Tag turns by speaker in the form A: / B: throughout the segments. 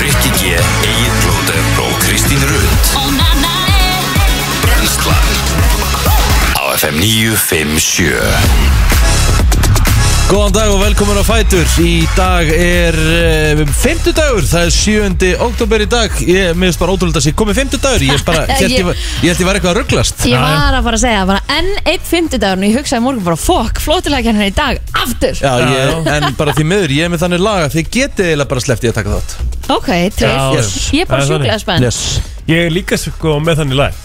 A: Rikki G, Egil Blóter og Kristín Rund Brenslan Á FM 957
B: Góðan dag og velkomin á Fætur Í dag er uh, fimmtudagur, það er 7. oktober í dag Ég miðst bara ótrúlega að sé komið fimmtudagur Ég, er bara, hélt, ég, var- ég held ég var eitthvað að rugglast
C: Ég var að fara að segja bara enn einn fymtudagur og ég hugsaði í morgun bara fokk, flótilega hennar í dag aftur.
B: Já, ég, en bara því miður, ég er með þannig laga Þið getið eiginlega bara sleppt ég að taka þátt
C: Ok, til.
B: Já,
C: Yes. Ég er
D: það
C: bara
D: er
C: sjúklega
D: þannig.
C: spennt.
B: Yes
D: Ég er líka sko með þannig lag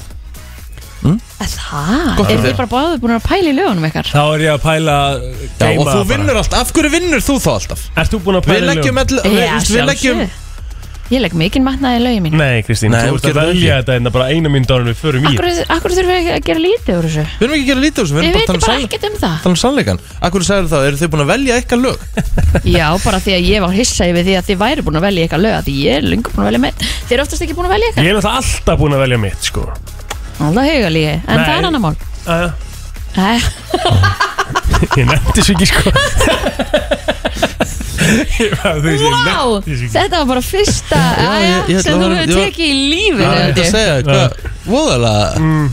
C: Það,
B: Gott að
C: er þið
B: heyra.
C: bara báðið búin að pæla í lögunum ykkar?
D: Þá er ég að pæla uh,
B: Já, og
D: geima
B: þú
D: bara.
B: vinnur allt, af hverju vinnur þú þá alltaf?
D: Ert þú búin að
B: Við
D: pæla í
B: leggjum,
D: lögum?
B: all, við, veist, við leggjum
C: sjálfsögðu. Ég legg mikinn matnaði í lögin mín.
D: Nei, Kristín,
B: Nei,
D: þú
B: þú
D: ert að
B: gerir það
D: velja
B: ekki.
D: þetta en það bara eina mynd ára við förum í
C: Akkur, akkur þurfum við ekki að gera lítið úr þessu?
B: Við erum ekki að gera lítið úr þessu, við
C: Við
B: erum bara að
C: veitum
B: tala
C: bara
B: um,
C: ekkert um það.
B: sann, um sannleikan Akkur sagður það, eru þið búin að velja eitthvað lög?
C: Já, bara því að ég var hissa yfir því að þið væri búin að velja ykkar lög, að því ég er lengur búin að velja með. Þið eru oftast ekki búin að velja
D: Ég
C: ykkar.
D: er náttúrulega alltaf búin að velja mitt sko
C: Alltaf haugalígi, en
D: Nei.
C: það er annar mál.
D: Aja.
C: Nei,
D: Ég nefndi svo ekki sko Ég bara, þú veist, ég
C: Vá,
D: nefndi svo ekki
C: þetta var bara fyrsta
B: Já,
C: aðja,
B: ég- ég ætla
C: sem
B: að
C: þú
B: fara-
C: hefur
B: ég var-
C: tekið í
B: Já, ég ætla
C: lífinu
B: að
C: held ég. Mm.
B: segja, hvað, voðalega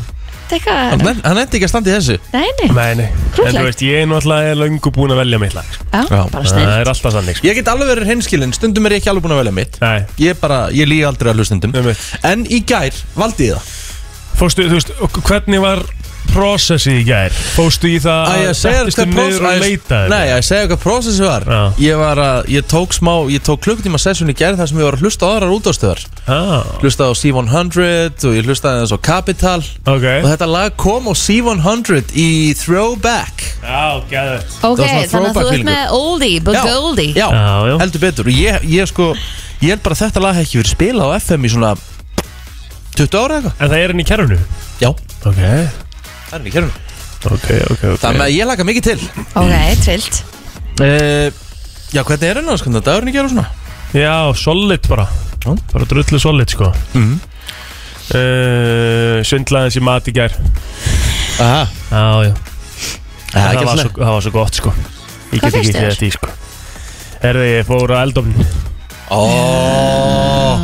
C: Tekka,
B: Hann nenn- hann endi ekki að standa í þessu
C: nei, nei,
D: Nei, nei En þú
C: Krúttlegt.
D: veist, ég er náttúrulega löngu búin að velja mitt lag sko.
C: já,
B: Já,
C: bara snill
D: Það er alltaf sannig sko
B: Ég get alveg verið hreinskilinn, stundum er ég ekki alveg búin að velja mitt
D: Nei,
B: Ég bara, ég líði aldrei að hlustundum
D: Einmitt.
B: En í gær valdi ég það
D: Fórstu, þú veist, og hvernig var prosessið í gær? Fórstu í það
B: Æ, ég segja þér
D: Ah, settist
B: hvað
D: niður og
B: prósess
D: leitaðir?
B: Nei, ég segja hvað prósessi var
D: Já.
B: Ég var að, ég tók smá, ég tók klukkutíma session í gær þar sem ég var að hlusta á aðrar útástöðar
D: Ah,
B: Hlustaði á C100 og ég hlustaði aðeins á Capital
D: ok
B: Og þetta lag kom á C100 í Throwback
D: Já, gæðið
B: var
C: Ok,
B: svona
C: þannig að þú
B: throwback
C: ert með oldie but goldie
B: já,
D: Já, já.
B: heldur betur Og ég, ég sko, ég held bara að þetta lag hef ekki verið spilað á FM í svona 20 ára eitthvað
D: En það er henni í kerfinu?
B: Já,
D: Ok
B: það er ekki hérna
D: Ok, ok, ok
B: Það með að ég laka mikið til
C: Ok, trillt
B: uh, Já, hvernig er hennar, sko, dagurinn í gær og svona
D: Já, solid bara
B: Já.
D: Bara drullu solid sko
B: Mhm.
D: uh, Sundlaðins í mat í gær
B: Aha,
D: Já, já
B: það er
D: það, var
B: ekki alltaf
D: svo, það var svo gott sko Ég
C: Hvað
D: get ekki
C: fékkstu þér?
D: þegar því sko Herði, ég fór að eldofn
B: Ó,
C: Ah,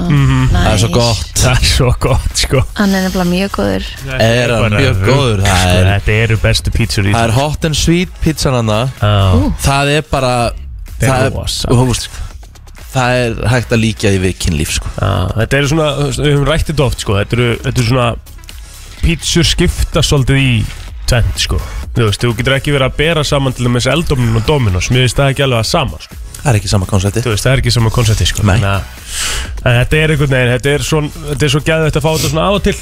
B: það er svo gott
D: Mhm. Það er svo gott sko
C: Hann er nefnilega mjög góður
B: Er hann
D: Bara
B: mjög
D: rugl,
B: góður, það
D: sko.
B: er-
D: Þetta eru bestu pítsur í
B: Það er hot and sweet pizzan hana
D: Já,
B: Það er bara
D: Þeir
B: Það er,
D: eru rosa.
B: þú veist, það er hægt að líka því við kynlíf sko.
D: já. Þetta eru svona, við höfum rætt þetta oft sko Þetta eru, þetta eru svona Pítsur skipta svolítið í Tvent sko Þú veist, þú getur ekki verið að bera saman til þess eldofnin og Dominos Mér veist það ekki alveg að sama sko
B: Það er ekki sama konsepti
D: þú veist, það er ekki sama koncepti sko.
B: Nei.
D: Þannig að, en þetta er einhvern veginn þetta er, svon, þetta er svo gæðvægt að fá þetta svona af og til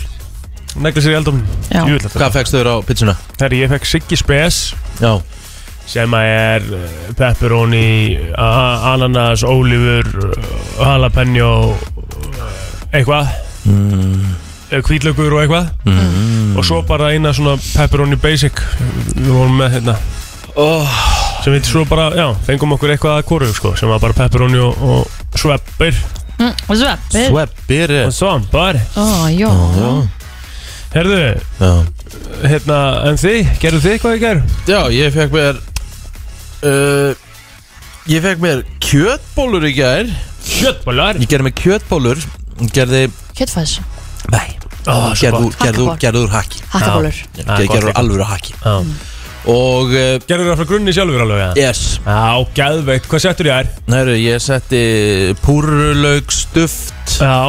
D: negla sér í eldum
C: Já.
B: Hvað fegst þau á pizzuna?
D: Herri, ég fekk Siggi Spes
B: Já,
D: sem að er eh, pepperoni a- ananas, ólífur eh, jalapeno eh, eitthvað mm. hvítlaugur og eitthvað
B: Mhm.
D: mm. og svo bara eina svona pepperoni basic við vorum með hérna
B: oh,
D: sem við svo bara, já, fengum okkur eitthvað að koru sko, sem var bara pepperoni og, og sveppir
C: Mm, Og svo Svepp
B: Sveppir eh.
D: og svo, bara
C: Ó, jó
D: Herðu,
B: Já.
D: hérna, en þið, gerðu þið hvað ég ger?
B: Já, ég fekk mér uh, Ég fekk mér kjötbólur í gær
D: Kjötbólar
B: Ég gerði mér kjötbólur Ég Gerði,
C: Kjötfæs,
B: nei,
D: Ó, svo
B: gerði, úr-
D: gott
B: gerði, úr-
C: Hakkabólur.
B: gerði úr haki
C: hakkabólur
B: Ég
D: Ah,
B: gerði
D: gott
B: gerði úr
D: líka.
B: alvöru haki
D: Já.
B: Og, uh,
D: Gerðu það frá grunni sjálfur alveg, eða?
B: yes
D: Já, gæðveikt, hvað settur ég er?
B: Næru, ég setti púrulauk stuft
D: Já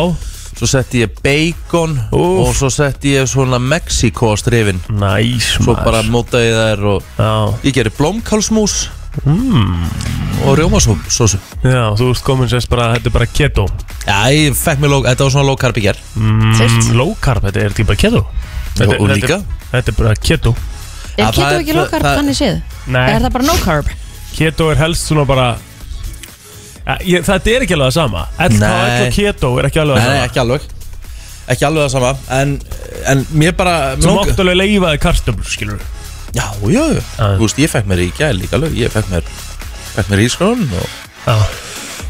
B: Svo setti ég bacon
D: Úff.
B: Og svo setti ég svona Mexiko strifin
D: Næs,
B: Svo bara mótaði þær og
D: Já,
B: Ég gerir blómkálsmús
D: sko.
B: mm. Og rjómasósu
D: já, þú ert komin sérst bara, þetta er bara keto
B: Já, ég fekk mér, ló- þetta var svona lókarp í ger
C: Trillt
D: Low carb, þetta er þetta ekki bara keto Þetta-
B: og
D: þetta-
B: líka.
D: Þetta er bara keto
C: Er
B: það
C: keto
B: er-
C: ekki
B: það-
C: low carb
B: það-
C: þannig séð?
D: Nei.
C: Er það bara no carb?
D: Keto er helst svona bara ja, ég, Þetta er ekki alveg það sama LKL
B: Nei.
D: og keto er ekki alveg
B: Nei,
D: það
B: nei,
D: sama
B: ekki alveg Ekki alveg það sama En, en mér bara
D: Þú
B: langa-
D: mátt alveg leifaði kartöflur, skilur
B: Já, já, já
D: Já.
B: Þú veist, ég fekk mér í gæl líka alveg Ég fekk mér, fekk mér ískrón og,
D: Já,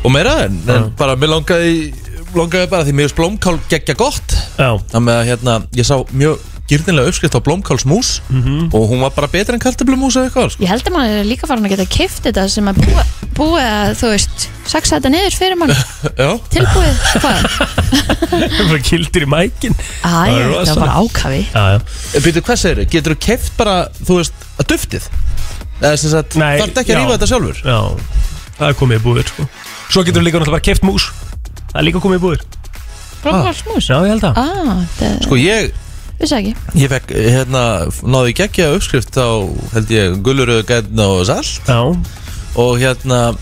B: og meira en, en bara mér langaði Langaði bara því mér veist blómkál geggja gott
D: já,
B: Það með að hérna, ég sá mjög gyrnilega uppskrift á blómkálsmús
D: Mhm.
B: og hún var bara betur en kartablumús eða eitthvað sko.
C: Ég held að maður er líka farin að geta kift þetta sem er búið, búið að, þú veist, saksa þetta niður fyrir mann,
B: sko. Já,
C: tilbúið, hvað?
D: bara kildir í mækin
C: Æ,
D: Það er
C: það
D: rosa.
C: var bara ákafi.
D: já, já.
B: Býtu, Eh, hvað segir þau? Getur þú keft bara, þú veist, að duftið? Eða sem sagt,
D: Nei,
B: þarf ekki að
D: já.
B: rífa þetta sjálfur?
D: já, það er komið í búðir sko. svo getur við líka náttúrulega bara keft mús það er líka komið í búðir
B: Ah.
C: Blómkálsmús?
D: já, ég held að
C: Ah, það
B: Sko ég,
C: vissi ekki.
B: ég fekk, hérna, náðu ekki ekki að uppskrift á, held ég, gulluröðu gætna og salt
D: já,
B: og hérna,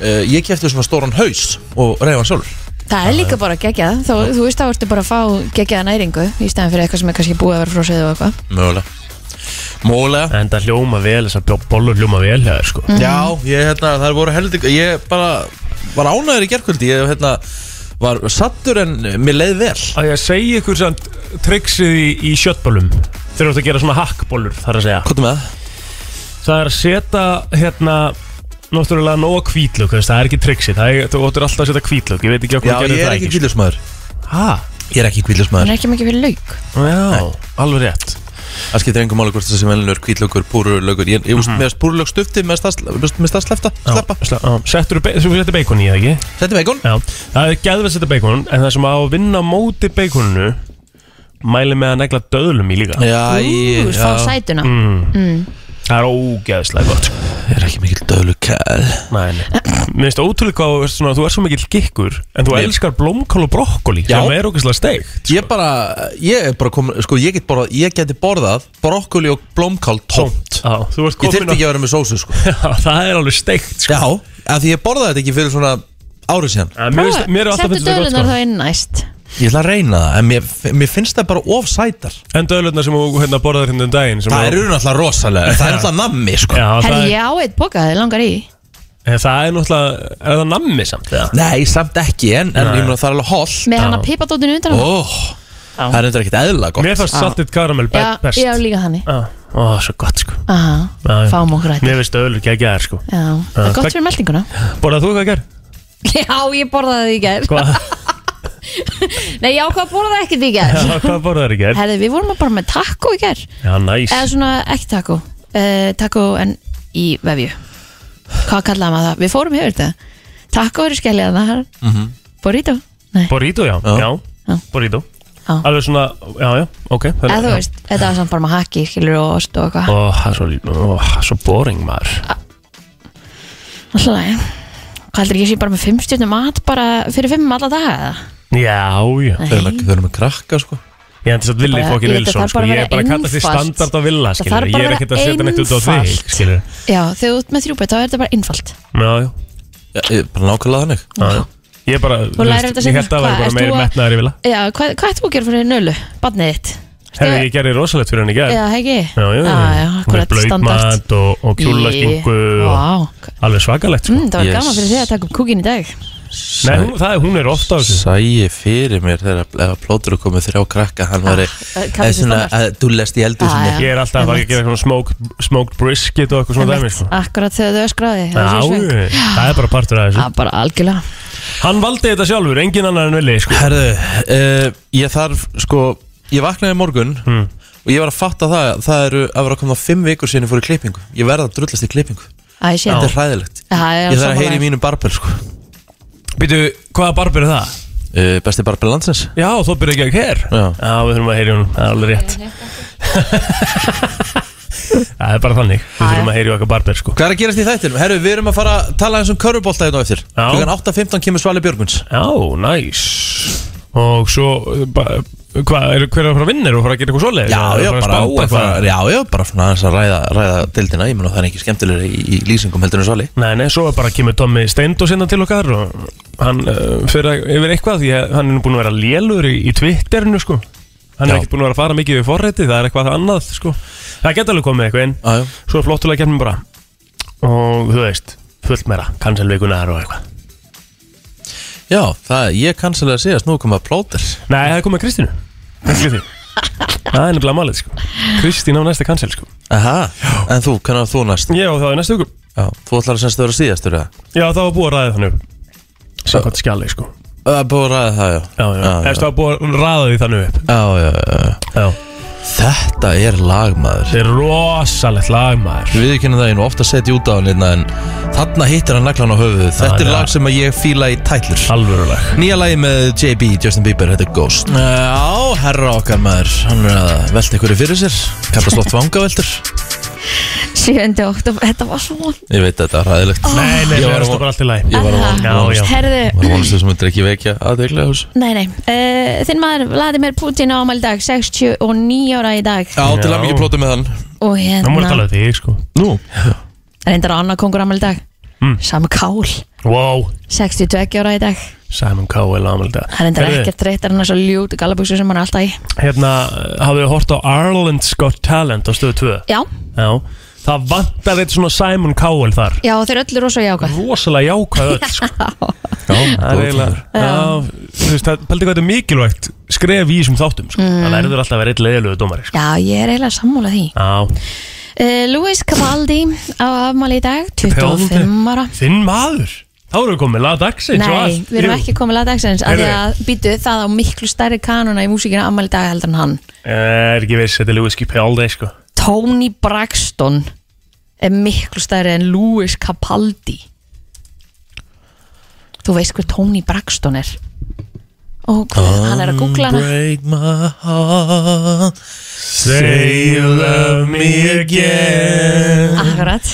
B: uh, ég kefti svona stóran haus og reyfa hann sjálfur
C: Það er líka bara geggjað, þó, þú veist þá ertu bara að fá geggjaða næringu í stæðan fyrir eitthvað sem er kannski búið að vera frósið og eitthvað.
B: Mögulega Mögulega
D: en það hljóma vel þessar bollur hljóma vel það er sko
B: Já, ég, hérna, það voru heldig Ég bara var ánæður í gerkvöldi Ég, hérna, var sattur en mér leið vel
D: að ég segi ykkur samt triksið í, í sjöttbólum þeir eru að gera svona hakkbólur þar að segja
B: Hvað er með það?
D: það er að setja hérna náttúrulega nóga kvítlög það er ekki triksið, það er, þú óttur alltaf að setja kvítlög ég veit ekki sko. okkur
B: Já, ég er ekki kvílusmaður
D: hæ,
B: Ég er ekki
C: Það
B: kvílusmaður
C: er ekki mikið fyrir lauk.
D: já, alveg rétt
B: Það skiptir engum máli hvort þessi melinur kvítlökur, púrulökur Ég, ég mm
D: Mhm.
B: -hmm. veist púrulög stufti með stað slefta Sleppa
D: settur þú setja beikon í það ekki
B: Þetta er veikon
D: já, það er gæðveg að setja beikon en það sem á að vinna á móti beikoninu mæli með að negla döðlum í líka Mm.
B: Já, ég,
C: Þú veist, fá
B: já Mm.
C: sætuna. Mm.
D: það er ógæðslega gott sko.
B: Ég er ekki mikil döðlukæð
D: Nei, nei. Mér finnst ótrúlega hvað þú ert svona, þú er svo mikill gikkur En þú
B: Ég-
D: elskar blómkál og brokkoli
B: Já.
D: Sem er ógæslega steikt sko.
B: Ég bara, ég er bara komin Sko, ég, get borðað, ég geti borðað brokkoli og blómkál tómt
D: Já, þú ert
B: Ég
D: komin
B: þyrfti
D: að
B: ekki að vera með sósu, sko
D: Það er alveg steikt sko.
B: Já, af því ég borðaði þetta ekki fyrir svona árið síðan
D: En Mér finnst- mér er alltaf
C: Settu
D: finnst þetta
C: döðlunar
D: gott sko.
C: þá inn næst.
B: Ég ætla að reyna það, en mér, mér finnst það bara of sætar
D: sko. En döðlunar sem þú hérna borðar hérna um daginn sem
B: Það
D: þú-
B: eru náttúrulega rosalega, það er náttúrulega nammi sko.
D: Já, það
C: Herri,
D: er,
C: ég á eitt boka, þið langar í.
D: en það er náttúrulega Er það nammi samt eða?
B: Nei, samt ekki, en, en
D: Nei.
B: ég meina það er alveg holl
C: Með hann að pipa dótinu undan hann.
B: Ó, það er reyndar ekkert eðla gott
D: Mér fannst
C: Já.
D: saltið karamell be
C: Já,
D: best
C: ég á líka þannig.
D: Já, Ó, svo gott sko
C: Aha,
D: Já, já.
C: fáum okkur þetta.
D: Mér finnst döðlur ekki að sko
C: Já,
D: Já, Sko-
C: það er gott
D: takk.
C: fyrir meldinguna.
D: Borðar þú hvað ger?
C: Já, ég borðaði því í gær.
D: Hvað,
C: Nei, ég ákvað að borða ekkert í gær.
D: hvað borðar þið ger?
C: Herri, við vorum bara með taco í gær.
D: Já, næs
C: Eða svona, ekki taco. Uh, taco en í vefju. Hvað kallaði maður það? Við fórum yfir þetta. Taco eru skelliðan það. Mm -hmm. Burrito. Nei,
D: Borító, já,
B: Mhm. Já.
D: já.
C: Já.
D: Borító
C: Já.
D: Alveg svona, já, já, ok það er-
C: eða þú
D: já.
C: veist, þetta var samt bara með hakki, skilur og ost og eitthvað.
D: Ó, það er svo, ó, það er svo boring maður
C: Alltaf læg. Hvað heldur ég sé bara með fimm stjórnum mat bara fyrir fimm alla daga eða?
D: Já, já
B: Þau eru með, þau eru með krakka sko.
D: Ég hendis að villi
C: Bara-
D: fokkin
C: ég-
D: Wilson
C: það þarf
D: sko.
C: bara að
D: Ég er
C: vera
D: bara að kalla því
C: einfalt.
D: standard á villa
C: Það
D: skilur.
C: þarf
D: Ég
C: bara
D: er
C: að
D: ekkert að
C: vera
D: setja neitt út á þig
C: einfalt.
D: skilur.
C: Já, þegar þú ert með þrjúbætt þá er þetta bara innfalt.
D: Já, já,
B: Já, ég- Bara nákvæmlega þannig
D: já, já Ég er bara, þú
C: lærir þetta
D: ég
C: seinna.
D: held að það væri
C: Hvað,
D: bara
C: ert
D: meiri
C: þú að-
D: metnaðar í villa
C: Já, hvað, hvað ert þú að gera fyrir nölu, badnið þitt?
D: Herri, ég gerði rosalegt fyrir henni í gerð
C: Já, ekki?
D: Já, já,
C: já, já, akkurat, standard.
D: Blautmat og, og kjúlastingu og
C: Vá,
D: alveg svakalegt sko.
C: mm, það var
B: Yes.
C: gaman fyrir þig að taka upp kúkin í dag.
D: Nei, hún, það, er- hún er ofta á þessu
B: Sæi fyrir mér þegar ef að plótur er komið þrjá krakka Hann var
C: Ah. kaffi sem
B: svona
C: standard.
B: að þú lest í eldur
C: Ah,
B: sinni
D: Ég er alltaf að fara að gera svona smoked, smoked brisket og eitthvað svona dæmi sko.
C: Akkurat þegar þau öskraði
D: Já,
C: það er svo í svöng.
D: já, það er bara partur af þessu
C: Já, bara algjörlega
D: Hann valdi þetta sjálfur, engin annar en villi sko.
B: Herðu, uh, ég þarf sko Ég vaknaði í morgun
D: Hmm.
B: Og ég var að fatta það, það eru að vera að koma fimm vikur sinni fór í klippingu Ég verða að drullast í klippingu
C: Æ, ég sé
B: Þetta
C: þetta
B: er hræðilegt
C: Já, já,
B: Ég þarf að
C: sammála.
B: heyra í mínum barber sko
D: Býtu, hvaða barber er það?
B: uh, Besti barber landsins
D: Já, þú byrja ekki að hér
B: Já.
D: við þurfum að heyri hún, það er alveg rétt Það er bara þannig Við þurfum að heyri okkar barber sko
B: Hvað er að gerast í þættinum? Herru, við erum að fara að tala eins um körfubolta hérna á eftir
D: Já.
B: Klukkan 8.15 kemur Svali Björgmunds
D: Já, næs Og svo, uh, ba- hvað, er, hver er að fara að vinna? Er að fara að gera eitthvað svoleiðis?
B: Já,
D: Er
B: já,
D: að fara að
B: bara,
D: spá
B: bara,
D: eitthvað?
B: já, já, bara svona aðeins að ræða, ræða dildina Ég menn að það er ekki skemmtilegur í, í lýsingum heldur en Svali
D: Nei, nei, svo er bara kemur Tommy Steindós hérna til okkar og hann uh, fyrir að- yfir eitthvað því að hann er nú búin að vera lélur í, í Twitterinu sko Hann
B: Já.
D: er ekki búin að vera að fara mikið við forræti, það er eitthvað annað sko Það geta alveg komið eitthvað inn
B: Já, já.
D: Svo er flottulega kemur bara og þú veist, fullt meira, kanselvikunar og eitthvað
B: Já, það, ég kansilega síðast, nú koma plóter
D: Nei, það er komið Kristínu Ekki því. Það er nefnilega málið sko Kristín á næsta kansel sko
B: Aha, en þú, hvernig var þú næst?
D: Ég og það er næsta hugur
B: Já, þú ætlar að semst að vera síðastur eða?
D: Já, það var búið að ræða þannig upp Samkvæmt skjali sko
B: Það er búið að ræða það, já
D: Já, já,
B: já,
D: Eftir það var búið að ræða því þannig upp
B: já, já, já, já.
D: Já
B: Þetta er lagmaður
D: Þetta er rosalegt lag maður
B: Við kynum það einu ofta setja út á hann hérna, en þarna hittir hann naglan á höfuðu Þetta er
D: já.
B: lag sem að ég fíla í tætlur
D: Alvöruleg
B: Nýja lagi með JB, Justin Bieber, þetta er Ghost Já, Eh, herra okkar maður Hann er að velta ykkur fyrir sér Kallast oft vangaveltur
C: 7. oktober, þetta var svo vond.
B: Ég veit þetta, ræðilegt
D: Nei, nei,
B: Ég
D: mér
B: var
D: finnst
B: að-
D: það bara allt í lagi
B: Ég var að
C: Aha.
B: vona-
D: Já, já.
C: Herðu,
B: var vonast þessum myndir ekki vekja aðdeglega hús
C: nei, nei uh, Þinn maður, Vladimir Putin á ámæli dag 69 ára í dag
B: Já, til að mikið plóti með hann
D: Nú
C: Og
D: múið að
C: hérna,
D: tala um þig, sko
B: Nú,
C: reyndar á annað kongur ámæli dag
D: Mm.
C: Sam Kál,
D: Wow,
C: 62 ára í dag
D: Simon Cowell ámaldi
C: Það er reyndar ekkert reytar en þessu ljútu galabuksu sem hann er alltaf í
D: Hérna, hafið þið hort á Ireland's Got Talent á stöðu 2
C: Já,
D: Já Það vantar eitt svona Simon Cowell þar
C: já þeir eru öllu rosa jákvæð
D: Rosalega jákvæð öll, sko Það er eiginlega Já, þú veist, það pældi hvað þetta er mikilvægt Skref í þessum þáttum, sko
C: Mm.
D: Það verður alltaf að vera eitt leiðilegu dómari, sko
C: Já, ég er eiginlega sammála því
D: Já,
C: uh, Louis Cavaldi á afmæli í dag 25 ára
D: þinn maður Þá erum við komið laga dagsins og
C: Nei,
D: allt.
C: við erum
D: Jú.
C: ekki komið lagdagsins af því
D: Heyrðu.
C: að býtu það á miklu stærri kanuna í músíkina afmæli í dag heldur en hann
D: Eh, Er ekki viss, þetta er Lewis Capaldi, sko
C: Tony Braxton er miklu stærri en Louis Capaldi Þú veist hver Tony Braxton er Ó, hvað, hann er að googla hana
B: Break my heart
D: Say you love me again
C: Akkurat,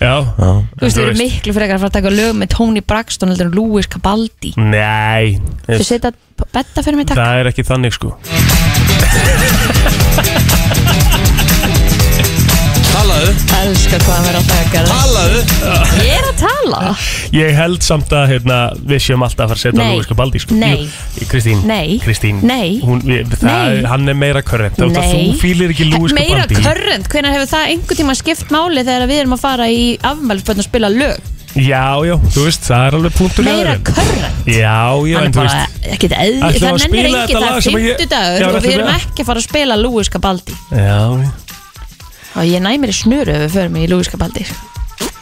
D: Já
C: Mm. þú veist, við erum miklu frekar að fara að taka lög með Tony Braxton heldur en Louis Capaldi
D: Nei
C: Þú setja betta fyrir mig takk
D: Það er ekki þannig sko
B: Talaðu,
C: Elskar hvað hann verður alltaf að taka
B: talaðu
C: það Ég er að tala
D: Ég held samt að hérna, við séum alltaf að fara að setja
C: Nei.
D: Lúi Skabaldi sko.
C: Nei.
D: Jú, Kristín
C: Nei.
D: Kristín
C: Nei.
D: hún, við, það,
C: Nei.
D: Hann er meira körrent Þú,
C: Nei.
D: þú fýlir ekki Lúi
C: Meira
D: Skabaldi
C: körrent, hvenær hefur það einhver tíma skipt máli þegar við erum að fara í afmælspöld og spila lög
D: Já, já, þú veist, það er alveg punktur hjá
C: Meira
D: þeim.
C: körrent
D: Já, já,
C: Hann er
D: en þú
C: bara
D: veist
C: ekkert eð
D: Ætlum við
C: Það
D: að
C: nennir
D: spila
C: engin
D: þetta
C: það
D: lag
C: er
D: sem ég- Já,
C: fimmtudagur og
D: ætlum
C: við erum
D: við-
C: ekki að fara að spila Lúi Skabaldi
D: Já,
C: og ég næ mér í snuru ef við förum í Lúi Skabaldi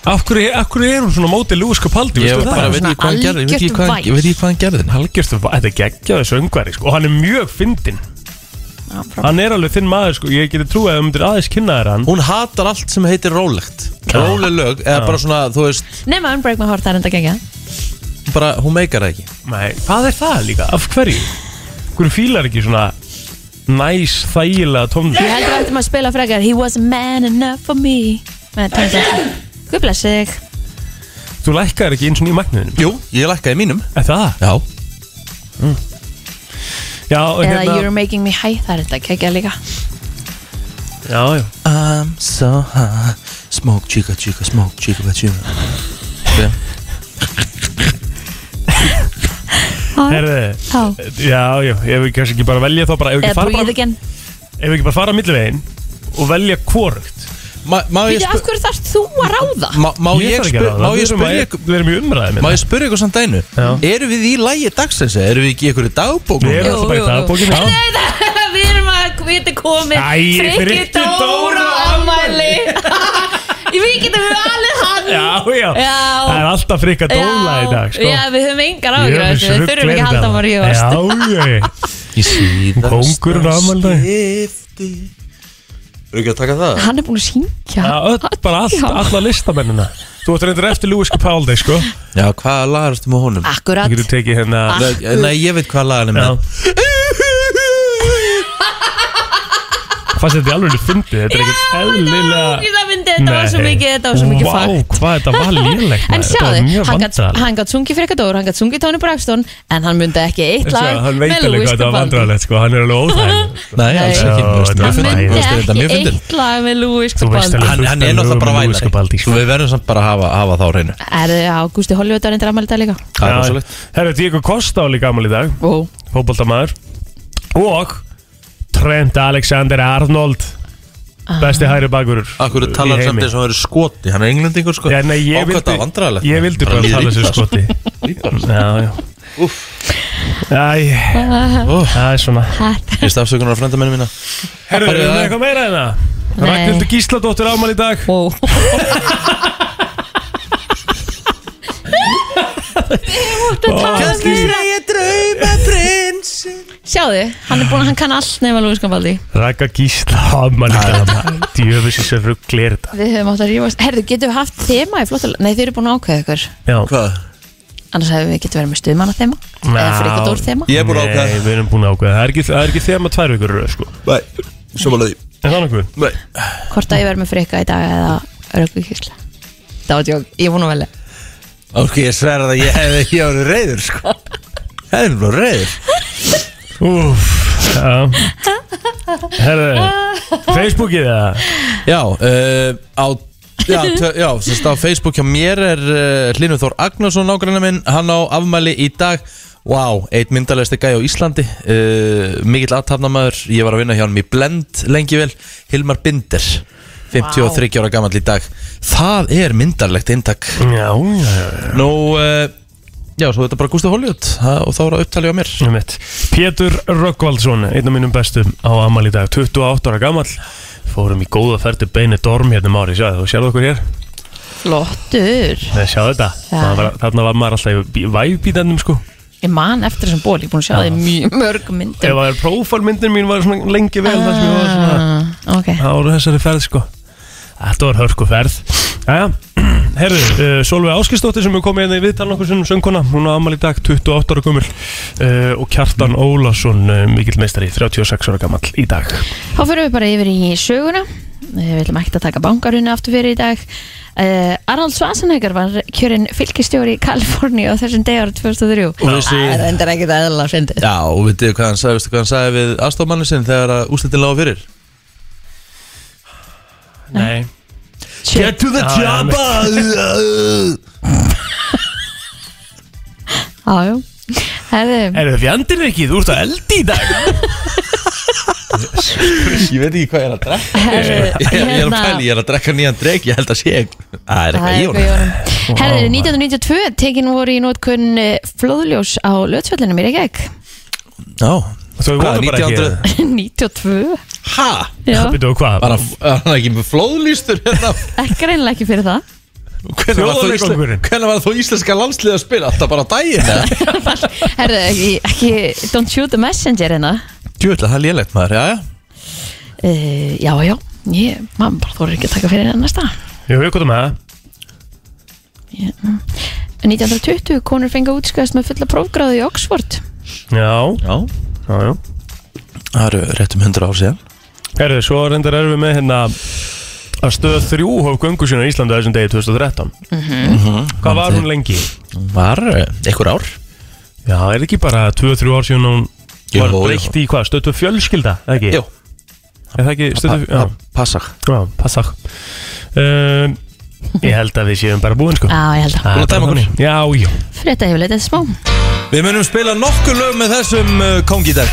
D: af hverju, af hverju er hún svona mótið Lúi Skabaldi
B: Ég bara veit ekki hvað
C: Svona
B: hann gerði Ég veit ekki
C: algjört
B: hvað hann- ég veit ekki hvað hann gerði
D: Halgjörstu, þetta er geggjaði söngvari sko. Og hann er mjög fyndinn Hann er alveg þinn maður sko. Ég geti trúið að þú myndir aðeins kynna þér hann
B: Hún hatar allt sem heitir rólegt Róleg lög, eða bara svona, þú veist
C: Nefn að Unbreak My Heart það er enda að gengja
B: bara, Hún meikar það ekki
D: Nei, hvað er það líka? Af hverju? Hverju fílar ekki svona næs, þægilega tónlist?
C: Ég heldur að við ættum að spila frekar He was a man enough for me með tónlist Guð bless sig
D: Þú lækkar ekki eins og nýjum magniðinum
B: Jú, ég lækkaði mínum
D: Er það? Mm.
B: Já,
D: Já,
C: eða You're making me high það er enda að gegja líka
D: já, já
B: I'm so high Smoke chica chica, smoke chica chica okay.
D: Herðu,
C: Þá.
D: já, já, ef við kannski ekki bara velja þá bara Ef við ekki
C: Eða
D: fara,
C: breathe
D: bara,
C: again
D: ef við ekki bara fara á millivegin og velja hvorugt
B: Má, má ég,
C: Býtu, af
B: spu
C: hverju þarf þú að ráða?
B: má, má ég,
D: þarf ekki
B: spu
D: að ráða,
B: má
D: við
B: ég
D: erum að-
B: spurja ykkur
D: Við erum í umræðum
B: Má
D: hérna.
B: ég spurja ykkur samt einu
D: Já.
B: Erum við í lægi dagsins eða Erum við ekki í ykkur í dagbókum
D: Við erum alltaf bara í dagbókinu Já.
C: Við erum að, við erum komin
D: Æ, Frikki Dóra
C: ammæli Við getum við alveg hann
D: Já, já,
C: Já.
D: það er alltaf frikka dóla í dag sko.
C: Já, við höfum engar
D: Ég
C: ágjur
D: er með
C: Við þurfum
D: sruggleði
C: ekki að halda
D: dag.
C: maður í
D: hérna. Já,
C: oss
D: já, já.
B: Í síðan
D: Kóngurinn á afmæli.
B: Skipti Erum við ekki að taka það?
C: Hann er búin að syngja
D: Já, öll, bara allt, alla listamennina Þú ert reyndir eftir Lewis Capaldi, sko
B: Já, hvaða lag erstu með honum?
D: Þú
C: Akkurat
D: getur tekið hérna
C: Ah.
B: Nei, Nei, ég veit hvaða lag hann er
D: Já.
B: með
D: Fannst þetta í alveg fyndið Þetta er ekkert eðlilega
C: Það myndi, þetta var svo
D: Nei.
C: mikið, þetta var svo mikið
D: Vá,
C: fakt
D: hvað þetta var lélegt
C: En
D: maður. Þetta var
C: sjáðu,
D: mjög
C: hann gat,
D: vandræðalegt.
C: hann gat sungið fyrir eitthvað dór, hann gat sungið Tony Braxton En hann myndi ekki eitt
D: Þessi að
C: lag
D: Hann veit
C: með
D: alveg hvað
C: Louis
D: þetta var
C: Capaldi.
D: vandræðilegt, sko Hann er alveg óþægileg sko.
B: Nei, alls
C: Nei.
B: ekki
D: Já,
B: Mér finnst-
D: þetta
B: mér
D: var Nei, Þú veist alveg-
B: finnst- mér finnst þetta mjög fyndin Hann,
C: Hann myndi ekki eitt lag með Louis Capaldi
B: hann er náttúrulega bara
D: Lúi Skabaldi,
B: vælari
D: sko.
B: Svo við verðum samt bara að hafa, hafa þá á hreinu
C: Er það Ágústi Hollywood að reyndir afmæli í dag líka?
B: Það er
D: Já.
B: rosalegt
D: Herra, Diego Costa á líka gamal í dag
C: Ó,
D: Fótboltamaður Og Trent Alexander Arnold
C: Ah.
D: Besti hægri bakurur
B: Akkur talar samt eins og hann verið skoti, hann er englendingur sko
D: Já, nei, ég vildi,
B: vildi,
D: ég vildi bara tala sér skoti Já, já Æ, það er svona
B: Ég veist afsökunar á frændamennu mína
D: Herru, erum
B: Herru,
D: við
B: það-
D: með eitthvað meira en það?
C: Nei.
D: Ragnhildur Gísladóttir ámæli í dag
C: ó Þið máttu tala
D: skýt.
C: meira
B: ég drauma prinsin
C: Sjáðu, hann er búin að hann kann allt nema Lúi Skambaldi
D: Raka gísla Hamann Djöfis þessu ruggli er þetta
C: Við höfum átt að rífast Herðu, getum við haft þema í flottal Nei, þið eru búin að ákveða ykkur
D: Já
B: Hvað?
C: Annars hefum við getum verið með stuðmanna þema Eða
D: Já.
C: fyrir ykkur dór þema
B: Ég er búin að
D: Nei,
B: ákveða
D: við erum búin að ákveða Það er ekki, það er ekki þema tvær vikur í röð, sko
B: Nei, samanlega því
D: Er það nokkuð?
B: Nei
C: Hvort að ég verið með frikka í dag eða Röggu kísla Það var tjók, ég er búin að velja
B: Ok, ég sverða að ég hefði ekki árið reyður sko Það er bara reyður
D: Úf Já Herðu Facebookið það
B: Já, uh, á Já, tö- já sérst á Facebook hjá mér er uh, Hlynur Þór Agnarsson nágrannar minn hann á afmæli í dag Wow, eitt myndalegasti gæi á Íslandi uh, mikill aðtapnamaður ég var að vinna hjá hann í Blend lengi vel Hilmar Binder 53 ára gamall í dag Það er myndalegt inntak
D: Já, já, já
B: Nú, uh, já, svo er þetta bara Gustaf Hollywood það- og þá er að upptalja á mér
D: Einmitt. Pétur Röggvaldsson, einn af mínum bestum á Amal í dag, 28 ára gamall fórum í góða ferdi beinu dorm hérna um ári, sjáðu, þú sjáðu okkur hér
C: Flottur
D: Nei, sjáðu þetta,
C: Já.
D: Maður var, þarna var maður alltaf í væfbítendum sko
C: Ég man eftir þessum ból, ég er búin að sjá þig í mjög mörg myndum
D: ef að prófálmyndin mín var svona lengi vel þar sem ég var svona
C: ah, Ok,
D: ára þessari ferð sko Þetta var hörku ferð Jæja, herðu, uh, Solveig Áskistóttir sem er komið hérna í viðtal nokkur sinnum sönguna hún á amal í dag, 28 ára gömul uh, og Kjartan Ólason, uh, mikill meistari 36 ára gamall í dag
C: Þá fyrir við bara yfir í söguna Eh, Við ætlum ekkert að taka bankarunni aftur fyrir í dag uh, Arnold Schwarzenegger var kjörinn fylgistjóri í Kaliforni á þessum degi árið 2003
B: Og þessi-
C: Það endur ekkert aðeðla að fyndi
B: Já, og veitu hvað hann sagði, veistu hvað hann sagði við aðstofmanni sinn þegar að úslitin lága fyrir
D: Nei
B: Get to the
D: Já, já,
B: job uh, uh.
C: Jájú Herðu,
D: Eru fjandinn ekki, þú ert að eldi í dag
B: Ég veit ekki hvað ég er að drekka Ég
C: herðu
B: ég er að
C: hérna,
B: pæli, ég er að drekka nýjan dreg Ég held að sé ekki Það er eitthvað
C: Það er
B: í
C: eitthvað í
B: honum
C: honum. Herðu, 1992 tekin voru í nótkunn eh, flóðljós á löðsvöllunum í Reykjavík
B: Já
D: Svo við
B: Hvað,
D: vorum bara
B: 1900?
D: ekki
C: 92
B: Ha?
C: Já,
D: Býtu og hvað?
B: Var hann- var hann ekki með flóðlýstur hérna?
C: ekki reynilega ekki fyrir það
B: Hvernig var þó íslenska,
D: Þjóðleikvangurinn.
B: hvernig var þó íslenska landslið að spila? Alltaf bara á daginn eða?
C: Herðu, ekki, ekki Don't shoot the messenger hérna
B: Djöðlega, það er lélegt maður, já, já
C: Uh, já, já, ég, maður bara þóra ekki að taka fyrir hérna hennar stað.
D: Jú, við komum með það
C: mm. 1920, konur fengi að útskæðast með fulla prófgráðu í Oxford.
D: Já,
B: Já,
D: já, já
B: það eru rétt um 100 ár síðan
D: Herðu, svo reyndar erum við með hérna að stöða þrjú hóf göngu sína í Íslandi á þessum degi 2013 Hvað var hún lengi?
B: Mhm. Var eh, einhver ár?
D: Já, er ekki bara 2-3 ár síðan hún
B: Jú,
D: var
B: jú.
D: breytt í hvað? Stöðu fjölskylda, eða ekki?
B: Jú,
D: Er það ekki stöðu
B: pa-
D: fjölskylda?
B: passa
D: Já, já, passa um, Ég held að við séum bara búin sko
C: Já, ég held að.
D: Það er
B: Búin að
D: bara
B: dæma okkur?
D: þannig. Já, já
C: Frétta hefur leitað smá.
B: Við munum spila nokkur lög með þessum uh, kongi í dag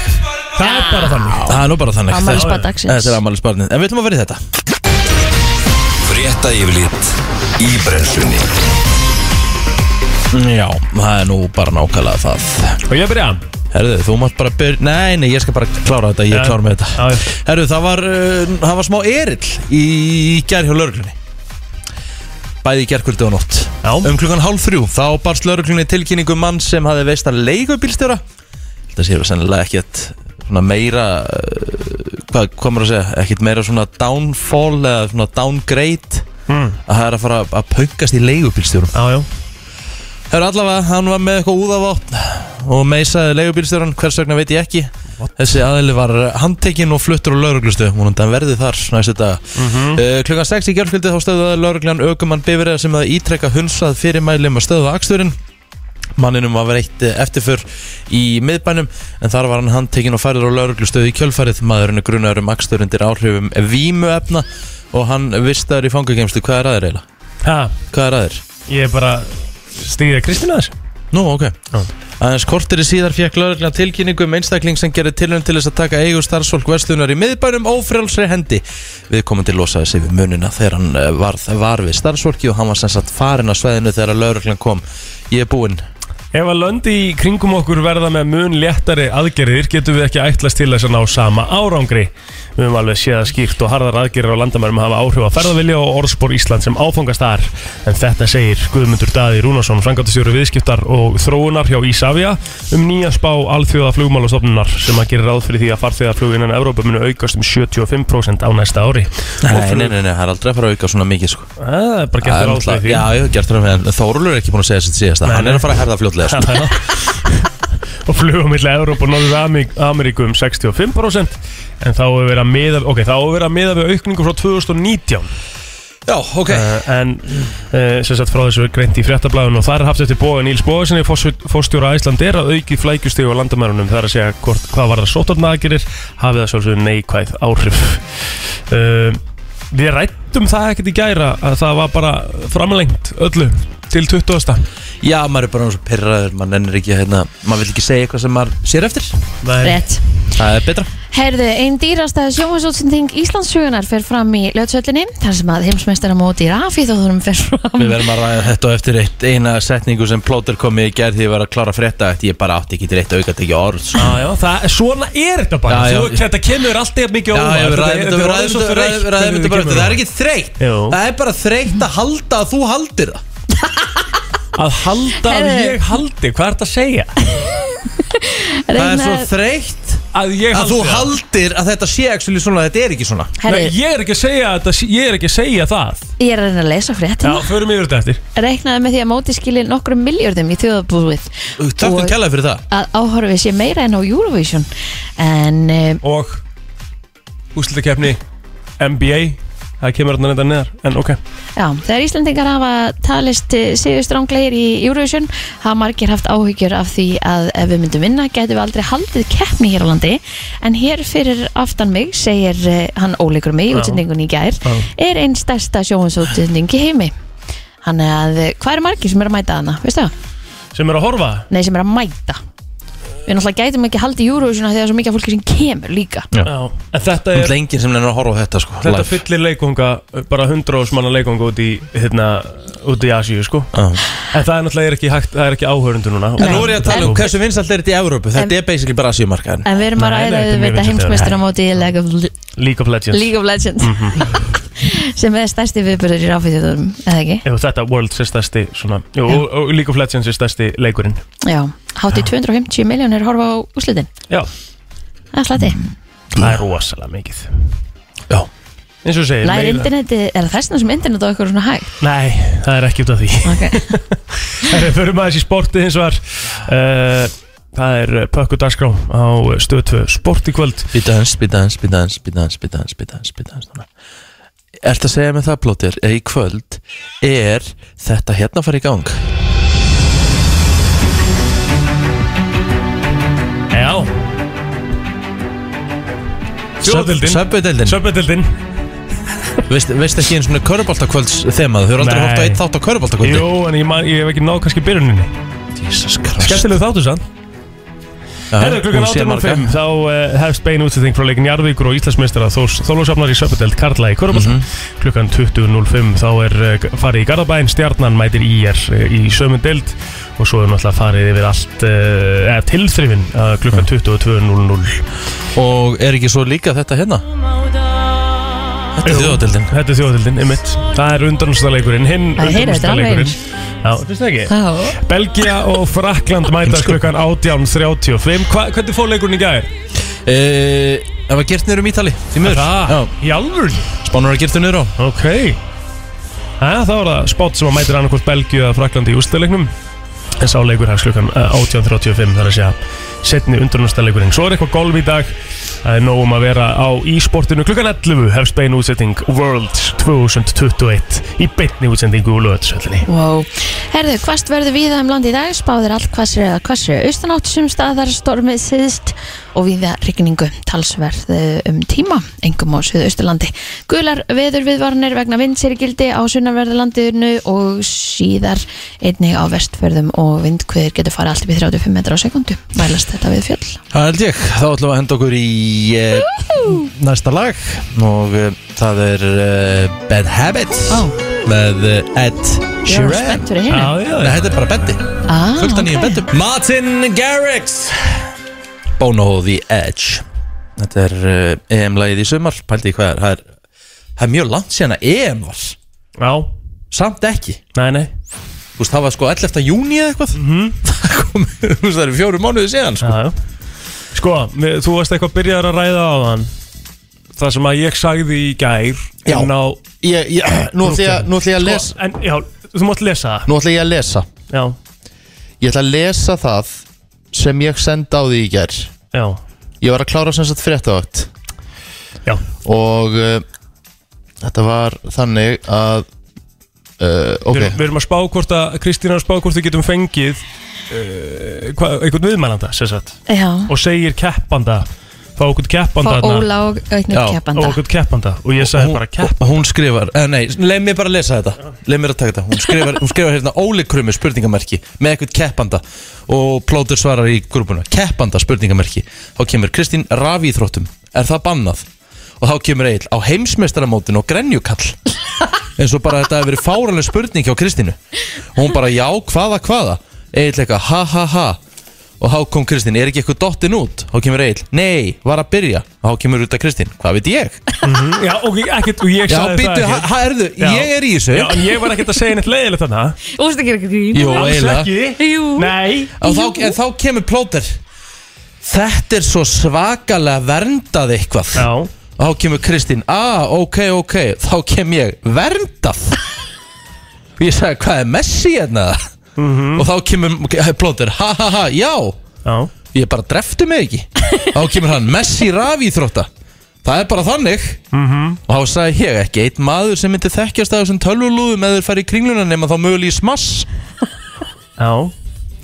D: Það er bara þannig
B: Það er nú bara þannig
C: Ammali
B: Þetta-
C: spart dagsins.
B: Þetta er ammali sparnin En við ætlum að vera í þetta
A: Frétta yfirlit í brennslunni
B: Já, það er nú bara nákvæmlega það
D: Og ég byrja
B: Herðu, þú mátt bara byrja Nei, nei, ég skal bara klára þetta, ég
D: Já.
B: er klár með þetta
D: Já, já.
B: Herðu, það var, uh, það var smá erill í gær hjá lauruglunni Bæði í gærkvöldi og nótt
D: Já.
B: Um klukkan hálf þrjú Þá barst lauruglunni tilkynningu um mann sem hafði veist að leigubílstjóra Þetta séu sennilega ekkert svona meira uh, Hvað komur að segja? Ekkert meira svona downfall eða svona downgrade
D: Mm.
B: Að það er að fara að pöngast í leigubílstjórum
D: Já, já
B: Hörru allavega, hann var með eitthvað úðavátt og meisaði leigubílstjóran, hvers vegna veit ég ekki Þessi aðili var handtekinn og fluttur á lauruglustu Múnandi hann verði þar næstu dag mm
D: Mm-hmm. Mhm.
B: Klukkan 6 í gerfkvöldi þá stöðuði lauruglan aukumann bifrið sem að ítrekka hunsað fyrirmæli um að stöðva aksturinn Manninum var veitt eh, eftirför í miðbænum en þar var hann handtekinn og færður á lauruglustöð í kjölfarið maðurinn er grunaður um akstur undir áhrifum vímuefna og hann vistaður í fangagemstu hvað er aðeir eiginlega?
D: Ha,
B: Hvað er aðeir?
D: ég er bara stýðið Kristina þess
B: Nú, ok
D: Já.
B: Aðeins kortir í síðar fekk lögreglan tilkynningu um einstakling sem gerir tilhörn til þess að taka eigu starfsfólk verslunar í miðbænum ófrjálsri hendi Við komum til losaði sig við munina þegar hann eh, varð var við starfsfólki og hann var sem sagt farinn á sveðinu þegar lögreglan kom Ég er búinn
D: Ef að löndi í kringum okkur verða með mun léttari aðgerðir getum við ekki ætlast til þess að ná sama árangri. Við höfum alveg séð að skýrt og harðar aðgerðir á landamærum hafa áhrif á ferðavilja og orðspor Ísland sem áfangast þar. En þetta segir Guðmundur Daði Rúnarsson, frangatastjóru viðskiptar og þróunar hjá Ísafja um nýja spá alþjóða flugmálastofnunar sem að gera ráð fyrir því að farþjóðaflug innan Evrópa munu aukast um 75% á næsta ári.
B: Nei, nei, nei, nei, það er aldrei að fara að auka svona mikið sko.
D: Það er Eh, bara
B: Það er
D: getur
B: náttúrulega-
D: ráðslega því.
B: Já, ég hef gert það með en Þórulur er ekki búin að segja sitt síðast
D: Nei,
B: Hann er
D: nei.
B: að fara að herða fljótlega sko.
D: Já. og flugum millir Európa og Norður Ameríku um 65% en þá hefur verið að miða ok, þá hefur verið að miða við aukningu frá 2019
B: Já, ok
D: uh, en uh, sem sagt frá þessu er greint í fréttablaðun og þar er haft eftir bóða Níls Bóðarsinni fórstjóra Æsland er að auki flækjustíu á landamærunum þar að segja hvort, hvað var það sótarnagirir hafið það sjálfsögur neikvæð áhrif uh, við rættum það ekkert í gæra að það var bara framlengt öllu til 20.
B: Já, maður er bara eins og pyrraður Maður nennir ekki, hérna, maður vil ekki segja eitthvað sem maður sér eftir
D: Nei,
C: Rétt
B: Það er betra
C: Herðu, einn dýrasta sjónvarsótsending Íslandsugunar fer fram í löðsöllinni þar sem að heimsmeistaramóti í rafíþóðurum fer fram
B: Við verðum að ræða þetta á eftir eitt eina setningu sem plóter komið í gerð því ég var að klára að frétta Þetta ég bara átti ekki dreitt aukat ekki orð sko.
D: Já, já, það, svona er þetta bara
B: Já, já.
D: Þú, Þetta kemur alltaf mikið
B: Já,
D: óvart
B: já,
D: er
B: við ræðum þetta, við
D: orðið
B: ræðum
D: svo
B: þetta,
D: þreytt
B: við ræðum
D: hvernig
B: þetta bara
D: kemur
B: Það er
D: á.
B: ekki þreytt
D: Jú.
B: Það er bara þreytt að halda að þú haldir það
D: Að halda að
C: Heyrðu.
D: ég haldi, hvað er þetta að segja?
B: Það er svo
C: Reyna-
B: þreytt
D: Að ég
B: að
D: haldi
B: þú
D: það.
B: haldir að þetta sé actually svona, þetta er ekki svona
D: Nei,
C: Herðu,
D: ég er ekki að segja þetta, ég er ekki að segja það
C: ég er að reyna að lesa
D: Já,
C: fréttina
D: förum yfir þetta eftir
C: Reiknaði með því að móti skilji nokkrum miljörðum í þjóðabúið
B: Takkum kjallaði fyrir það
C: að áhorfið sé meira en á Eurovision en um,
D: Og úslutakefni NBA Það kemur þarna þetta neðar, en ok
C: já, þegar Íslandingar hafa talist síðu stránglegir í Eurovision hafa margir haft áhyggjur af því að ef við myndum vinna getum við aldrei haldið keppni hér á landi en hér fyrir aftan mig segir eh, hann óleikur mig í
D: Já.
C: útsendingun í gær
D: Já.
C: er einn stærsta sjóhansútsending í heimi hann er að eh, hvað er margir sem er að mæta hana, veistu það?
D: Sem er að horfa
C: Nei, sem er að mæta Við náttúrulega gætum ekki haldið Eurovision af því það er svo mikið af fólki sem kemur líka
D: Já, en þetta
B: Það
D: er
B: er enginn sem nefnir að horfa á þetta sko
D: Þetta
B: live.
D: fyllir leikunga, bara hundra manna leikunga út í, hérna, út í Asíu, sko
B: Já.
D: En það er náttúrulega ekki, hægt, það er ekki áhörundu núna
B: En nú er ég að tala um
C: En-
B: hversu vinsalt er þetta í Evrópu
C: En-
B: Þetta er basically bara Asíumarkaðin
C: En við erum að
D: Nei, nei, þetta
C: ræða
D: er mjög
C: við veit að
D: vinsælt,
C: heimsmeistur á móti í League of,
D: League of Legends Mhm.
C: League of Legends sem er stærsti viðbörður í ráfiðjóðum eða ekki?
D: Ef þetta World er stærsti svona, jú, og, og League of Legends er stærsti leikurinn
C: Já, hátt í 250 miljónir horfa á úslitin
D: Já,
C: Það er slati
D: Mm. það er rosalega mikið
B: Já.
D: Eins og þú segir
C: Læri
D: meila-
C: interneti, er það þessna sem internet á eitthvað svona hægt?
D: Nei, það er ekki út af því
C: Okay.
D: Herri, Förum aðeins í sportið hins vegar uh, Það er pökku dagskrá á stöð 2 sport í kvöld
B: Býta hans, býta hans, býta hans, býta hans, býta hans, býta hans, býta hans núna. Ertu að segja með það plótir eða í kvöld er þetta hérna að fara í gang?
D: Já Sjöldildin
B: Söpvedeldin
D: Sjöldildin
B: Veist, veist ekki einn svona köruboltakvölds þemað Þau eru aldrei
D: Nei.
B: hótt á eitt þátt á köruboltakvöldi
D: Jú, en ég, man, ég hef ekki náð kannski byrjuninni
B: Jesus Christ
D: Skemmtilegu þáttu sann Herra klukkan 18.05 þá uh, hefst bein útsending frá leikin Jarvíkur og Íslandsmeistara Þórs Þólusafnar í Söpudeld Karla í Körbólta
B: Mhm.
D: klukkan 20.05 þá er uh, farið í Garðabæn stjarnan mætir IR uh, í Söpudeld og svo er náttúrulega farið yfir allt uh, eða tilþrifin uh, klukkan 22.00
B: Og er ekki svo líka þetta hérna? Þetta er
D: Jú.
B: þjóðadeldin
D: Þetta er þjóðatildin, ymmit Það er undanúrslutaleikurinn, hinn
C: Það heyrir þetta alveg
D: undanúrslutaleikurinn Já, finnst það ekki?
C: Já,
D: Belgia og Frakland mætast
B: Sko.
D: klukkan 18.35 Hva, Hvernig fór leikurinn í gær?
B: Eh, Það var gert niður um Ítali Því miður Já,
D: Í alvörni?
B: Spánur var gert þau niður á
D: Ok Æja, það var það spátt sem að mætir annarkvort Belgíu eða Fraklandi í úrstæðleiknum En sá leikur hefst klukkan eh, 18.35 þar að segja setni undrunarstæðleikurinn Svo er eitthvað golf í dag Það er nóg um að vera á e-sportinu klukkan 11 hefst bein útsetting World 2021 í beinni útsendingu úr löðsöllinni
C: Wow. Herðu, hvast verður viða um land í dag spáðir allt hvassri eða hvassri austanátt sem staðar stormið síðst og viða rigningu talsverð eh, um tíma, engum á suðausturlandi gular veður viðvarnir vegna vindsir gildi á sunnarverðarlandiðinu og síðar einnig á vestförðum og vindkviður getur farið allt upp í 35 metrar á sekundu mælast þetta við fjöll
B: Það held ég, þá ætlum við að henda okkur í eh, næsta lag og eh, það er eh, Bad Habits
C: Ó.
B: með eh, Ed
C: Ég var
B: Sheeran
C: spennt fyrir hinn
D: Já, já,
B: Nei,
D: já.
B: þetta er bara bendi
C: ah,
B: Fullt af nýjum
C: ok.
B: bendum Martin Garrix Bono The Edge Þetta er uh, EM-lægið í sumar Pældi í hvað er Það er, það er mjög langt síðan að EM var
D: Já,
B: Samt ekki
D: nei, nei Mhm.
B: Þú veist, það var sko 11. júni eða eitthvað Það kom, þú veist, það eru fjóru mánuði síðan sko.
D: Hm? Já, já. Sko, við- þú varst eitthvað byrjar að ræða á hann Það sem að ég sagði í gær
B: Já.
D: inn á, Sko,
B: ég, ég, Nú ætla ég að- nú ætla ég að lesa
D: en, já, Þú mátt lesa það
B: Nú ætla ég að lesa
D: Já,
B: Ég ætla að lesa það sem ég sendi á því í ger
D: já,
B: Ég var að klára sem sagt fréttavakt
D: já
B: Og uh, þetta var þannig að uh, Ok
D: Við erum, við erum að spá hvort að Kristín er að spá hvort við getum fengið uh, hva, einhvern viðmælanda sem sagt,
C: Já,
D: og segir keppanda fá okkur keppanda
C: fá
D: þarna,
C: Óla og auknir
B: Já,
D: og
C: keppanda
D: okkur keppanda og ég sagði bara kepp
B: Hún skrifar, eh, nei, leið mér bara að lesa þetta Leið mér að taka þetta Hún skrifar, hún skrifar hérna Óli krummi spurningamerki Með eitthvað keppanda Og plótur svarar í grúpuna Keppanda spurningamerki Þá kemur Kristín rafi í þróttum Er það bannað? Og þá kemur Egil á heimsmeistaramótin og grenjukall eins og bara þetta hefur verið fáranlega spurning hjá Kristínu og hún bara já, hvaða, hvaða Egil eitthvað, ha, ha, ha og þá kom Kristín, er ekki eitthvað dottin út þá kemur Egil, nei, var að byrja og þá kemur út að Kristín, hvað veit ég
D: já, og, ekkit, og ég
B: Hm? já,
D: sagði
B: býttu,
D: það
B: ha,
D: ekkert
B: ha, erðu,
D: Já.
B: ég er í þessu
D: já, en ég var ekkert að segja neitt leiðilegt þarna
C: Úrstu ekki ekki grín
B: Jú,
D: Alls
B: eiginlega
D: ekki
C: Jú.
D: nei
B: og þá, en þá kemur plóter þetta er svo svakalega verndað eitthvað
D: já,
B: og þá kemur Kristín, ah, ok, ok þá kem ég, verndað og ég sagði, hvað er Messi hérna og þá kemur eh, plóter, ha, ha, ha, já
D: Mhm. já,
B: ég bara drefti mig ekki þá kemur hann Messi rafi í þrótta það er bara þannig
D: Mhm. Mm-hmm.
B: -hmm. og þá sagði ég ekki einn maður sem myndi þekkjast að þessum tölvulúðum eða þeir fari í kringluna nema þá mögulega í smass
D: já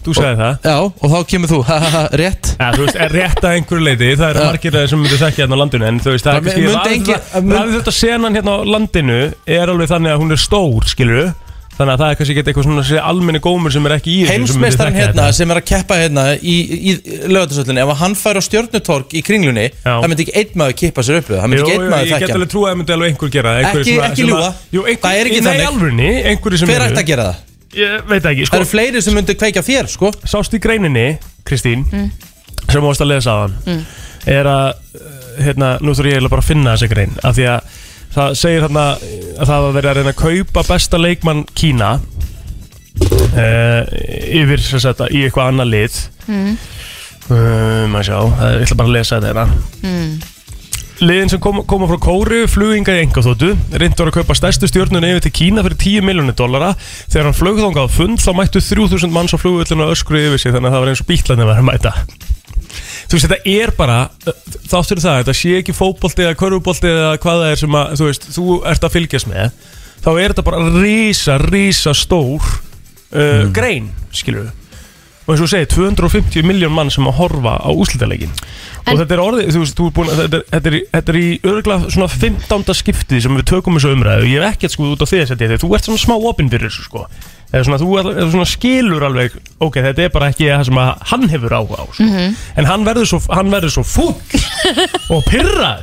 D: þú sagði það
B: já og þá kemur þú ha ha ha rétt
D: Já, þú veist, er rétt að einhverju leiti, það eru margir að sem myndir þekkja hérna á landinu, en þú veist, það
B: Það
D: er
B: myndi engin- mun-
D: ræðið þetta senan hérna á landinu er alveg þannig að hún er stór, skilur þannig að það er kannski ekki eitthvað svona þessi almenni gómur sem er ekki í þessu sem myndi
B: heimsmeistarinn
D: þekkja
B: hérna
D: þetta.
B: sem er að keppa hérna í, í lögatarsöllinu ef hann fær á stjörnutorg í kringlunni
D: Já.
B: það myndi ekki einn maður kippa sér upp við það. það myndi
D: Jú,
B: ekki einn
D: jú,
B: maður
D: ég get
B: þekkja hann.
D: alveg trúið að það myndi alveg einhver gera það, einhverjir
B: Ekki-
D: svona-
B: ekki
D: sem að-
B: ljúga.
D: Jú, einhver,
B: Það er ekki
D: nei,
B: þannig.
D: alvörni, einhverju sem
B: hver ætti að gera það?
D: Ég veit það ekki,
B: það
D: sko,
B: eru fleiri sem myndi kveikja þér sko
D: sást í greininni, Kristín sem þú varst að lesa á hann er að, uh, hérna, nú þurf ég eiginlega bara að finna þessi grein, af því að það segir þarna að það var verið að reyna að kaupa besta leikmann Kína uh, yfir sem sagt í eitthvað annað lið um að sjá, það er, ég ætla bara að lesa þetta hérna Liðin sem kom, koma frá Kóru, fluginga í engaþóttu, reyndi var að kaupa stærstu stjórnuna yfir til Kína fyrir 10 miljónir dollara. Þegar hann flög þangað á fund þá mættu 3000 manns á flugvöllinu og öskru yfir sig þannig að það var eins og bítlandi var að mæta. Þú veist, þetta er bara, þáttur það, þetta sé ekki fótbolti eða körfubolti eða hvað það er sem að, þú veist, þú ert að fylgjast með, þá er þetta bara rísa, rísa stór uh, grein, skilur við. Og eins og þú segir, 250 miljón mann sem að horfa á úslitaleikin
C: En-
D: og þetta er orðið, þú veist, þú er búin að þetta er, þetta er, í- þetta er í örgulega svona 15. skiptið sem við tökum þessu umræðu ég er ekkert sko út á því að setja þetta, þú ert svona smá opinn fyrir þessu sko, eða svona, þú er, eða svona skilur alveg, ok, þetta er bara ekki það sem að hann hefur áhuga á sko. en hann verður svo, hann verður svo fúll og pyrrar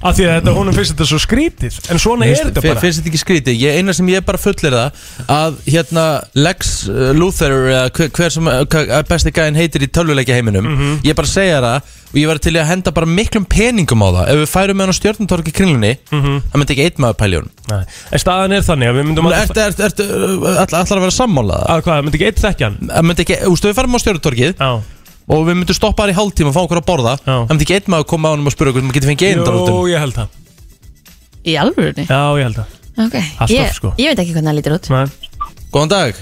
D: af því að þetta, honum finnst þetta svo skrítið en svona
B: Mér
D: er
B: finnst-
D: þetta bara
B: finnst þetta ekki skrítið ég, eina sem ég bara fullir það að hérna Lex uh, Luthor eða hver, hver sem uh, hva- að besti gæðin heitir í tölvuleikja heiminum
D: Mhm.
B: ég bara segja það og ég var til í að henda bara miklum peningum á það ef við færum með hann á stjórnumtorki kringlunni það myndi ekki einn maður pælja hún
D: Mhm. Nei. en staðan er þannig að við myndum að,
B: ertu ertu- ertu, uh, ætla- ætlar að vera sammálaða
D: að hvað, myndi ekki eitt þekkja hann
B: það myndi ekki, ústu við færum á stjórnumtorkið
D: já
B: og við myndum stoppa þar í hálftíma og fá okkur að borða
D: Já.
B: það myndi ekki einn maður koma á hann og spura okkur maður getur fengið einn
D: Jú, ég held það,
C: Í alvörunni
D: já, ég held það
C: Ok,
D: Alltaf,
C: ég,
D: sko.
C: ég veit ekki hvernig það lítur út
D: Nei.
B: góðan dag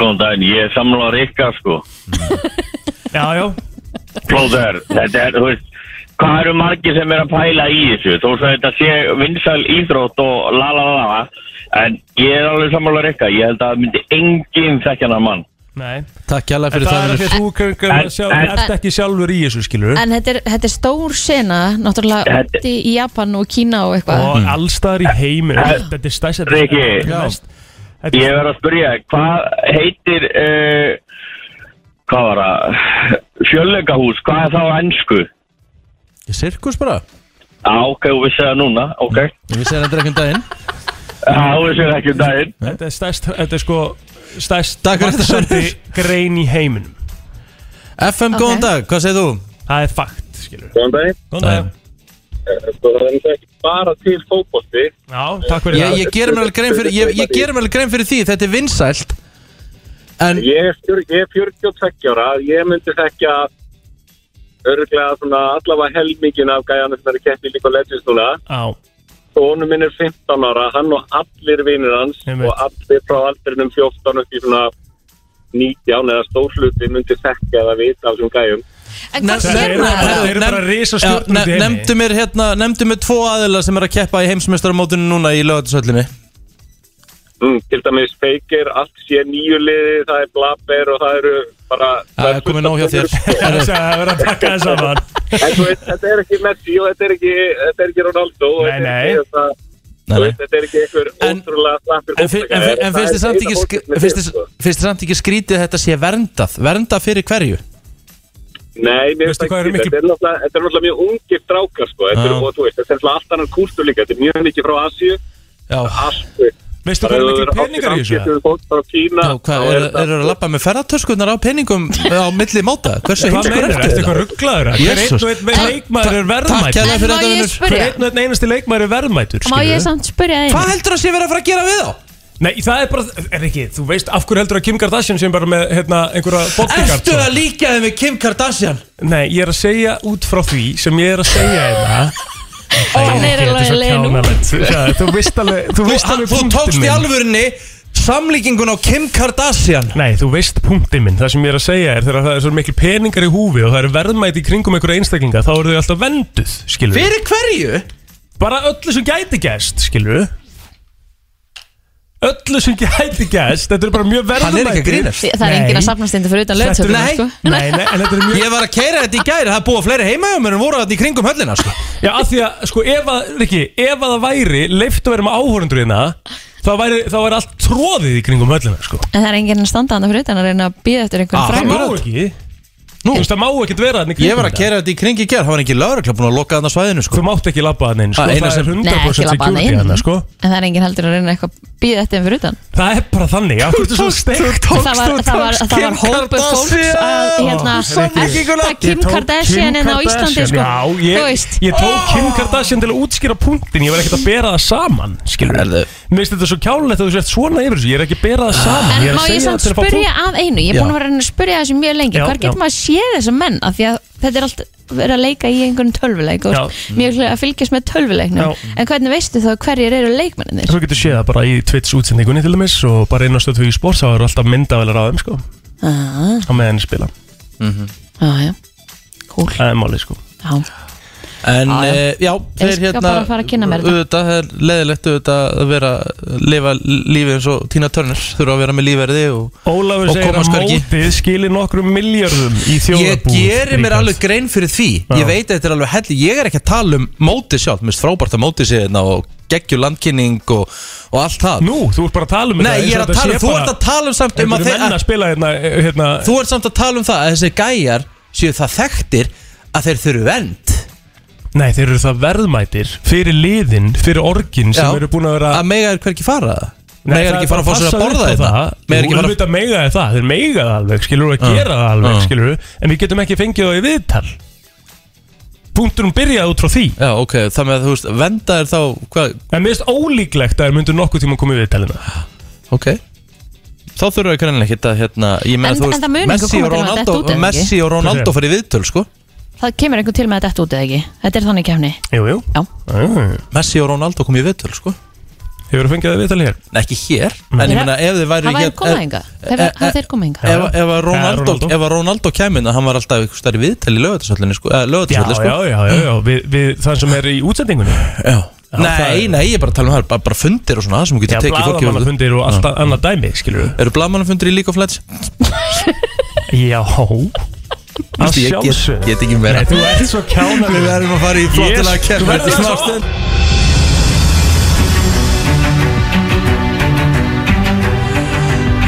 E: Góðan daginn, ég er samlað Rikka sko
D: Já, já,
E: Plóður, þetta er, þú veist Hvað eru margir sem er að pæla í þessu? Þó svo þetta sé vinsæl íþrótt og la la la la En ég er alveg sammála Rikka Ég held að það myndi enginn þekkja hann mann
D: Nei,
B: takk jæla
D: en
B: fyrir
D: það er
B: það,
D: að því að þú kankan,
E: En-
D: sjálf,
E: en-
D: ert ekki sjálfur í þessu skilur
C: En þetta er, þetta er stór sena Náttúrulega
E: Þetta-
C: úti í Japan og Kína og eitthvað
D: og allstaðar í heimi
E: Mm. En-
D: þetta er stærst þetta
E: Riki.
D: er- þetta er mest- þetta
E: Ég
D: er-
E: verð að spyrja, hvað heitir uh, Hvað var það? Fjöllegahús, hvað er það á ennsku?
B: Sirkus bara
E: Á, ok, þú vissi það núna, ok
B: Ég vissi það endur ekki um daginn
E: Það áður sér ekki um daginn
D: Þetta er stærst, þetta er sko stærst
B: Takk fyrir þetta,
D: vaxandi
B: Sverrir.
D: grein í heiminum
B: FM,
C: Ok.
B: góðan dag, hvað segir þú?
D: Það er fakt, skilur
F: Góðan daginn.
D: Góðan dag
F: Það er náttúrulega ekki bara til fókbótti.
D: Já, takk fyrir
B: Ég, ég gerir mér alveg grein fyrir, ég, ég gerir mér alveg grein fyrir því, þetta er vinsælt En,
F: Ég er, fjör, ég er 42 ára. Ég myndi þekkja örglega svona allavega helmingin af gæjanum sem er að keppi líka legends núna.
D: það Já,
F: Sónu minn er 15 ára. Hann og allir vinnir hans
D: Einmitt.
F: og allir frá aldrinum 14 upp í svona 19 eða stórluti myndi þekkja eða vita af þessum gæjum.
C: En hvað
D: Þetta
C: sér
D: eru bara-
C: maður?
D: þetta eru bara
B: Nefn-
D: risastjörnur
B: Já,
D: út í
B: ne-
D: heimi.
B: Nefndu mér hérna, nefndu mér tvo aðila sem er að keppa í heimsmeistaramótinu núna í lögatursöllinni
F: Mm, til dæmis feikir, allt sé nýju liði, það er blabber og það eru bara...
B: Það er komið nóg hjá þér
D: það er verið að taka það saman
F: En þú veist, þetta er ekki Messi og þetta er ekki, þetta er ekki Ronaldo og
D: Nei,
F: þetta er
D: nei.
F: ekki þetta-
B: Nei,
F: þú
B: nei.
F: veist, Þetta er ekki einhver
B: En-
F: ótrúlega slappur
B: En, fi- en, fi- en finnst þið samt ekki sk- finnst þið-
F: sko.
B: finnst þið samt ekki skrítið að þetta sé verndað Verndað fyrir hverju?
F: Nei, mér finnst
D: Veistu hvað
F: það
D: eru
F: ekki
D: miklu-
F: Þetta er náttúrulega þetta er náttúrulega mjög ungi strákar sko. Þetta er,
B: Já.
F: og, þú veist, þetta er náttúrulega allt annan kúltur líka Þetta er mjög mikið frá Asíu
B: Já,
F: Allt þú veist.
D: Veistu
F: Bara
D: hvað
F: ef
D: er
F: þú
D: miklu
F: verður
D: peningar í
F: 80-90
D: þessu?
F: fólk frá Kína,
B: já hvað,
F: þá
B: eru
F: þetta-
B: er að labba með ferðartöskunar á peningum á milli móta?
D: Hvað
B: Hversu heimskur
D: meinar
B: ertu?
D: Ertu eitthvað rugglaður? Hver einn
B: Jesus.
D: og einn með leikmaður er
B: Takk
D: verðmætur
B: hérna fyrir
C: En má
B: þetta
C: ég
B: vinnur
C: spyrja?
D: Hver einn og einn einasti leikmaður er verðmætur
C: Má ég
D: skilurðu?
C: samt spyrja
B: Hvað
C: þeim?
B: heldur það sé verið að fara að gera við þá?
D: Nei, það er bara, er ekki, þú veist af hverju heldur að Kim Kardashian sem bara með hérna, einhverja bodyguard
B: Ertu að líka þið með Kim Kardashian?
D: Nei, ég er að segja út frá því sem ég er að segja hérna
C: Hann er
D: Þetta
C: alveg
D: er svo
C: leið nú.
D: kjánalegt. Það- Þú veist alveg, þú
B: Þú,
D: veist
B: hann,
D: alveg
B: þú
D: punktinn
B: tókst í
D: minn.
B: alvörinni samlíkingun á Kim Kardashian
D: Nei, þú veist punktinn minn, það sem ég er að segja er þegar það er svo mikil peningar í húfi og það eru verðmæti í kringum einhverja einstaklinga þá eru þau alltaf venduð, skilur
B: Fyrir hverju?
D: Bara öllu sem gæti gæst, skilur Öllu sem gæti gæst, þetta er bara mjög verðmæti
B: Hann er ekki að grínast
C: Það er
D: Nei.
C: enginn að sapnast indi fyrir
D: Þetta
C: utan lögtsöfnum,
B: nei.
C: sko.
D: Nei, nei, en þetta er mjög
B: Ég var að keira þetta í gæri, það er búið fleiri heima hjá mér en voru þetta í kringum höllina sko.
D: Já, af því að, sko, ef að, Rikki, ef að það væri leift að vera með áhórundur hérna þá væri, þá væri allt tróðið í kringum höllina, sko
C: En það er enginn að standa hann fyrir utan að reyna að býða eftir
B: Ah,
C: einhverjum
D: Það
C: fram.
D: má
B: Akkurat.
D: ekki,
B: Nú,
D: þú
B: Ah,
D: veist, það má ekki vera þannig
B: ég var að keira þetta í kringi gær, það var ekki laurugla búin að loka þarna svæðinu sko.
D: Þú mátt ekki labba hann inn, sko,
B: Ah, eina
D: það
B: sem-
D: er
C: Nei,
D: 100%
C: ekki labba hann
D: security
C: inn.
D: hérna, sko
C: En það er enginn heldur að reyna eitthvað að býða eftir þeim fyrir utan.
D: Það er bara þannig, af hverju ertu svo steikt
C: Það var, það var, það var hópur fólks að, hérna,
B: Samlíkinguna.
C: elta Kim Kardashian en á Íslandi, sko.
D: Já,
C: Þú
D: ég,
C: veist,
D: ég tók Kim Kardashian til að útskýra punktin Ég var ekkert að bera það saman, skilur
B: Herðu.
D: Mér finnst þetta svo kjálulegt að þú sért svona yfir þessu Ég er ekki að bera það saman
C: En
D: ég er að
C: má ég
D: segja þetta
C: samt
D: til að fá
C: spyrja að einu, ég er búin
B: Já.
C: að vera að reyna að spyrja þessu mjög lengi,
D: Já,
C: hvar
D: já.
C: getur maður að sé þessa menn af því að þetta er allt verið að leika í einhvern tölvuleik og
D: Já.
C: mjög hljóð að fylgjast með tölvuleiknum,
D: Já.
C: en hvernig veistu þá hverjir eru leikmennir?
D: Svo getur séð það bara í Twitch útsendingunni til dæmis og bara inn á stöð 2 í spór þá eru alltaf myndavelar á þeim sko á
C: Já,
D: meðan þeir spila,
C: Ah,
D: Mhm.
C: já, cool,
D: það er málið sko
C: já.
B: En
C: Já, já.
B: eh, já,
C: Ég skal bara fara að kynna mér þetta.
B: auðvitað, það er leðilegt auðvitað að vera, lifa lífið eins og Tina Turner, þurfa að vera með lífverði og
D: Ólafur
B: Og
D: segir að
B: komast hvergi.
D: mótið skilir nokkrum miljardum í
B: Ég
D: þjóðabúð
B: gerir mér
D: Ríkharðs.
B: alveg grein fyrir því Ég
D: Já.
B: veit að þetta er alveg helli Ég er ekki að tala um mótið sjálf Mér finnst frábært að mótið séðna og geggju landkynning og, og allt það
D: Nú, þú ert bara að tala um
B: Nei,
D: þetta
B: ég er að tala um, þú ert að tala um samt um
D: um
B: að
D: að
B: þeir,
D: menna að spila hérna, hérna
B: Þú ert samt að tala um það að þessi gæjar séu það þekktir að þeir þurfu vend
D: Nei, þeir eru það verðmætir fyrir liðin, fyrir orgin sem eru búin að vera
B: Að mega er hverki fara
D: Nei,
B: Mega er
D: það
B: ekki fara að fá sér
D: passa
B: að borða
D: upp á
B: þetta
D: Jú,
B: Mega er ekki fara Ah.
D: auðvitað mega er það, þeir mega það alveg skilur við
B: Já.
D: að gera það alveg
B: Já.
D: skilur við en við getum ekki fengið það í viðtal Punktunum byrjaði út frá því
B: Já, ok, það með að þú veist, venda er þá hvað,
D: En mér finnst ólíklegt að þeir myndu nokkuð tíma að koma í viðtalina
B: ok Þá þurfa ekki reynilega ekki að hérna Ég meina
C: En-
B: þú
C: en
B: veist,
C: það mun einhver
B: Messi og
C: koma til með þetta
B: Ronaldo
C: út, eða ekki?
B: Messi og Ronaldo
D: Hvað
B: fyrir viðtöl, sko
C: Það kemur einhvern til með að detta út eða ekki Þetta er þannig kefni
D: Jú, jú
C: Já.
D: Hefur
B: Messi og Ronaldo kom í viðtöl, sko
D: þú fengið það í viðtali hér?
B: Nei, ekki hér, en ég meina ef þið væri
C: Það væri
B: hér-
C: komað
B: ef-
C: enga
B: eh,
C: Það þeir komað enga
B: Ef, ef, að Ronaldo,
D: Ronaldo.
B: ef að Ronaldo kæmin að hann var alltaf einhvers staðar í viðtali í lögatarsöllinni sko, eh,
D: Já,
B: lögatarsöllinni
D: já,
B: sko.
D: já, já, já, við, við þann sem er í útsendingunni
B: já.
D: það
B: Nei,
D: er-
B: nei, ég er bara að tala um það, bara, bara fundir og svona það sem þú
D: Já,
B: getur tekið fólki við
D: blaðamannafundir og allt annað dæmi, skilur við
B: Eru bladamannafundir í League of Legends?
D: Já Að
B: Ég get,
D: sjálfsög
B: get ekki meira
D: Nei, þú ert svo kjánar
B: Við verðum að fara í flottilega
D: Yes,
B: yes,
D: þú
B: kemur
D: verður að-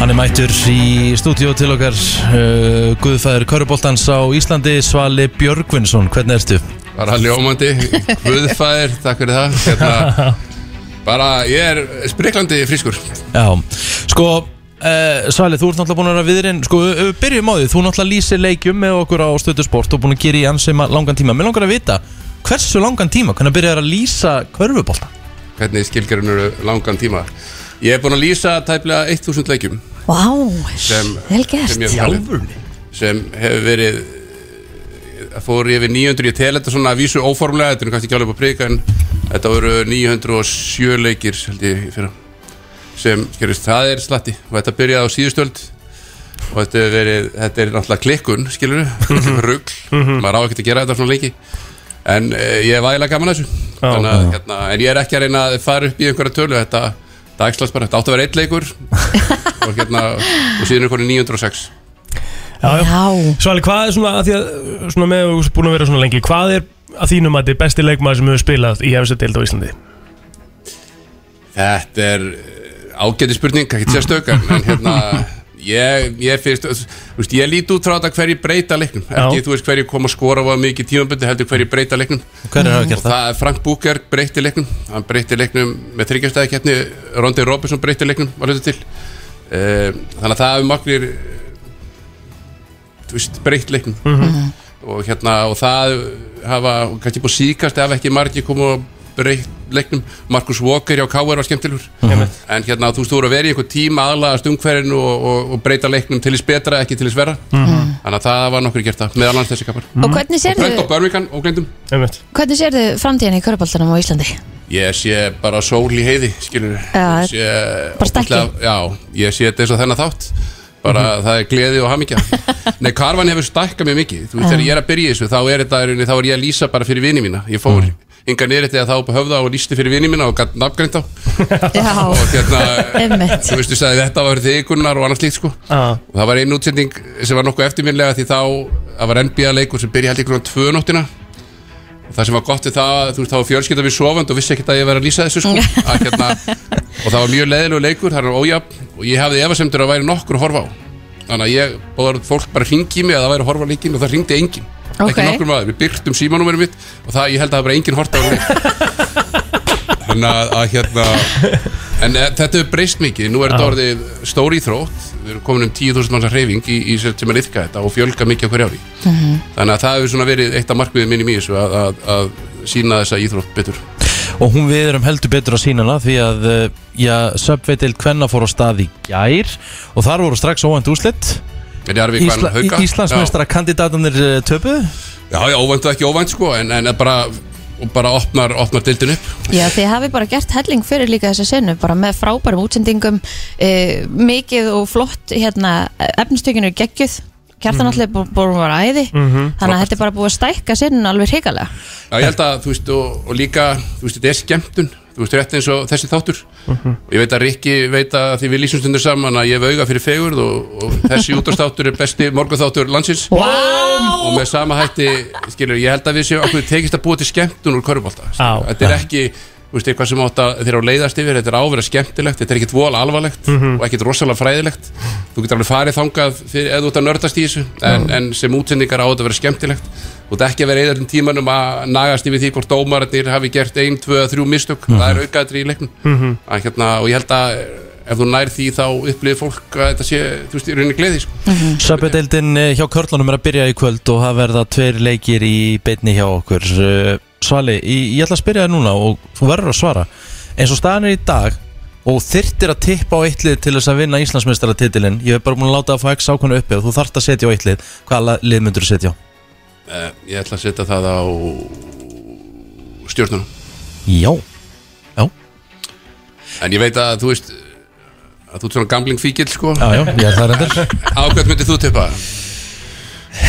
B: Hann er mættur í stúdíó til okkar uh, Guðfæður Köruboltans á Íslandi Svali Björgvinsson, hvernig ertu?
G: Bara ljómandi, guðfæðir, takk fyrir það hérna, Bara, ég er spriklandi frískur
B: Já, sko Uh, Svalið, þú ert náttúrulega búin að vera viðrinn Sko, ef við byrjum á því, þú náttúrulega lýsir leikjum með okkur á stöðusport og búin að gera í ansið langan tíma Mér langar að vita, hversu langan tíma hvernig byrjar að lýsa körfubólta?
G: Hvernig skilgarinn eru langan tíma Ég er búin að lýsa tæplega 1000 leikjum
C: Vá,
G: Sem-
C: Oh vel
G: sem
C: gert
G: ég- sem hefur verið eh, fór yfir 900, ég tel þetta svona að vísu óformlega, þetta er nú kannski ekki alveg upp á prika en þetta voru 907 leikir held ég fyrir sem skerist, það er slatti og þetta byrjaði á síðustöld og þetta, hefur verið, þetta er náttúrulega klikkun skilur við, rugl, maður á ekki að gera þetta svona lengi en eh, ég hef aðeinslega gaman að þessu Þannig, að, hérna, en ég er ekki að reyna að fara upp í einhverja tölu þetta dagslast bara, þetta átti að vera eitt leikur og, hérna, og síðan er konið 906
D: Já, já.
C: Já,
D: Svali, hvað er svona, að því að, svona með og búin að vera svona lengi, hvað er að þínum að þið besti leikmaður sem hefur spilað í efstu deild á Íslandi?
G: Þetta er ágæti spurning, ekki sérstök en en hérna ég, ég finnst, þú veist, ég lít út frá þetta hverju breyta leiknum, ekki
D: Já.
G: þú veist hverju kom að skora var mikið tímabundi, heldur hverju breyta leiknum
B: Hver er að
G: og
B: gera það?
G: það er Frank Búker breyti leiknum hann breyti leiknum með þryggjastæði keppni Rondi Robinson breyti leiknum var hlutu til Eh, þannig að það hefur magnir þú veist, breytt leiknum og hérna og það hafa, og kannski búið síkast ef ekki margi komu og breytt leiknum Markus Walker hjá K.R. var skemmtilegur en hérna þú veist, þú voru að vera í einhver tíma aðlaðast umhverjum og, og, og breyta leiknum til þess betra, ekki til þess verra þannig að það var nokkur gert það, meðal annars þessi kappar
C: Mhm. og hvernig
G: Brent
C: sérðu,
G: og Birmingham og glendum
D: Einmitt.
C: hvernig sérðu framtíðan í körfubóltanum á Íslandi?
G: Ég sé bara sól í heiði, skilur
C: Já,
G: Ég sé,
C: bara stækki.
G: ótrúlega- Já, ég sé þetta eins og þennan þátt Bara það er gleði og hamingja Nei, karvan hefur stækkað mér mikið Þú veist, þegar ég er að byrja í þessu, þá er, þetta, í rauninni- þá er ég að lýsa bara fyrir vini mína Ég fór mm. Inga nýrið þegar þá upp á höfða og lýsti fyrir vini mína og gatt nafngrind á
C: Já,
G: Og hérna,
C: Einmitt.
G: þú veistu, sagði þetta var þig Gunnar og annars líkt sko
D: Ah.
G: og það var einn útsending sem var nokkuð eftirminlega því þá það var NBA leikur sem byrja held ykkur á tvö nóttina og það sem var gott við það þú veist þá var fjölskylda við sofand og vissi ekkert að ég var að lýsa þessu sko að, hérna, og það var mjög leiðilegu leikur, það var ójafn og ég hafði efasemtur að væri nokkur að horfa á þannig að ég, og það fólk bara hringi mig að það væri að horfa á leikinn og það hringdi enginn
C: Ok.
G: ekki nokkur maður, við byrktum símanúmerum mitt og það, ég held að það bara enginn horta á mig þannig að, að hérna en e, þetta hefur breyst mikið, nú er þetta orðið stór íþrótt, við erum komin um 10.000 manns reyfing í, í sem sem er yfka þetta og fjölga mikið á hverju ári þannig að það hefur svona verið eitt af markmiðið minni mér að, að, að sína þessa íþrótt betur
B: Og hún við erum heldur betur að sína hana því að uh, já, Subveitild Kvenna fór á stað í gær og þar voru strax óvænt úslitt
G: er ég arfið
B: Ísla,
G: hvaðan hauka?
B: Íslandsmeistara kandidatanir töpu
G: Já, já, já óvænt og ekki óvænt sko en, en bara, og bara opnar, opnar dildin upp
C: Já, þið hafi bara gert helling fyrir líka þessa senu, bara með frábærum útsendingum, e, mikið og flott, hérna, efnistökinu geggjuð,
B: Mm.
C: kjartan allir bú, búin var æði, þannig að þetta er bara búið að stækka senun alveg hrigalega.
G: Já, ég held að, þú veist, og, og líka, þú veist, þetta er skemmtun, þú veist, rétt eins og þessi þáttur. Og ég veit að Rikki veit að því við lýsum stundur saman að ég hef auga fyrir fegurð og, og þessi útastátur er besti morgunþáttur landsins. Vá! Og með sama hætti, skilur, ég held að við séum okkur tekist að búa til skemmtun úr körubólta.
D: Á.
G: Þetta er ekki, þú veist, eitthvað sem átt að þeirra á leiðast yfir, þetta er ávera skemmtilegt, þetta er ekkit vola alvarlegt og ekkit rosalega fræðilegt. Þú getur alveg farið þangað fyrir, eða út að nördast í þessu, en, en sem útsendingar á þetta að vera skemmtilegt. Þú ert ekki að vera eðalinn tímanum að nagast yfir því hvort dómararnir hafi gert ein, tvö, eða þrjú mistök, það er aukaðri í leiknum.
B: Mhm.
G: Að hérna, og ég held að eh, ef þú nær því þá upplifir fólk að þetta sé, þú veist, í rauninni gleði, sko.
B: Söpjadeildin eh, hjá Körlunum er að byrja í kvöld og það verða tveir leikir í beinni hjá okkur Uh, Svali, ég, ég ætla að spyrja þér núna og þú verður að svara eins og staðan er í dag og þyrtir að tippa á eittlið til þess að vinna Íslandsmeistara titilin ég hef bara búin að láta að fá x ákvæmna uppi og þú þart að setja á eittlið hvaða la- lið myndur þú setja á?
G: Eh, Ég ætla að setja það á stjórnuna.
B: Já,
G: En ég veit að þú veist að þú ert svona gambling fíkil, sko.
B: já, já, ég er það reyndar
G: Á hvern myndir þú tippa?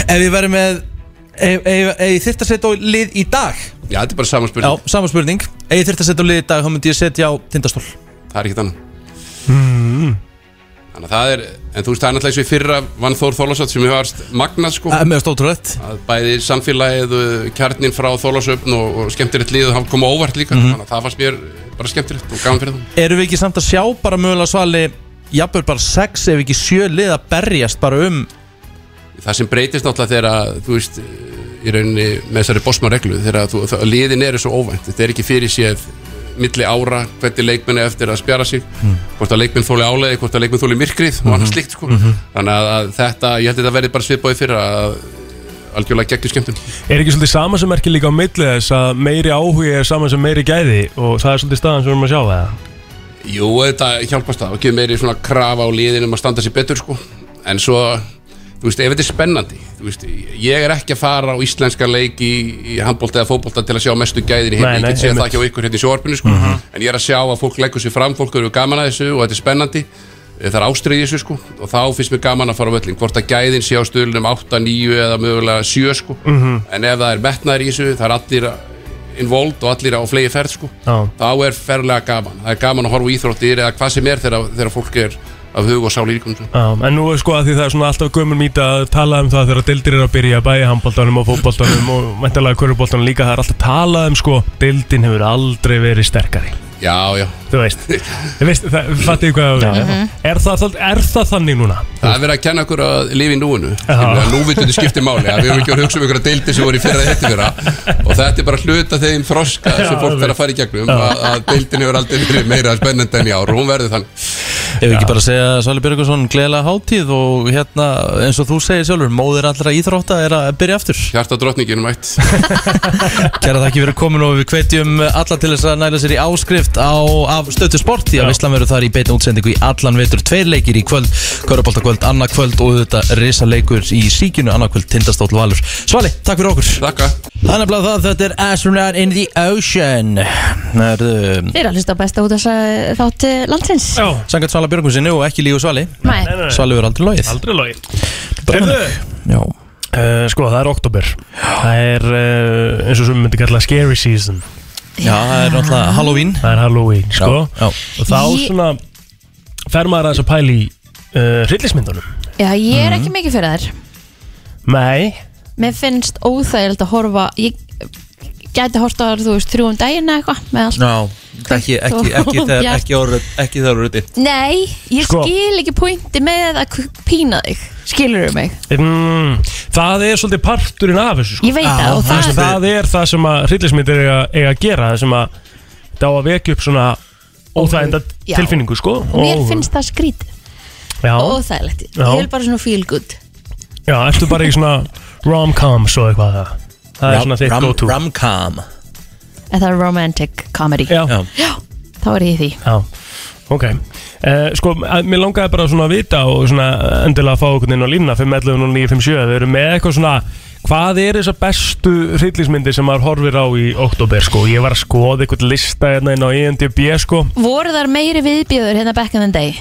B: Ef ég verður með Ef ég þyrft að setja á lið í dag
G: Já, þetta er bara saman
B: Já,
G: spurning.
B: sama spurning Ef ég þyrft að setja á lið í dag þá myndi ég setja á tindastól
G: Það er ekkert annað.
B: Hmm.
G: Þannig að það er, en þú veist, það er náttúrulega eins og í fyrra vann Þór Þólasat sem hefur varst magnað, sko.
B: Það er með stótrúlegt
G: að bæði samfélagið, uh, kjarninn frá Þólasöfn og, og skemmtilegt lið og hann kom á óvart líka, þannig að það fannst mér bara skemmtilegt og gaman fyrir það.
B: Erum við ekki samt að sjá bara mögulega svali Jafnvel bara sex ef ekki sjö lið að berjast bara um
G: Það sem breytist náttúrulega þegar að, þú veist, uh, í rauninni með þessari bosma reglu, þegar að þú, það, liðin eru svo óvænt, þetta er ekki fyrir séð milli ára hvernig leikmenn er eftir að spjara sig hvort að leikmenn þóli áleiði, hvort að leikmenn þóli myrkrið og annars slíkt sko. þannig að, að þetta, ég held að þetta verði bara svipaði fyrir að algjörlega geggjur skemmtun
D: Er ekki svolítið sama sem merkir líka á milli þess að meiri áhugi er sama sem meiri gæði og það er svolítið staðan sem við erum að sjá það
G: Jú, þetta hjálpast það og gefur meiri svona krafa á liðin um að standa sér betur sko. en svo, þú veist, ef þetta er spennandi þú veist, ég er ekki að fara á íslenska leik í, í handbólta eða fótbólta til að sjá mestu gæðir í
D: Nei,
G: heimi, ég
D: nei,
G: get séð það
D: einmitt. Mhm.
G: ekki á ykkur hérna í sjóarpinu sko. en ég er að sjá að fólk leggur sér fram, fólk eru gaman að þessu og þetta er spennandi það er ástriðið þessu sko og þá finnst mér gaman að fara á völlin hvort að gæðin sé á stöðlunum 8, 9 eða mögulega 7 sko
D: Mhm.
G: en ef það er metnaður í þessu, það er allir involved og allir á flegi ferð sko
D: Já.
G: þá er ferlega gaman það er gaman að horfa á íþróttir eða hvað sem er þegar, þegar fólk er af hug og sál í líkum
D: Já, en nú er sko að því það er svona alltaf gömur mýta að tala um það þegar deildir eru að byrja bæði handbóltanum og fótbóltanum og mentalega körubóltanum líka það er alltaf talað um sko deildin hefur aldrei verið sterkari
G: já, já,
D: Þú veist, þú veist það, fattið hvað já, já. Mhm. Er, það, er það þannig núna?
G: það er verið að kenna okkur að lifa í núinu Skilur, að núvitundin skiptir máli að við erum ekki að hugsa um einhverja deildi sem voru í fyrra þetta fyrra og þetta er bara hluta þeim þroska sem
D: Já,
G: fólk
D: alveg.
G: þarf að fara í gegnum að, að deildin hefur aldrei verið meira spennandi en í ár og hún verður þannig
B: Ef við ekki bara segja Sali Björgusson gleðilega hátíð og hérna eins og þú segir sjálfur, móðir allra íþrótta er að byrja aftur.
G: hjarta drottninginum ætt
B: Kæra þakki fyrir komin og við hvetjum alla til þess að næla sér í áskrift á, af stötu sport því að Visslan verður þar í beinu útsendingu í allan vetur tveir leikir í kvöld, Köruboltakvöld annað kvöld og þetta risaleikur í síkinu annað kvöld tindastóll valur. Svali, takk fyrir okkur.
G: þakka
B: Þannig að það, þetta er Astronaut in the Ocean. Það er um,
C: Þeir eru að hlusta á besta út að þátt eh, landsins
D: Já,
B: sangat Svala Björgussinu og ekki lígu Svali.
C: Nei,
D: nei, nei,
B: Svali verður aldrei logið.
D: aldrei logi Heyrðu,
B: Já.
D: Uh, sko, það er oktober Það er uh, eins og sem við myndum kalla scary season
B: Já, það er náttúrulega Halloween.
D: Það er Halloween, sko
B: Já, já.
D: Og þá
C: Ég-
D: svona fer maður aðeins að pæla í uh, hryllismyndunum
C: já, ég
B: Mm.
C: er ekki mikið fyrir þær
D: Nei,
C: Mér finnst óþægild að horfa Ég gæti horft á þær, þú veist, þrjú um daginn eða eitthvað með allt
B: Já, ekki, ekki, ekki, þegar, ekki, orð, ekki þegar úr úti
C: Nei, ég
D: Sko.
C: skil ekki pointi með að k- pína þig Skilurðu mig?
D: mm, það er svolítið parturinn af þessu, sko
C: Ég veit það og
D: það,
C: það
D: er það sem að hryllismyndir eiga, eiga að gera Það sem að þetta á að vekja upp svona óþægenda
C: Já.
D: tilfinningu, sko
C: Mér
D: Og-
C: finnst það skrítið
D: Já,
C: og óþægilegt Ég
D: Já.
C: vil bara svona feel good
D: já ertu bara í svona rom-coms og eitthvað Það er svona þitt
B: Ram-
D: go-to
B: Ramcam
C: En það er romantic comedy
D: Já,
B: Já.
C: Já, þá er ég í því
D: Já, ok uh, Sko, að, mér langaði bara svona að vita og svona endilega að fá okkur inn á línuna 511 og 957, við erum með eitthvað svona hvað er þessa bestu hryllismyndi sem maður horfir á í oktober sko ég var að skoða eitthvað lista hérna inn á IMDb sko,
C: Voru þar meiri viðbjöður hérna back in the day?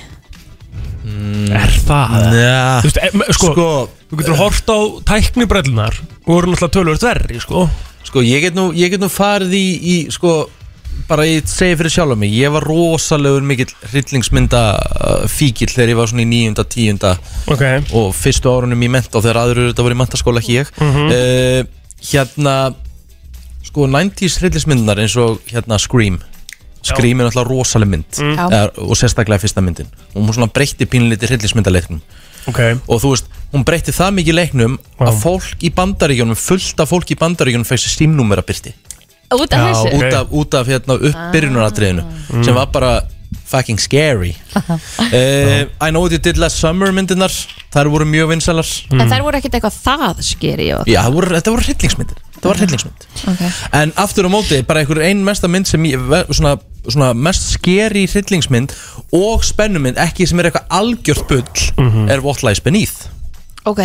D: er það?
B: Já,
D: Þú veist, em, sko,
B: Mm. sko,
D: þú getur hort á tæknibrellunar og voru náttúrulega tölvöld verri sko
B: sko ég, get nú, ég get nú farið í, í sko, bara ég segi fyrir sjálf mig ég var rosalegur mikill hryllingsmynda uh, fíkil þegar ég var svona í nýjunda, tíunda
D: ok,
B: og fyrstu árunum í menta og þegar aðrur þetta voru í mentaskóla ekki ég
D: Mhm.
B: uh, hérna sko 90s hryllismyndunar eins og hérna Scream Scream er náttúrulega rosaleg mynd
D: Mm.
C: Já.
B: er, og sérstaklega fyrsta myndin og hún svona breytti pínlítið hryllismyndaleiknum
D: ok
B: og þú veist, hún breytti það mikið leiknum að
D: Já.
B: fólk í bandaríkjónum fullt af fólk í bandaríkjónum fæsir símnúmera byrti
C: Út af
D: Já,
C: þessu?
D: Ok. Ah. Mm.
B: út af, út af hérna uppbyrjunaratriðinu sem var bara fucking scary uh, I know what you did last summer myndinar þær voru mjög vinsalar
D: Hmm.
C: En þær voru ekkert eitthvað það skeri og...
B: Já, það voru, þetta voru hryllingsmyndir Þetta var hryllingsmynd
C: okay.
B: En aftur á móti, bara einhver ein mesta mynd sem ég, ve- svona, svona mest skeri hryllingsmynd og spennumynd, ekki sem er eitthvað algjört bull
D: Mhm.
B: er What Lies Beneath
C: ok,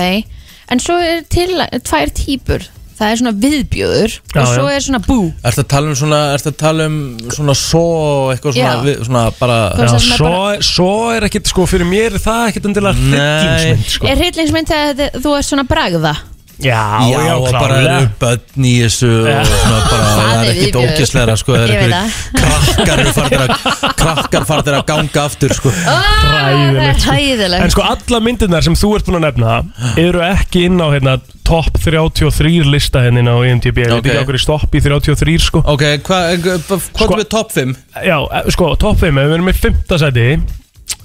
C: en svo er til tvær típur Það er svona viðbjöður
D: Já,
C: og svo
D: já.
C: er svona bú
B: Ertu að tala um svona, ertu að tala um svona svo eitthvað svona,
C: Já.
B: við, svona bara
C: Þú veist,
D: Já,
C: það sem er
D: svo, svo er ekkit sko fyrir mér er það ekkit endilega
B: Nei.
D: hryllismynd sko
C: Er hryllingsmynd þegar þið- þú er svona bragða?
D: já, já, já
B: og bara
D: klárlega.
B: eru börn í þessu
D: Já.
B: og svona bara,
C: Það
B: það
C: er
B: er ekkit
C: viðbjóður.
B: ógisleira sko, það er
C: Ég veit
B: einhverjir krakkar eru farnir að krakkar farnir að ganga aftur sko.
C: Ah, Það er
D: Hræðilegt, sko. En
C: hæðilegt
D: sko alla myndirnar sem þú ert búin að nefna eru ekki inn á hérna top 33 lista hérna inn á IMDb okay. Við
B: Ok.
D: byrjum okkur í stopp í 33 sko
B: Ok, hvað hva, eh,
D: Sko-
B: hva, við top 5?
D: Já, eh, sko top 5, ef við erum í 5. seti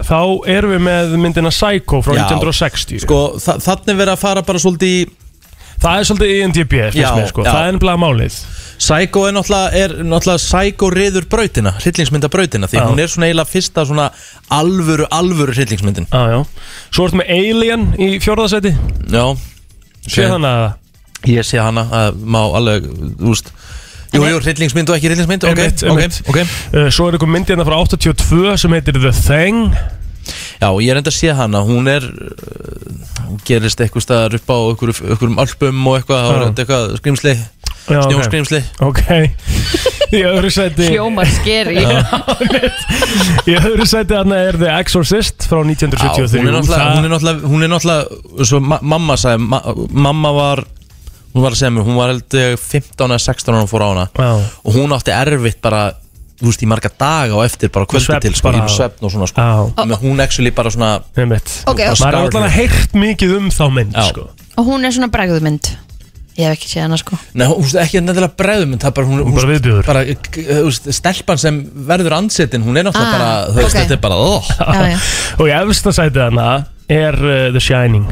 D: þá erum við með myndina Psycho frá
B: Já.
D: 1960
B: Sko, þa þannig verið að fara bara svolítið í
D: Það er svolítið E IMDb, finnst
B: Já,
D: mér sko,
B: já.
D: það er ennblega málið
B: Psycho er náttúrulega, er náttúrulega Psycho reyður brautina, hryllingsmynda brautina Því
D: Já.
B: hún er svona eiginlega fyrsta svona alvöru, alvöru hryllingsmyndin
D: Já, já Svo ertu með Alien í fjórðasæti
B: Já,
D: Sér
B: Ok.
D: þannig að
B: ég sé hana að má alveg, úst Jú, jú, hryllingsmynd og ekki hryllingsmynd, ok,
D: Einmitt,
B: ok,
D: einmitt.
B: ok
D: uh, Svo er ykkur myndið hérna frá 82 sem heitir The Thing
B: Já, ég er enda að sé hana, hún er uh, hún gerist eitthvað staðar upp á einhverju- einhverjum alpum og eitthvað, það var
D: Já.
B: eitthvað skrimsli,
D: Já, ok.
B: snjóskrimsli
D: Ok Í öðru sæti
C: Hljómar skeri
D: Í öðru sæti þarna er The Exorcist frá
B: Já,
D: 1973
B: hún er náttúrulega,
D: Það-
B: hún er náttúrulega, hún er náttúrulega svo ma mamma sagði, ma mamma var hún var að segja mér, hún var held ég 15 eða 16 ára hún fór á hana
D: Já.
B: og hún átti erfitt bara, þú veist, í marga daga og eftir bara kvöldi
D: svefn
B: til, sko,
D: bara.
B: í svefn og svona sko.
D: Já.
B: Þannig að hún actually bara svona
D: Einmitt
C: Ok, og-
D: Maður er alltaf heyrt mikið um þá mynd
B: Já.
D: sko.
C: Og hún er svona bregðmynd Ég hef ekki séð hana sko
B: Nei, hún veist, ekki nefnilega bregðum en það er bara, hún, hún
D: Bara viðbjóður.
B: bara, eh, k- þú veist, stelpan sem verður ansetin, hún er náttúrulega
C: Ah,
B: bara, þú veist,
C: ok.
B: þetta er bara oh.
C: Já, já
D: Og í efsta sæti þarna er uh, The Shining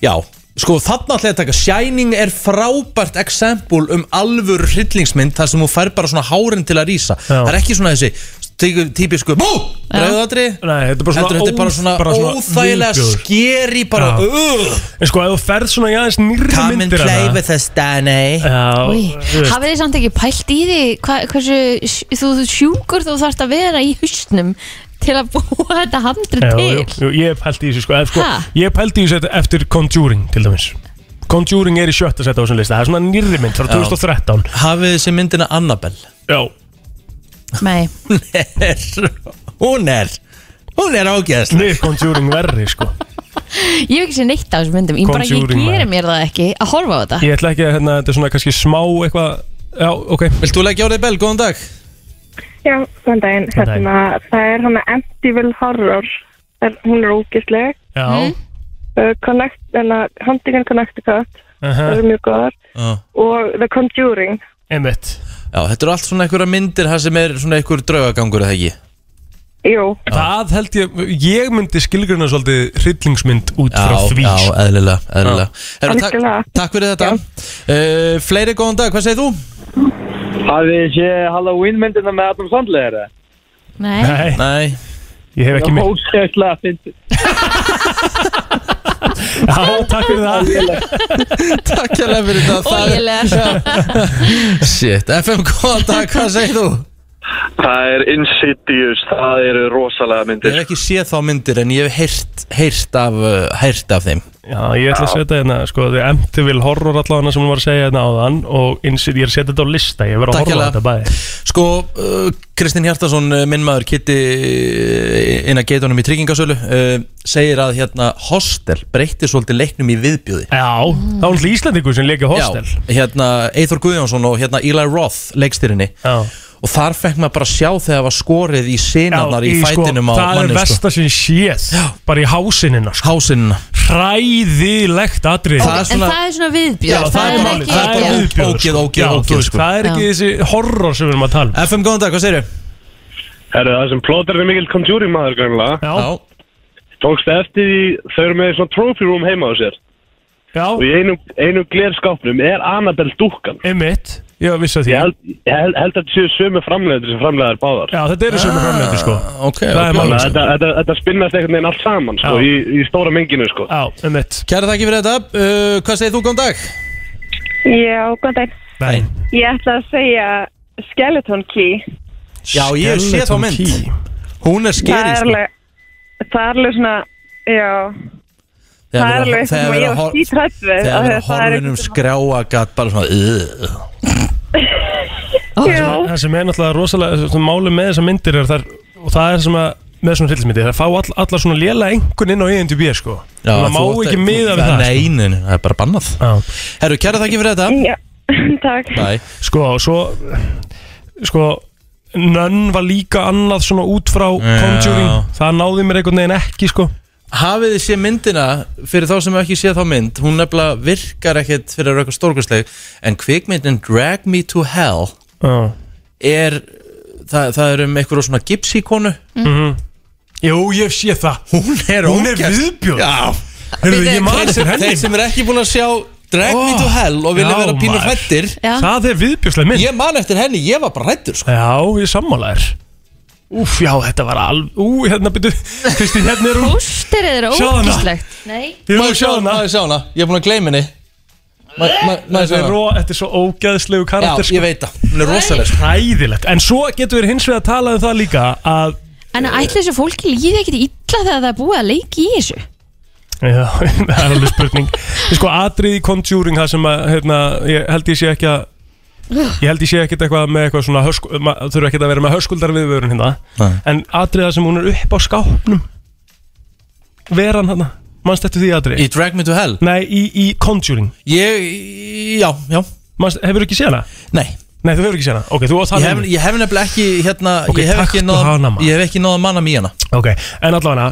B: Já, sko þarna ætla ég að taka Shining er frábært eksempul um alvöru hryllingsmynd þar sem hún fær bara svona hárin til að rýsa
D: Já.
B: Það er ekki svona þessi tíku- típisku Bú! Bregðatri
D: Nei, þetta er bara svona
B: Heldur þetta er bara svona,
D: bara svona
B: óþægilega
D: viðbjóður.
B: skeri bara
D: Já.
B: "Ugh,
D: En sko, ef þú ferð svona í aðeins nýrri
B: Come and
D: myndir
B: play
D: hana
B: with us, Danny
D: Já,
C: Új,
D: þú veist.
C: hafið þið samt ekki pælt í því hva, hversu sj- þú, þú sjúkur þú þarft að vera í hustnum til að búa þetta handri
D: Já,
C: til
D: jú, jú, ég hef pælt í þessu sko, ef, sko
C: Ha?
D: Ég hef pælt í þessu eftir- eftir Conjuring til dæmis Conjuring er í sjötta seti á þessum lista Það er svona nýrri mynd frá 2013
B: Hafið þessi myndina Annabelle
D: Já,
C: Nei,
B: Er- Hún er Hún er ágæðslega
D: nýr Conjuring verri sko
C: ég hef ekki séð neitt á þessum myndum ég, bara, ég
D: Conjuring,
C: geri
D: maður.
C: mér það ekki að horfa á þetta
D: Ég ætla ekki að hérna, þetta er svona kannski smá eitthvað Já, ok
B: Vilt þú leggja á þig bel, góðan dag
H: Já, góðan daginn.
D: Góðan daginn.
H: Hérna, það er hana Amityville Horror. Það, er- hún er ógisleg.
D: Já,
C: Mm.
H: Uh, Connect, hana, Huntington Connecticut, það
B: Uh-huh.
D: aha,
H: eru mjög góðar.
B: Já.
H: Og The Conjuring.
D: einmitt
B: Já, þetta eru allt svona einhverja myndir þar sem er svona einhver draugagangur eða ekki
H: Jú,
D: Það held ég, ég myndi skilgruna svolítið hryllingsmynd út frá því
B: já,
D: sko.
B: eðlilega, eðlilega. Heru,
H: Algjörlega.
B: takk, takk fyrir þetta uh, Fleiri góðan dag, hvað segir þú?
I: Hafið þið sé Halloween myndina með Adam Sandler eða?
C: Nei,
D: Nei,
B: Nei,
D: ég hef ekki mynd
I: Ósæðslega
D: sko-
I: fyndið.
D: Já, takk fyrir það
B: takk hérlega fyrir þetta Það er-
C: ógilega
B: Shit, FM góðan dag, hvað segir þú?
J: Það er Insidious, það eru rosalega
B: Ég
J: myndir.
B: hef ekki séð þá myndir en ég hef heyrt, heyrt, af, uh, heyrt af þeim
D: Já, ég ætla að setja hérna, sko, The Amityville Horror allavega sem hún var að segja hérna áðan og insid, ég er að setja þetta á lista, ég verð að
B: Takk
D: horfa á
B: hérlega.
D: þetta bæði
B: Sko, uh, Kristinn Hjartarsson, uh, minn maður, kitti uh, inn að geitunum í tryggingasölu uh, segir að hérna Hostel breytti svolítið leiknum í viðbjöði
D: Já, það var alltaf Íslandingur sem leikja hostel
B: Já, hérna Eithor Guðjónsson og hérna Eli Roth leikstýrinni
D: Já.
B: og þar fekk maður bara að sjá þegar var skorið í sinarnar í, fætinum á
D: sko, það er
B: manni sko.
D: versta sem ég séð bara í hásinina, sko
B: hásinn
D: hræðilegt atrið
B: Það er
C: En
B: svona-
C: það er svona viðbjörn
B: Já, það er málið.
C: ekki
B: Það er bara
C: ekki-
B: viðbjóður, ógeð, ógeð,
D: Já,
B: ógeð,
D: þú veist,
B: sko.
D: Það er ekki
C: Já.
D: þessi horror sem við erum að tala um.
B: FM góðan dag, hvað segirðu?
J: Herru, það sem plótar er mikill Conjuring maður grannlega.
D: Já,
J: Tókst eftir því þau eru með svona trophy room heima á sér. Og
D: já,
J: í einum, einum glerskápnum er Annabelle dúkkan.
D: einmitt Ég var viss að því
J: Ég held, ég held, held að þetta séu sömu framleiður sem framleiðar báðar.
D: Já, þetta eru sömu framlöndu, sko
B: Ah, Ok,
D: Það er
B: ok.
J: Þannig
D: málið.
J: að þetta, þetta, þetta spinnast einhvern veginn allt saman sko,
D: Já.
J: í, í stóra menginu sko.
D: Já, einmitt
B: Kæra þakki fyrir þetta, uh, hvað segir þú góðan dag?
H: já, góðan daginn.
D: Nei.
H: Ég ætla að segja Skeleton Key.
B: Já, ég hef séð þá
D: Skeleton
B: mynd.
D: Key.
B: Hún er skeri
H: það er
B: sko.
H: alveg, það er alveg svona, já, það er alveg eitthvað sem ég var skítrætt við.
B: Þegar
H: af því
B: við
H: að
B: erum horfinum
H: eitthvað sem-
B: skrjáagat bara svona uh,
H: Já,
D: Það sem er náttúrulega rosalega sem máli með þessar myndir er þar og það er sem að með svona hryllismyndi það fá all, allar svona lélega engun inn á IMDb sko
B: já,
D: það má
B: þú átt
D: ekki
B: að-
D: miða við það sko.
B: Nei, nei, nei, það er bara bannað
D: Já.
B: Herru, kæra þakki fyrir þetta
H: já, takk.
B: Bye.
D: sko, svo sko, nönn var líka annað svona út frá Conjuring það náði mér einhvern veginn ekki sko
B: Hafið þið séð myndina fyrir þá sem ekki séð þá mynd hún nefnilega virkar ekkit fyrir að vera eitthvað stórkastleg en kvikmyndin Drag Me to Hell
H: Mhm.
D: Já.
B: er það, það er um einhverjum svona gipsíkonu
D: Mhm. Jú, ég sé það
B: hún er
D: Hún er
B: ógeðs-
D: viðbjörn
B: Já.
D: Heyrðu, ég man
B: Þeir
D: eftir
B: sem-
D: henni
B: þeir sem er ekki búin að sjá Drag me to hell og vilja
D: já,
B: vera pínu
D: maður.
B: hrættir
D: Já. Það er viðbjörslega mynd
B: Ég man eftir henni, ég var bara hrættur sko.
D: Já, ég sammála þér Úf, já, þetta var alveg Ú, hérna byrju Kristín, hérna er hún
C: Pósterið er
D: Sjáðu hana.
C: ógíslegt Nei
D: Ég
B: Má ég
D: vil sjá hana
B: Má ég sjá hana, ég er búin að gleyma henni Má- má- má ég sjá
D: Þetta er
B: hana
D: ro- þetta er svo ógæðslegu karakter sko.
B: Já, ég veit það, hún er rosaleg sko.
D: Ræðilegt En svo getur við hins vegar að tala um það líka að
C: En ætla þessu fólki líði ekkit illa þegar það er búið að leiki í þessu
D: Já, það er alveg spurning Sko, atrið í Conjuring það sem að, hérna, ég held ég sé ekki að Ég held ég sé ekkert eitthvað með eitthvað svona hösk, maður þurfa ekkert að vera með höskuldar viðvörun hérna
B: Nei.
D: En atriða sem hún er upp á skápnum Veran hérna Manst eftir því atrið?
B: Í Drag me to hell
D: Nei, í, í Conjuring
B: Ég, já, já
D: Manst, Hefur ekki séð hana?
B: Nei,
D: Nei, þú hefur ekki séð hana Ok, þú átt
B: ég
D: hana
B: hef,
D: inni.
B: ég hef nefnilega ekki hérna,
D: Ok,
B: ég, hef ekki
D: taktu
B: náð,
D: hana, maður.
B: ég hef ekki náða manna mýjana
D: Ok, en allavega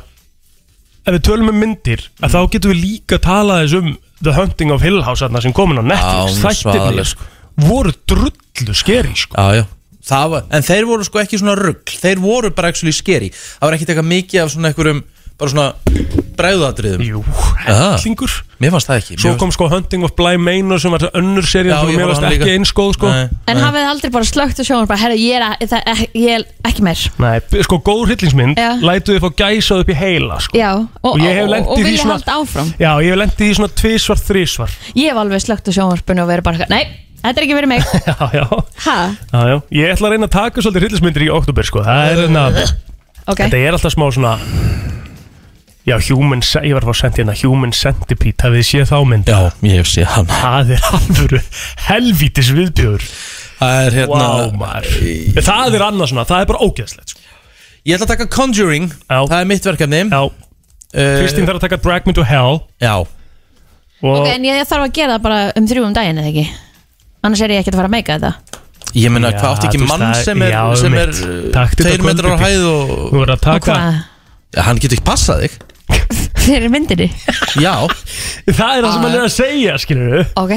D: Ef við tölum um myndir að Þá getum við líka talað þess um The Hunting of Hill House þarna sem komin á Netflix
B: hún er
D: Þættirnir
B: svaðaleg, sko.
D: voru drullu skeri sko.
B: Já, já Það var, en þeir voru sko ekki svona rugg Þeir voru bara actually skeri Það var ekki teka mikið af svona einhverjum Bara svona bræðatriðum
D: Jú,
B: Aha.
D: hellingur
B: Mér fannst það ekki
D: Svo
B: Mér
D: kom sko Hunting of Bly Manor sem var þessi önnur seri
B: Já,
D: sem
B: ég
D: mér
B: horfði á
D: varst
B: hana
D: ekki
B: líka.
D: einskóð sko.
B: Nei.
C: En hafið þið aldrei bara slögt og sjónum bara, herru, ég er, að, það, ek, ég er ekki meir
D: Nei, b- sko góð hryllingsmynd
C: Já.
D: Lætu þið fá gæsað upp í heila sko.
C: Já, og,
D: Og
C: og,
D: ég hef
C: og,
D: lent
C: og
D: í því
C: vilja
D: svona-
C: halda áfram
D: Já, ég hef lendið í svona tvisvar, þrisvar
C: Ég hef alveg slögt á sjónvarpinu og verið bara eitthvað, Nei, þetta er ekki verið mig
D: Já, já,
C: Ha,
D: já, já Ég ætla að reyna að taka svolítið hryllismyndir í oktober sko. Það er hérna
C: ok
D: Þetta er alltaf smá svona Já, human, ce- ég var að fá sent hérna Human centipede, hafið þið séð þá mynd
B: Já, ég hef séð hann
D: Það er alvöru helvítis viðbjör
B: Það er hérna
D: Vá, maður Það er annað svona, það er bara ógeðslegt sko.
B: Ég ætla að taka Conjuring
D: Já.
B: Það er mitt verkefni
D: Já,
B: Eh,
D: Kristín þarf að taka Drag Me to Hell
B: Já
D: og
C: Ok, en ég þarf að gera það bara um þrjú um daginn eða ekki Annars er ég ekkert að fara að meika þetta
B: Ég meina,
D: Já,
B: hvað átti ekki
D: þú veist,
B: mann
D: það-
B: sem er,
D: já,
B: sem er uh, eh,
D: einmitt. Taktu þetta
B: Tveir metrar á
D: kvöldið.
B: hæð og
D: Þú verður að
C: Og
D: taka
C: hvað,
B: ja, Hann getur ekki passað þig
C: fyrir myndinni
B: Já,
D: Það er það sem hann er að segja, skilur við
C: Ok,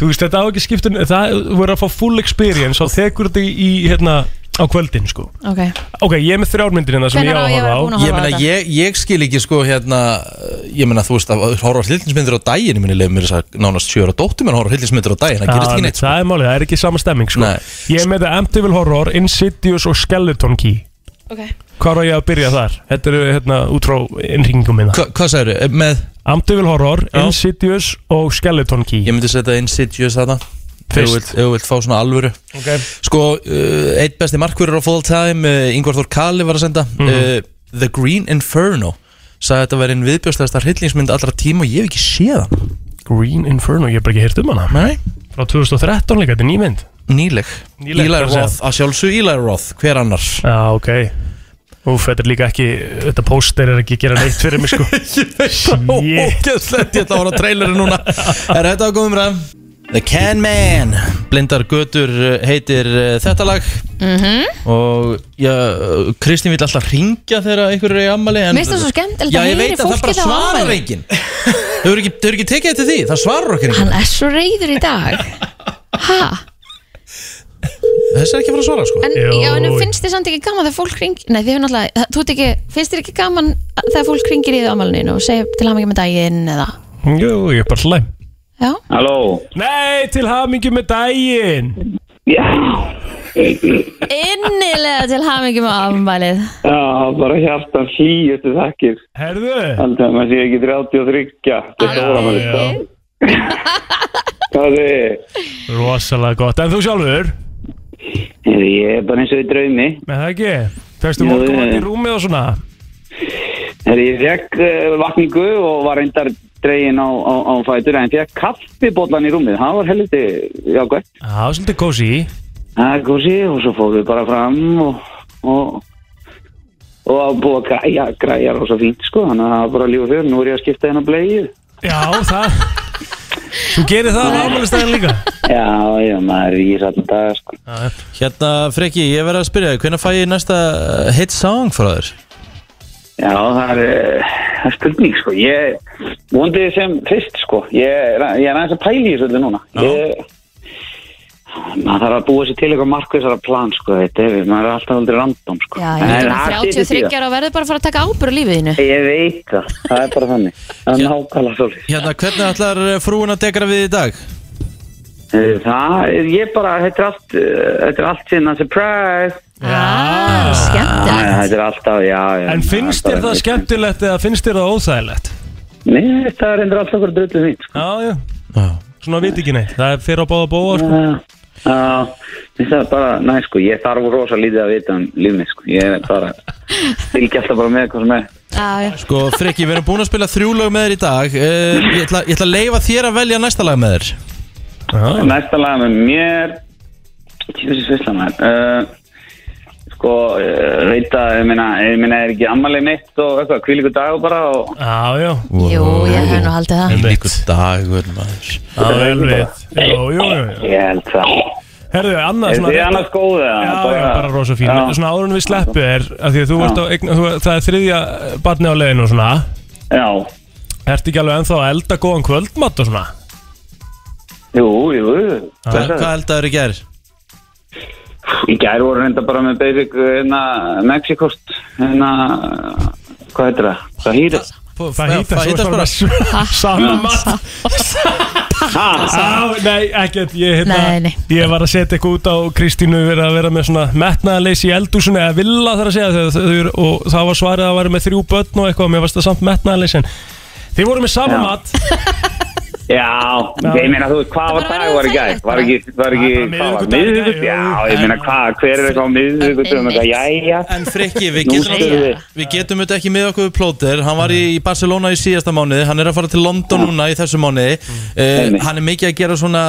D: Þú veist, þetta á ekki skiptun Það þú verður að fá full experience og þekur þetta í, hérna, á kvöldin, sko
C: ok
D: Ok, ég er með þrjármyndir hérna sem
C: Hvenær
D: ég á
C: á
D: að
C: ég að
D: horfa
C: vera
D: á
C: búin að
B: ég
C: horfa á
B: meina,
C: þetta?
B: ég, ég skil ekki sko hérna Ég meina, þú veist, að horfa hlildinsmyndir á daginn Ég meina, ég lef mér þess að nánast sjöra dóttir Menn horfa hlildinsmyndir á daginn, það gerist
D: Já,
B: ekki neitt sko.
D: Það er málið, það er ekki sama stemming sko.
B: Nei.
D: Ég er með The Amityville Horror, Insidious og Skeleton Key
C: okay.
D: Hvar á ég að byrja þar? Þetta eru hérna út frá innringum minna
B: Hva, Hvað sagður, með,
D: Amityville Horror,
B: Já.
D: Insidious og Skeleton Key
B: ég myndi setja Insidious þetta Ef þú
D: Fyrst.
B: vilt- ef þú vilt fá svona alvöru
D: okay.
B: Sko, uh, eitt besti markverður á full time uh, Ingvar Þór Kali var að senda
D: Mhm.
B: uh, The Green Inferno sagði að þetta verið einn viðbjóðslegasta hryllingsmynd allra tíma og ég hef ekki séð hann
D: Green Inferno, ég hef bara ekki heyrt um hana
B: Nei,
D: Frá 2013 líka, þetta er nýmynd
B: nýleg
D: Nýleg,
B: Eli
D: hvað að segja.
B: Roth, að sjálfsög Eli Roth, hver annar
D: Já, ok Úf, þetta er líka ekki, þetta póster er ekki að gera neitt fyrir mig sko Shit.
B: Ógeðslegt, ég ætla að voru á trailerin núna
D: Ah.
B: Er þetta að góðum ræðum? The Can Man Blindar Götur uh, heitir uh, þetta lag
C: Mhm.
B: -hmm. Og já, uh, Kristín vil alltaf ringja þegar einhver er í ammali en,
C: Mér finnst það svo skemmtilegt
B: Já,
C: að
B: ég
C: heyri
B: veit að það
C: fólki
B: bara
C: þegar á
B: svarar
C: afmæli.
B: enginn Þau eru ekki, þau eru ekki tekið eftir því, það svarar okkur enginn
C: Hann er svo reyður í dag Ha,
B: Þessi er ekki að fara að svara sko
C: en,
D: Jú.
C: já, en finnst þið samt ekki gaman þegar fólk ring Nei, þið hefur náttúrulega, þú ert ekki Finnst þið ekki gaman þegar fólk ringir í það ámælinu og segir til hamingi með daginn eða
D: Jú, ég er bara slæm
C: Já,
E: Halló
D: Nei, til hamingjum með daginn
I: Já,
C: innilega til hamingi með afmælið
I: já bara hjartan hlýjustu þakkir.
D: Herðu
I: Þannig að maður sé ekki 33. Þetta er stóra maður.
D: Já,
I: Hvað er
D: Rosalega gott, en þú sjálfur?
I: þið? Ég er bara eins og í draumi.
D: Nei, það ekki. Fyrstu
I: Jú,
D: morgunvann
I: jú.
D: í rúmið og svona.
I: Herri, ég fekk uh, vakningu og var reyndar dregin á, á, á fætur en fekk kaffibólan í rúmið. Það var helviti jákvæmt.
D: Já, það var svolítið kósi.
I: Það er gósi og svo fóðum við bara fram og... og og að búa að græja, græja rosa fínt sko, þannig að það var bara lífa fyrir, nú er ég að skipta hérna hennar bleið.
D: Já, það... Þú gerir það á afmælistæðin líka.
I: Já, já, maður er í sattum dag sko.
B: Hérna Freki, ég verð að spyrja þig, hvenær fæ ég næsta uh, hit song frá þér?
I: Já, það er, eh, það er spurning sko Ég vondi sem fyrst sko Ég, er- ég er aðeins að pæla í þessu öllu núna Ég, maður þarf að búa sér til eitthvað markvisara plan sko, þetta er, maður er alltaf aldrei random sko.
C: Já, ég
I: En
C: veit að
I: það situr í
C: 33 ára og verður bara að fara að taka ábyrgð á lífið þínu.
I: það. Ég veit það, það er bara þannig það er nákvæmlega svolítið
B: Hérna, hvernig ætlar eh, frúin að degra við í dag?
I: Eh, það er ég bara, þetta er allt eh, þetta er allt sinna surprise
C: Ah,
I: Æ,
C: skemmt
I: þetta er alltaf, já, já
D: En finnst þér það skemmtilegt eða finnst þér það óþægilegt?
I: Nei, það er endur alltaf okkur drullu fínt sko.
D: Já, já Svona viti ekki neitt, það er fyrir að báða bóa sko.
I: Já, finnst það bara, næ, sko, ég þarf rosa lítið að vita um lífni, sko, ég er bara, fylgja alltaf bara með hvað sem er.
C: Já, já.
B: Sko, Freki, við erum búin að spila þrjú lög með þér í dag uh, ég, ætla, ég ætla að leifa þér að velja næsta lag með þér
I: Næsta lag með mér, tjóðsins veistlan maður, uh, sko, uh, reyta, ég meina, ég meina, er ekki ammalið mitt og eitthvað, kvílíku dag og bara og...
B: Ah.
D: Já, já
C: Jú, ég hef nú haldið það.
B: Líkur dagur, maður
D: Það er vel við Jú, jú, jú
I: Ég held það.
D: Herðu, annað
I: Er
D: svona
I: þið annars góð eða?
D: Já, já, bara rosa fín
I: Já.
D: Svona árun við sleppu er að Því að þú
I: Já.
D: ert á eign þú- Það er þriðja barni á leiðinu og svona
I: Já,
D: Ertu ekki alveg ennþá að elda góðan kvöldmatt og svona?
I: jú, jú,
B: Hva, Ah. Hvað eldaður í gerð?
I: Í gær voru reynda bara með basic, hérna, Mexikost, hérna, hvað heitir það? Hvað heitir það?
D: Það hýtast
B: Það hýtast bara
D: Sama mat Á, Nei, ekkert Ég, hérna,
C: Nei, nei.
D: ég var að setja eitthvað út á Kristínu verið að vera með svona metnaðarleysi í eldúsinu eða villa þar að segja þau, þau, þau, og það var svarið að það væri með þrjú börn og eitthvað og mér varst það samt metnaðarleysi en þið voru með sama
I: Já.
D: mat
I: Já, ég meina þú veist, hvað var
C: bara
I: dag
C: verður
I: var í
C: að
I: gær?
C: segja
I: Var ekki, var ekki,
D: Það var
I: hvað var,
D: miðvikudagur í gær,
I: miðvikudagur?
D: jú,
I: Já,
D: jú.
I: ég meina hvað, hver er eitthvað á miðvikudagur?
C: Einmitt.
I: Jæja,
B: En Freki, við
I: Nú
B: getum,
I: skulum við.
B: við getum þetta ekki með okkur við plóter Hann var í Barcelona í síðasta mánuði Hann er að fara til London núna í þessu mánuði uh,
I: Einmitt.
B: Hann er mikið að gera svona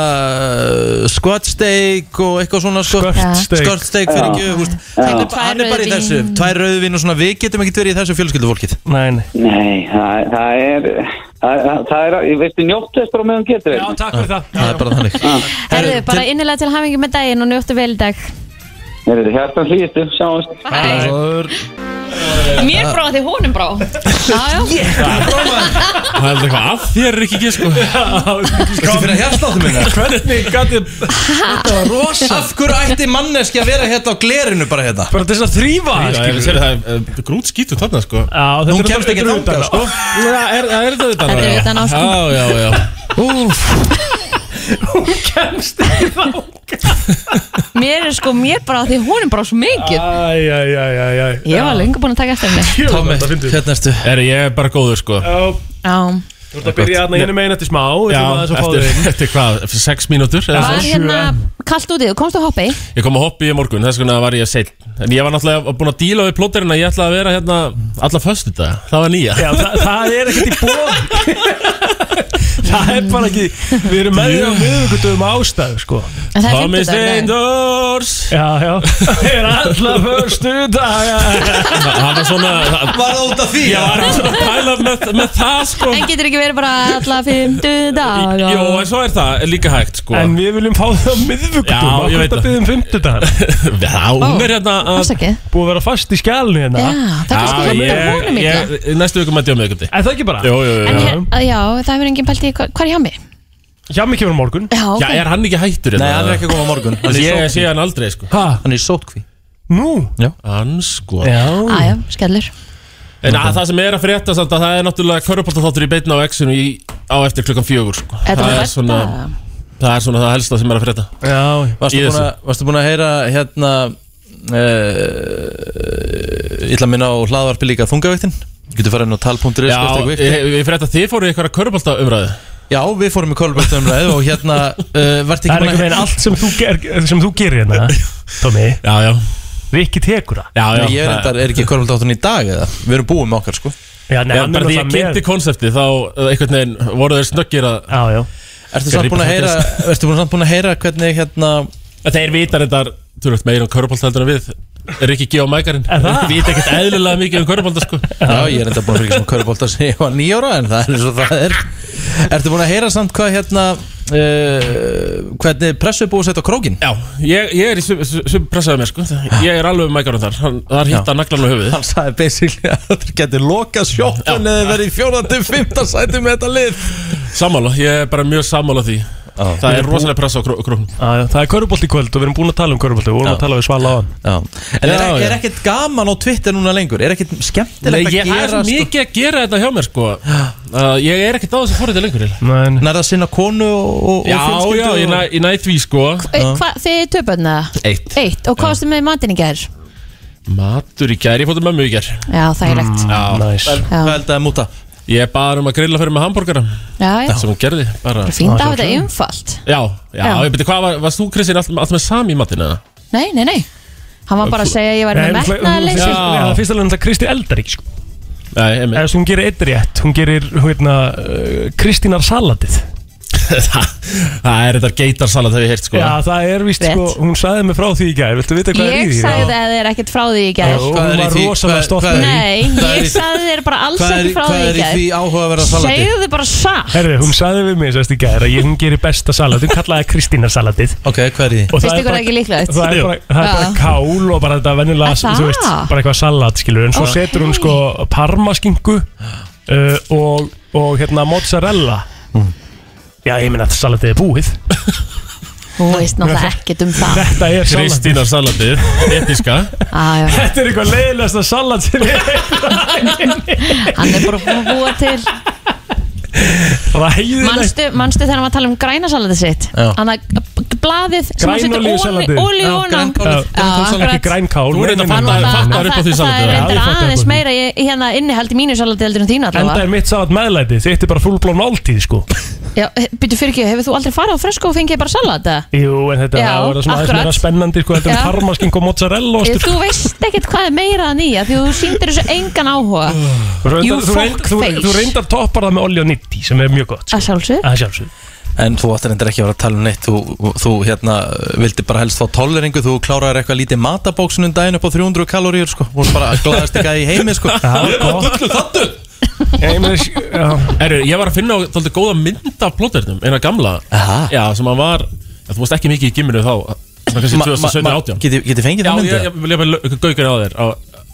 B: uh, Squat steak og eitthvað svona sko.
C: Já.
D: Skörtsteik
B: Skort steak fyrir ekki húst, hann, er bara- hann er bara í
C: Tvær
B: þessu
C: rauðvín.
B: Tvær rauðvin og svona Við getum ekkert verið í þessu fjölskyldufólkið
D: Nei, nei
I: nei, það það er, það það- það er, ég veistu, njóttu þess bara meðan getur
D: Já,
I: þér.
D: takk fyrir það
B: Það er bara þannig
C: Herðu,
B: Herðu,
C: bara
B: til-
C: innilega til hafingi með daginn og njóttu vel í dag.
I: Þeir eru hjartan hlýstu, sjáumst.
C: Mér brá því honum brá. Já, já.
K: Það er eitthvað að þér er ekki ekki sko
B: Þetta fyrir að hérsláttu minna
D: Hvernig gæti Þetta var rosa
B: Af hverju ætti manneski að vera hérna á glerinu bara hérna?
D: Bara til þess að þrýfa
K: Það er grút skítu þarna sko
B: Hún kemst ekki þangað, sko.
K: Það er það þetta
C: Þetta er utan á, sko.
K: Já, já, já
C: Mér er sko, mér brá því honum brá svo mikið.
D: Æjæjæjæjæ
C: Ég var lengur búin að taka eftir henni.
B: Tommi, hérna ertu
K: Er ég er bara góður sko
D: Já,
C: Já.
D: Þú ert að byrja hérna einu megin eftir smá við
K: Já,
D: ætlum aðeins að fá
K: eftir,
D: þig.
K: eftir hvað, eftir sex mínútur eða
C: Var
K: svo?
C: hérna kallt úti, þú komst að hoppa í.
K: Ég kom að hoppi í morgun, þess vegna var ég seinn En ég var náttúrulega búin að díla við plóterina Ég ætlaði að vera hérna alla föstu dag Það var nýja
D: Já, það, það er ekkert í bóð Það er bara ekki Við erum með því á miðvíkutum ástæðu sko.
C: En það er
K: Tommy
C: fyrstu dag.
K: Steindors
D: Já, já Það er alltaf förstu dag
K: Það var svona það-
B: Var það út af því?
K: Ég var svona að pæla með, með það sko
C: En getur ekki verið bara alla fymtu dag.
K: Jó, en svo er það líka hægt sko
D: En við viljum fá það á miðvíkutum
K: Já, ég veit
D: það
K: það.
D: Við um fymtudag
K: Já, hún er hérna að
C: Afsakið.
D: Búið að vera fast í skjálni hérna
C: Já, það er kannski
K: Já,
C: hjá
K: ég-
C: honum illa.
K: ég- Næstu vikum mætti ég á miðvikudegi.
D: Er það ekki bara?
K: Jú, jú,
C: En
K: jú, jú.
C: hér, að já, það hefur enginn pælt í hvað hvað er hjá mig?
D: Hjá mig kemur á morgun
C: Já, ok.
K: Já, er hann ekki hættur
B: Nei, hann
K: hérna?
B: er ekki að koma á morgun Hann er í
K: Ég
B: sótkví.
K: sé hann aldrei sko
D: Hæ?
B: Hann er í sótkví
D: Nú?
K: Hann sko
D: Já
C: Æja, skellur.
K: En að, það sem er að frétta samt að það er náttúrulega Köruboltaþáttur í beitna á X-inu í, á eftir klukkan fjögur sko.
C: Þetta
K: það,
C: var
K: er
C: versta.
K: svona, það er svona það helsta sem er að frétta
D: Já
B: Varstu
K: Í
B: búin
K: þessu.
B: að- varstu búin að heyra hérna uh, Ítla minna á hlaðvarpi líka þungavæktin Getur farið inn á tal.is
K: Já, eh,
B: Já,
K: ég, ég frétta að þið fóru í eitthvað Körubolta umræðu
B: Já, við fórum í kolbjörnstöðumræðu og hérna uh, Vart
D: Það er
B: ekki
D: einhvern veginn allt sem þú, ger, sem þú gerir hérna Tómi,
K: Já, já,
D: Rikki tekur það
K: já, já
B: Nei, Ég er endar, er ekki kolbjörnstöðun í dag eða Við erum búið með okkar sko
D: Já, nei,
K: Já,
D: hann er
K: bara því
D: náttúrulega
K: ég
D: með-
K: kynnti konsepti þá
B: uh,
K: eh, einhvern veginn voru þeir snöggir að
D: Já, já
B: Ertu samt
K: Grípa
B: búin að heyra Ertu búin samt búin að heyra hvernig hérna
K: að þeir vita þetta þú veist meira um Körubolta heldur en við er ekki G.O. Mækarinn
D: Er það?
K: Við vita ekkert eðlilega mikið um Körubolta sko
B: Já, ég er enda búin að fylgjast með körubolt að segja var nýjóra en það er eins og það er Ertu búin að heyra samt hvað hérna uh, hvernig pressu er búið að setja á krókin?
K: Já, ég, ég er í sum- sum- sum pressaði mér sko Ég er alveg um Mækarinn þar Hann- Þar hitta naglan á höfuðið
B: Hann sagði basically að það getur lokað sjóttun eða verið í fjórðandi, fymta sæti með þetta lið
K: Sammála, ég er bara mjög sammála því Það er rosalega pressa á kroknum
D: Það er körubolt í kvöld og við erum búin að tala um körubolt Við vorum
B: Já.
D: að tala við Svala á
B: hann En er, er, er ekkert gaman á Twitter núna lengur? Er ekkert
K: Nei,
B: skemmtilegt
K: ég,
B: að
K: það er
B: gera sko?
K: svo mikið að gera þetta hjá mér sko uh, Ég er ekkert á þessu forrið lengur eiginlega.
B: Nærðu að sinna konu og, og,
K: Já,
B: og
K: já, ég næ, ég næ því sko
C: E, hva, þið er töpöðna?
K: Eitt
C: Eitt, og hvað varstu með matinn í gær?
K: Matur í gær, ég fóttu mömmu í gær Mm,
C: Já, þægilegt
K: Já,
D: næs
K: Hvað held að múta? Ég bara um að grilla fyrir með hambúrgara
C: Já, já,
K: Sem hún gerði bara
C: fínt að hafa þetta umfalt
K: Já, já,
C: Já.
K: ég beti hvað var, varst þú Kristinn alltaf all með sami í matinn eða?
C: Nei, nei, nei Hann var bara að segja að ég væri með metnaðarleysi
D: Það fyrst alveg náttúrulega Kristi eldar ekki sko
K: Nei,
D: Eða svo hún gerir eitt rétt Hún gerir hérna uh, Kristínar salatið
K: Það það er þetta geitarsalat þegar ég heirt sko
D: Já, það er víst
C: Rétt.
D: sko Hún sagði mig frá því í gær Viltu vita hvað er í
C: Ég
D: því?
C: sagði það þér ekkert frá því í
D: Já,
C: gær
D: hún var rosalega stolt af því.
C: Nei, ég sagði þér bara alls
B: Hvað er-
C: ekki frá
B: hvað
C: því
B: er í
C: í gær
B: því áhugaverða salati?
C: Segðu þið bara satt
D: Herði, hún sagði við mig sérst í gæra að ég- hún gerir besta salat, hún kallaði Kristínar salatið
B: Ok, hvað er því?
D: Og
C: Finnst
D: það er
C: ykkur
D: bara-
C: það ekki
D: það
C: líklegt?
D: er bara, það er bara
C: Já.
D: kál og bara þetta venjulega,
C: Er það?
D: þú veist, bara eitthvað salat skilur, en svo
C: Ok.
D: setur hún sko parmaskingu uh, og, og hérna mozzarella
K: Mm.
D: Já, ég meina að salatið er búið
C: Þú veist náttúrulega ekkert um það
D: Þetta er salatið
K: Kristínar salatið, episka
C: Á, Ah, já.
D: Þetta er eitthvað leiðilegasta salat sem ég
C: Hann er bara búin að búa til
D: Ræðilegt
C: Manstu, manstu þegar hann var að tala um grænasalatið sitt
D: Já.
C: Hann að b- blaðið sem hann
D: Grænolíusalatið.
C: setur olí
D: Já,
C: ofan á
D: grænkálið. Grænkálsalat. Ekki grænkál
K: Þú er þetta
D: Nei, nei, nei,
K: fattar-
D: nei, nei.
K: fattar upp á því
C: Það er
K: salatið
D: Já,
C: reyndar
D: ég fatta
C: aðeins
D: upp á því.
C: meira í- í hérna innihald í mínu salati heldur en þínu
D: Enda
C: allavega
D: er mitt salat meðlæti, þitt er bara fullblón áltíð sko
C: Já, byrju fyrir ekki, hefur þú aldrei farið á fresko og fengið bara salata?
D: Jú, en þetta
C: Já,
D: það var svona aðeins
C: akkurat.
D: meira spennandi sko, þetta er
C: Já.
D: parmasking og mozzarella og
C: Ég,
D: stuff.
C: þú veist ekkert hvað er meira að nýja því þú sýndir þessu engan áhuga
D: Þú
C: You
D: reyndar- þú reynd-
C: fuck
D: þú-
C: face.
D: Þú reyndar toppar það með olja 90 sem er mjög gott
C: að sjálfsög
D: að sjálfsög
B: En þú ættir endur ekki að vera að tala um neitt Þú, þú hérna, vildi bara helst fá tolleringu Þú kláraðir eitthvað lítið matabóksunum daginn upp á 300 kaloríur sko Þú varst bara að glaðast ekki í heimi sko
K: Erru, ég var að finna þáttið góða mynd af plóternum Eina gamla Aha. Já, sem hann var Þú veist ekki mikið í gimminu þá Svona kannski
B: Ma- ma- ma-
K: 2017-18
B: geti- geti fengið það myndið?
K: Já, ég- ég vil gaukar á þér á,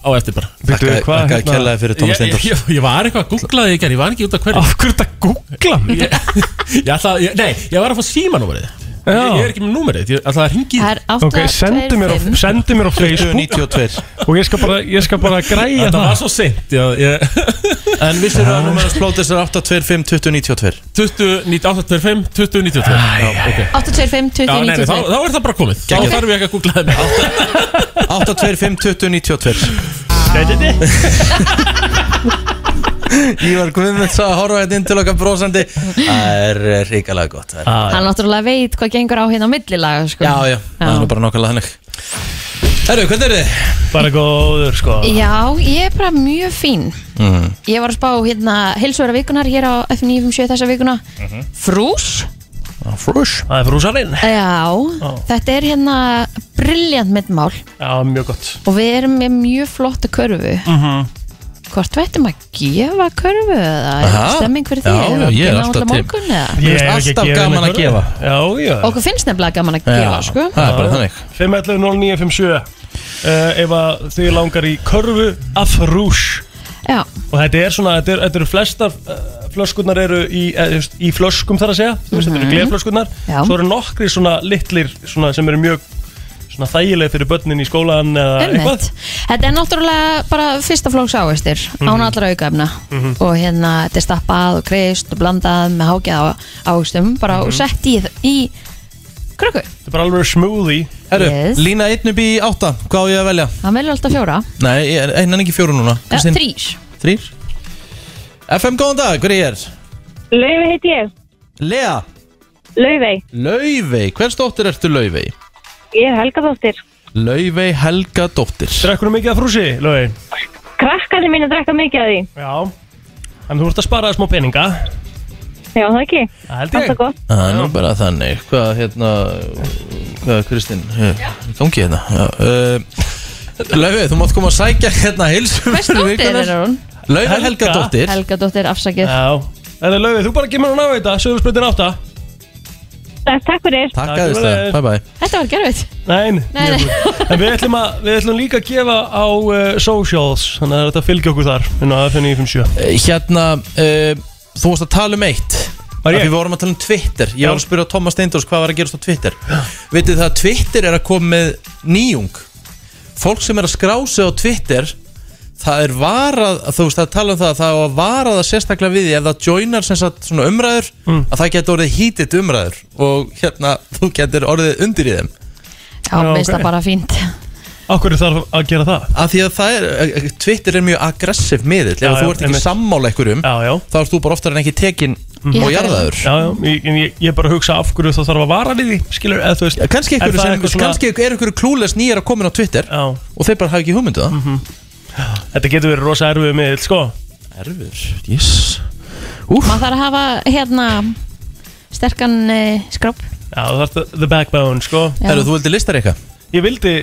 K: á eftir bara
B: Bíddu, Þakka- hvað, þakka hérna? kærlega fyrir,
K: Ég-
B: Tómas
K: ég-
B: Steindórs.
K: Ég, ég var eitthvað að googla þig í gerð Ég var ekki út af hverju Af
D: hverju þetta googla
K: mig? Ég, ég ætla að, ég- nei, ég var að fá símanúmerið ég, ég er ekki með númerið Ég ætla að ringi
C: Það er átta,
D: Ok, sendu mér, á,
C: tveir, fimm.
D: sendu mér á Facebook
B: 92
D: og ég skal bara, ég skal bara græja
K: Þetta
D: það
K: var svo seint já, ég,
B: En vissir þú að númerið splótist er 825 2092
K: 20, 9825, 2092 Já, ok
C: 825
K: Já, nei, nei, þá, þá er það bara komið Þá
B: Geggjað.
K: þarf ég ekki að googla það með
B: 825 2092 Ívar Guðmunds að horfa þetta inn til okkar brósandi Það er ríkalega gott það er-
D: Ah,
C: Hann náttúrulega veit hvað gengur á hérna á millilaga sko.
B: Já, já, það er nú bara nokkulega þannig Herru, hvernig er þið?
D: Bara góður sko
C: Já, ég er bara mjög fín
B: Mm.
C: Ég var að spá hérna heilsuverða vikunar hér á F957 þessa vikuna Frús
B: Frús
D: Það er frúsarinn
C: Já, þetta er hérna brilljant myndmál
D: Já, mjög gott
C: og við erum með mjög flottu körfu
B: Mhm.
C: Hvort veitum að gefa körfu eða er
B: Aha.
C: stemming fyrir
B: Já,
C: því eða
B: já, ég er
C: gera
B: alltaf
C: alla
B: til.
C: morgun eða
B: Mér finnst alltaf gaman að gefa.
D: Já, já
C: Okkur finnst nefnilega gaman að gefa sko
B: það er bara þannig
D: 511-0957 uh, Ef að þið langar í körfu af rús
C: Já,
D: Og þetta er svona, þetta, er, þetta eru flestar uh, flöskurnar eru í, eh, þú veist, í flöskum þar að segja Þú veist, Þetta eru gleflöskurnar
C: Mhm. Já.
D: Svo eru nokkri svona litlir svona, sem eru mjög svona þægileg fyrir börnin í skólan eða
C: Einmitt.
D: eitthvað
C: Þetta er náttúrulega bara fyrsta flóks ávistir
B: Mhm.
C: án allra aukaefna
D: Mhm.
C: og hérna þetta er stappað og kreist og blandað með hágjað ávistum bara og sett í, í krökku
D: Þetta er bara alveg smoothie
B: Herru,
C: Yes.
B: lína einn upp í átta, hvað á ég að velja?
C: Hann velur alltaf fjóra
B: Nei, ég er- einan ekki fjóru núna
C: ja,
B: Kristín?
C: Þrýr
B: Þrýr FM, góðan dag, hver er ég er?
L: Laufi heiti ég,
B: Lea,
L: Laufey,
B: Laufey, hvers dóttir ertu Laufey?
L: ég er Helga Dóttir.
B: Laufey Helga dóttir
D: Drekkunum mikið af frúsi, lögin
L: Krakkarnir mínu drekka mikið af því,
D: Já En þú ert að spara þér smá peninga
L: já það ekki,
D: Það held
L: alltaf
D: ég
L: gott.
B: Það er nú bara þannig Hvað, hérna, hvað, Kristín Gangi hérna Já, uh, Laufey, þú mátt koma að sækja hérna heilsum
C: Hvers dóttir er hún?
B: Laufey Helga dóttir
C: Helga dóttir afsakið
D: Já Það er lögin, þú bara gemur hann á þetta Söðurspröndin átta
L: Takk takk fyrir.
B: Takk
D: Takk
B: aðeins það,
D: fyrir.
B: bye bye
C: Þetta var gerfitt
D: Nein,
C: Nei, nei.
D: en við ætlum, að, við ætlum líka að gefa á uh, socials Þannig að þetta fylgja okkur þar Þannig að FN957
B: Eh, Hérna, uh, þú varst að tala um eitt Af því við vorum að tala um Twitter Ég var að spyrja Thomas Steindors hvað var að gerast á Twitter Vitið það að Twitter er að koma með nýjung Fólk sem er að skrá sig á Twitter Það er varað, þú veist, það er tala um það Það er að varað að sérstaklega við því Ef það joinar sem sagt svona umræður
D: Mm.
B: Að það getur orðið hítið umræður Og hérna, þú getur orðið undir í þeim
C: Já, minnst það bara fínt
B: Akkur er það að gera það? Af því að það er, Twitter er mjög aggressiv miðill
D: Já,
B: Ef þú
D: já,
B: ert ekki
D: einmitt.
B: sammála einhverjum já, já. Þá ert þú bara oftar en ekki tekin og jarðaður
D: Já, já, ég, en ég, ég bara hugsa af hverju það þarf að vara við því Skilur, eða þú veist
B: Eh, Kannski,
D: Er
B: einhverju
D: það
B: sem,
D: eitthvað svona-
B: kannski er einhverju klúles nýjar að komin á Twitter já. Og þeir bara hafa ekki hugmyndu það
D: Mhm. Þetta getur verið rosa erfið miðl, sko
B: Erfið, jess Úf
C: Maður þarf að hafa hérna sterkan uh, skróp
D: Já, það er the backbone, sko
C: Já. Herru, þú
B: vildi listar eitthvað?
D: Ég vildi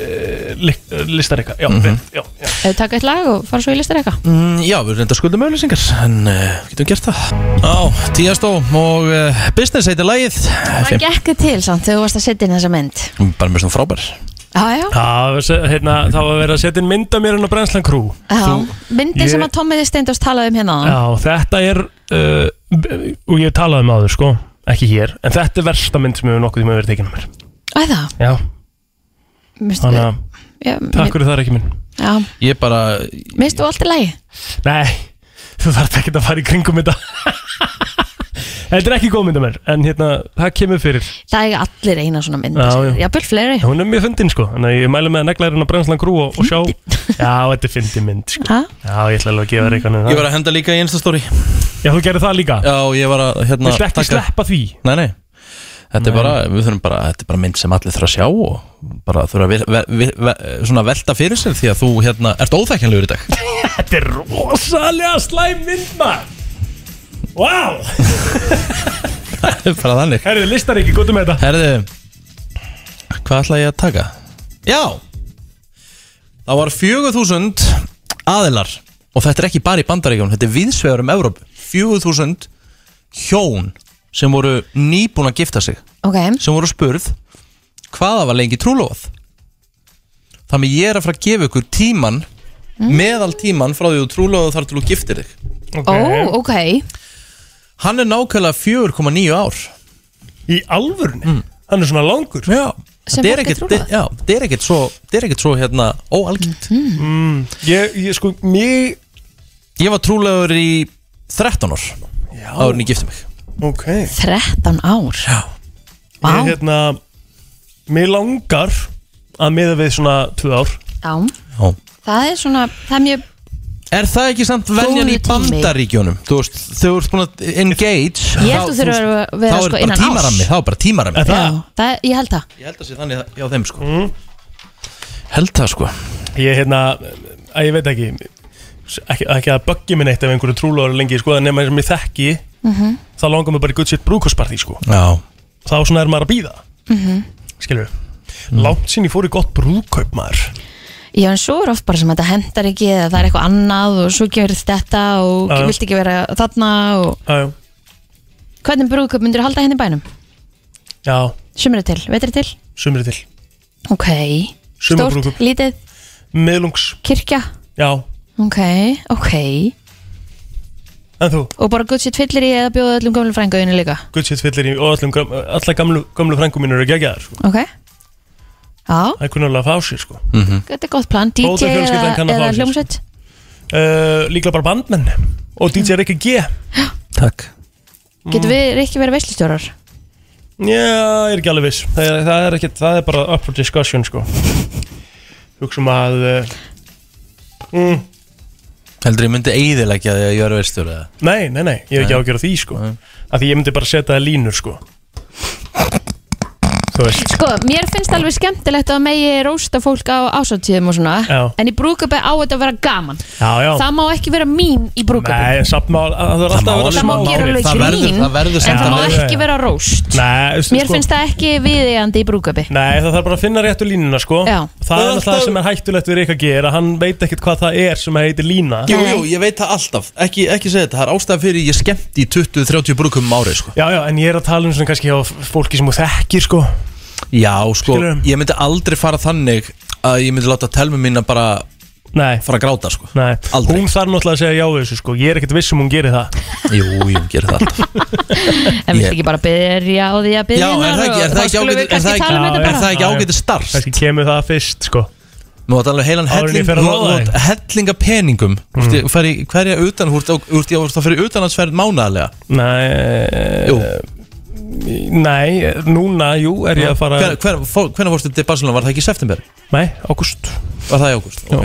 D: uh, listar eitthvað, já,
B: Mhm.
D: mm já, já
C: Ef taka eitt lag og fara svo í listar eitthvað
B: Mm, já, við reynda skuldum auðlýsingar En uh, getum gert það Já, tíastó og uh, business heitir lagið
C: Það
B: Fimm.
C: gekk þér til samt þegar þú varst að setja inn þessa mynd
B: Bara mjög svona frábær
C: Já, já,
D: Já, se- hérna, þá var verið að setja inn mynda mér inn á Brenslan Crew
C: já. Myndin
D: Ég-
C: sem að Tommi Steindors talaði um hérna áðan.
D: Já, þetta er uh, b- og ég talaði um áður, sko ekki hér, en þetta er versta mynd sem hefur nokkuð tíma verið tekinum mér
C: Æ, það
D: Já,
C: Minnst-
D: þannig að
C: Já,
D: takk fyrir það er ekki minn
C: Já,
B: Ég bara
C: minnst þú allt í lagi?
D: Nei, þú þarf ekki að fara í kringum þetta Þetta er ekki góð mynd að mér en hérna, það kemur fyrir
C: Það eiga allir eina svona mynd
D: Já, já.
C: Jafnvel fleiri
D: Hún er mjög fyndin sko, þannig að ég mælu með að negla hérna Brenslan Crew og, og sjá Já, þetta er fyndin mynd sko
C: Ha?
D: Já, ég ætla alveg að gefa þér eitthvað
B: Ég var að henda líka í Instastory
D: Já, þú gerði það líka
B: Já, ég var að hérna
D: Viltu ekki
B: taka-
D: sleppa því?
B: Nei, nei Þetta er bara, við þurfum bara, þetta er bara mynd sem allir þurfa að sjá og bara þurfa að ve, ve, ve, svona velta fyrir sér því að þú hérna, ert óþekkanlegur í dag
D: Þetta er rosalega slæm mynd maður Vá
B: Það er bara þannig
D: Herðu, listar ekki, góttum með þetta
B: Herðu, hvað ætla ég að taka? Já Það var 4000 aðilar og þetta er ekki bara í bandaríkjum þetta er viðsvegar um Evrópu 4000 hjón sem voru nýbúin að gifta sig
C: Ok,
B: sem voru spurð hvaða var lengi trúlofað þannig ég er að fara að gefa ykkur tíman meðal tíman frá því þú trúlofað þar til þú giftir þig
C: ó, ok
B: hann er nákvæmlega 4,9 ár
D: í alvörni? Mm. hann er svona langur
B: já,
D: Sem fólk
B: þetta er
D: er
B: ekkert-
D: trúlofað?
B: já, þetta er ekkert svo, þetta er ekkert svo hérna óalgilt
C: Mhm.
D: mm. ég, ég sko, mér
B: ég var trúlegaður í 13 ár áður en ég gifti mig
D: Ok
C: 13 ár
B: Já
D: Ég er hérna Mér langar að miða við svona tvö ár
C: Já, það er svona, það er mjög
B: Er það ekki samt venjan í
C: Góður tími.
B: bandaríkjónum? Þú veist, þau eru búin að engage
C: Ég held
B: þá-
C: þú þurfir að vera- vera
B: þá er
C: sko
B: bara
C: innan árs.
B: tímarammi, Þá er bara tímarammi
C: Já, það, Ég held það
B: Ég held að sé þannig hjá þeim sko Held það sko
D: Mm. Ég hérna, að ég veit ekki ekki, ekki að böggi minn eitt ef einhverju trúlóður lengi sko, en nema sem ég þekki
C: Mhm.
D: þá langar mér bara í good shit brúkosparti sko.
B: Já
D: þá svona er maður að býða
C: Mhm.
D: skilur langt sín ég fór í gott brúðkaup maður
C: Já, en svo er oft bara sem að þetta hendar ekki eða það er eitthvað annað og svo gerur þetta og
D: Já, já.
C: vilt ekki vera þarna og
D: Æjá.
C: hvernig brúðköp myndir halda henni í bænum?
D: já,
C: Sumri til, vetri til?
D: sumri til
C: Ok,
D: Sumarbrúðkaup.
C: stórt, lítið,
D: meðlungs,
C: kirkja,
D: já,
C: ok, ok
D: en þú
C: og bara gutt sér tvillir í eða bjóða öllum gömlu frængaðinu líka,
D: good shit fyllir í og öllum göm- alla gamlu, gamlu frængum mínur er gegjaðar sko.
C: ok? Já,
D: það er kunnulega að fá sér sko.
B: Mhm.
C: þetta er gott plan,
D: Bóta
C: DJ
D: fjölskyldan
C: eða,
D: kann að fá
C: eða
D: sér.
C: hljómsveit
D: uh, líklega bara bandmenn og DJ Rikki G Mm.
C: Getur við ekki verið veslistjórar?
D: Já, ég er ekki alveg viss Það er, það er, ekkit, það er bara up for discussion sko. Hugsum að uh, mm,
B: Heldur ég myndi eiðilegja því að ég er veistur eða
D: Nei, nei, nei, ég er ekki
B: Nei.
D: ágjör á því sko. Af því ég myndi bara setja það línur sko. Þú veist
C: Sko, mér finnst alveg skemmtilegt að megi rósta fólk á ásáttíðum og svona
D: Já.
C: En í brúköpi á þetta að vera gaman
D: Já, já
C: Það má ekki vera mín í brúköpi
D: Nei, sapmál, það er alltaf að vera
C: Það má
D: smá-
C: gera alveg grín En það má
D: Já, já, já.
C: ekki vera róst
D: Nei, þú veist,
C: Mér
D: sko-
C: finnst það ekki viðeigandi í brúköpi
D: Nei, það þarf bara að finna réttu línuna sko
C: Já.
D: Það er alltaf það sem er hættulegt við Rikka G er að hann veit ekkert hvað það er sem heitir lína
B: Jú, jú, ég veit það alltaf Ekki, ekki segja þetta, það er ástæða fyrir ég skemmt í 20-30 brúkum ári sko.
D: Já, já, en ég er að tala um svona kannski á fólki sem þú þekkir sko
B: Já, sko, ég myndi aldrei fara þannig að ég myndi láta telmu mín að bara
D: Nei.
B: fara að gráta sko
D: Nei, hún þarf náttúrulega að segja já við þessu sko Ég er ekkert viss um hún gerir það
B: Jú, jú, gerir það alltaf
C: En viltu ekki bara byrja á því að byrja
B: Já, er það ekki- er það ekki ágætis- er það ekki-
C: um
B: er það ekki ágætis starf?
D: Kannski kemur það fyrst sko
B: Nú átt alveg heilan
D: Áður en ég
B: helling,
D: fer að ráða
B: átt hellinga peningum
D: Mm.
B: Þú veist, ég fer í hverja utan, þú veist, ég það fyrir utanlandsferð mánaðarlega
D: Nei
B: Jú
D: Nei, núna, jú, er ég að fara
B: Hver- hver- fó- Hvenær fórstu til Barcelona, var það ekki í september?
D: Nei, ágúst
B: Var það í ágúst, ok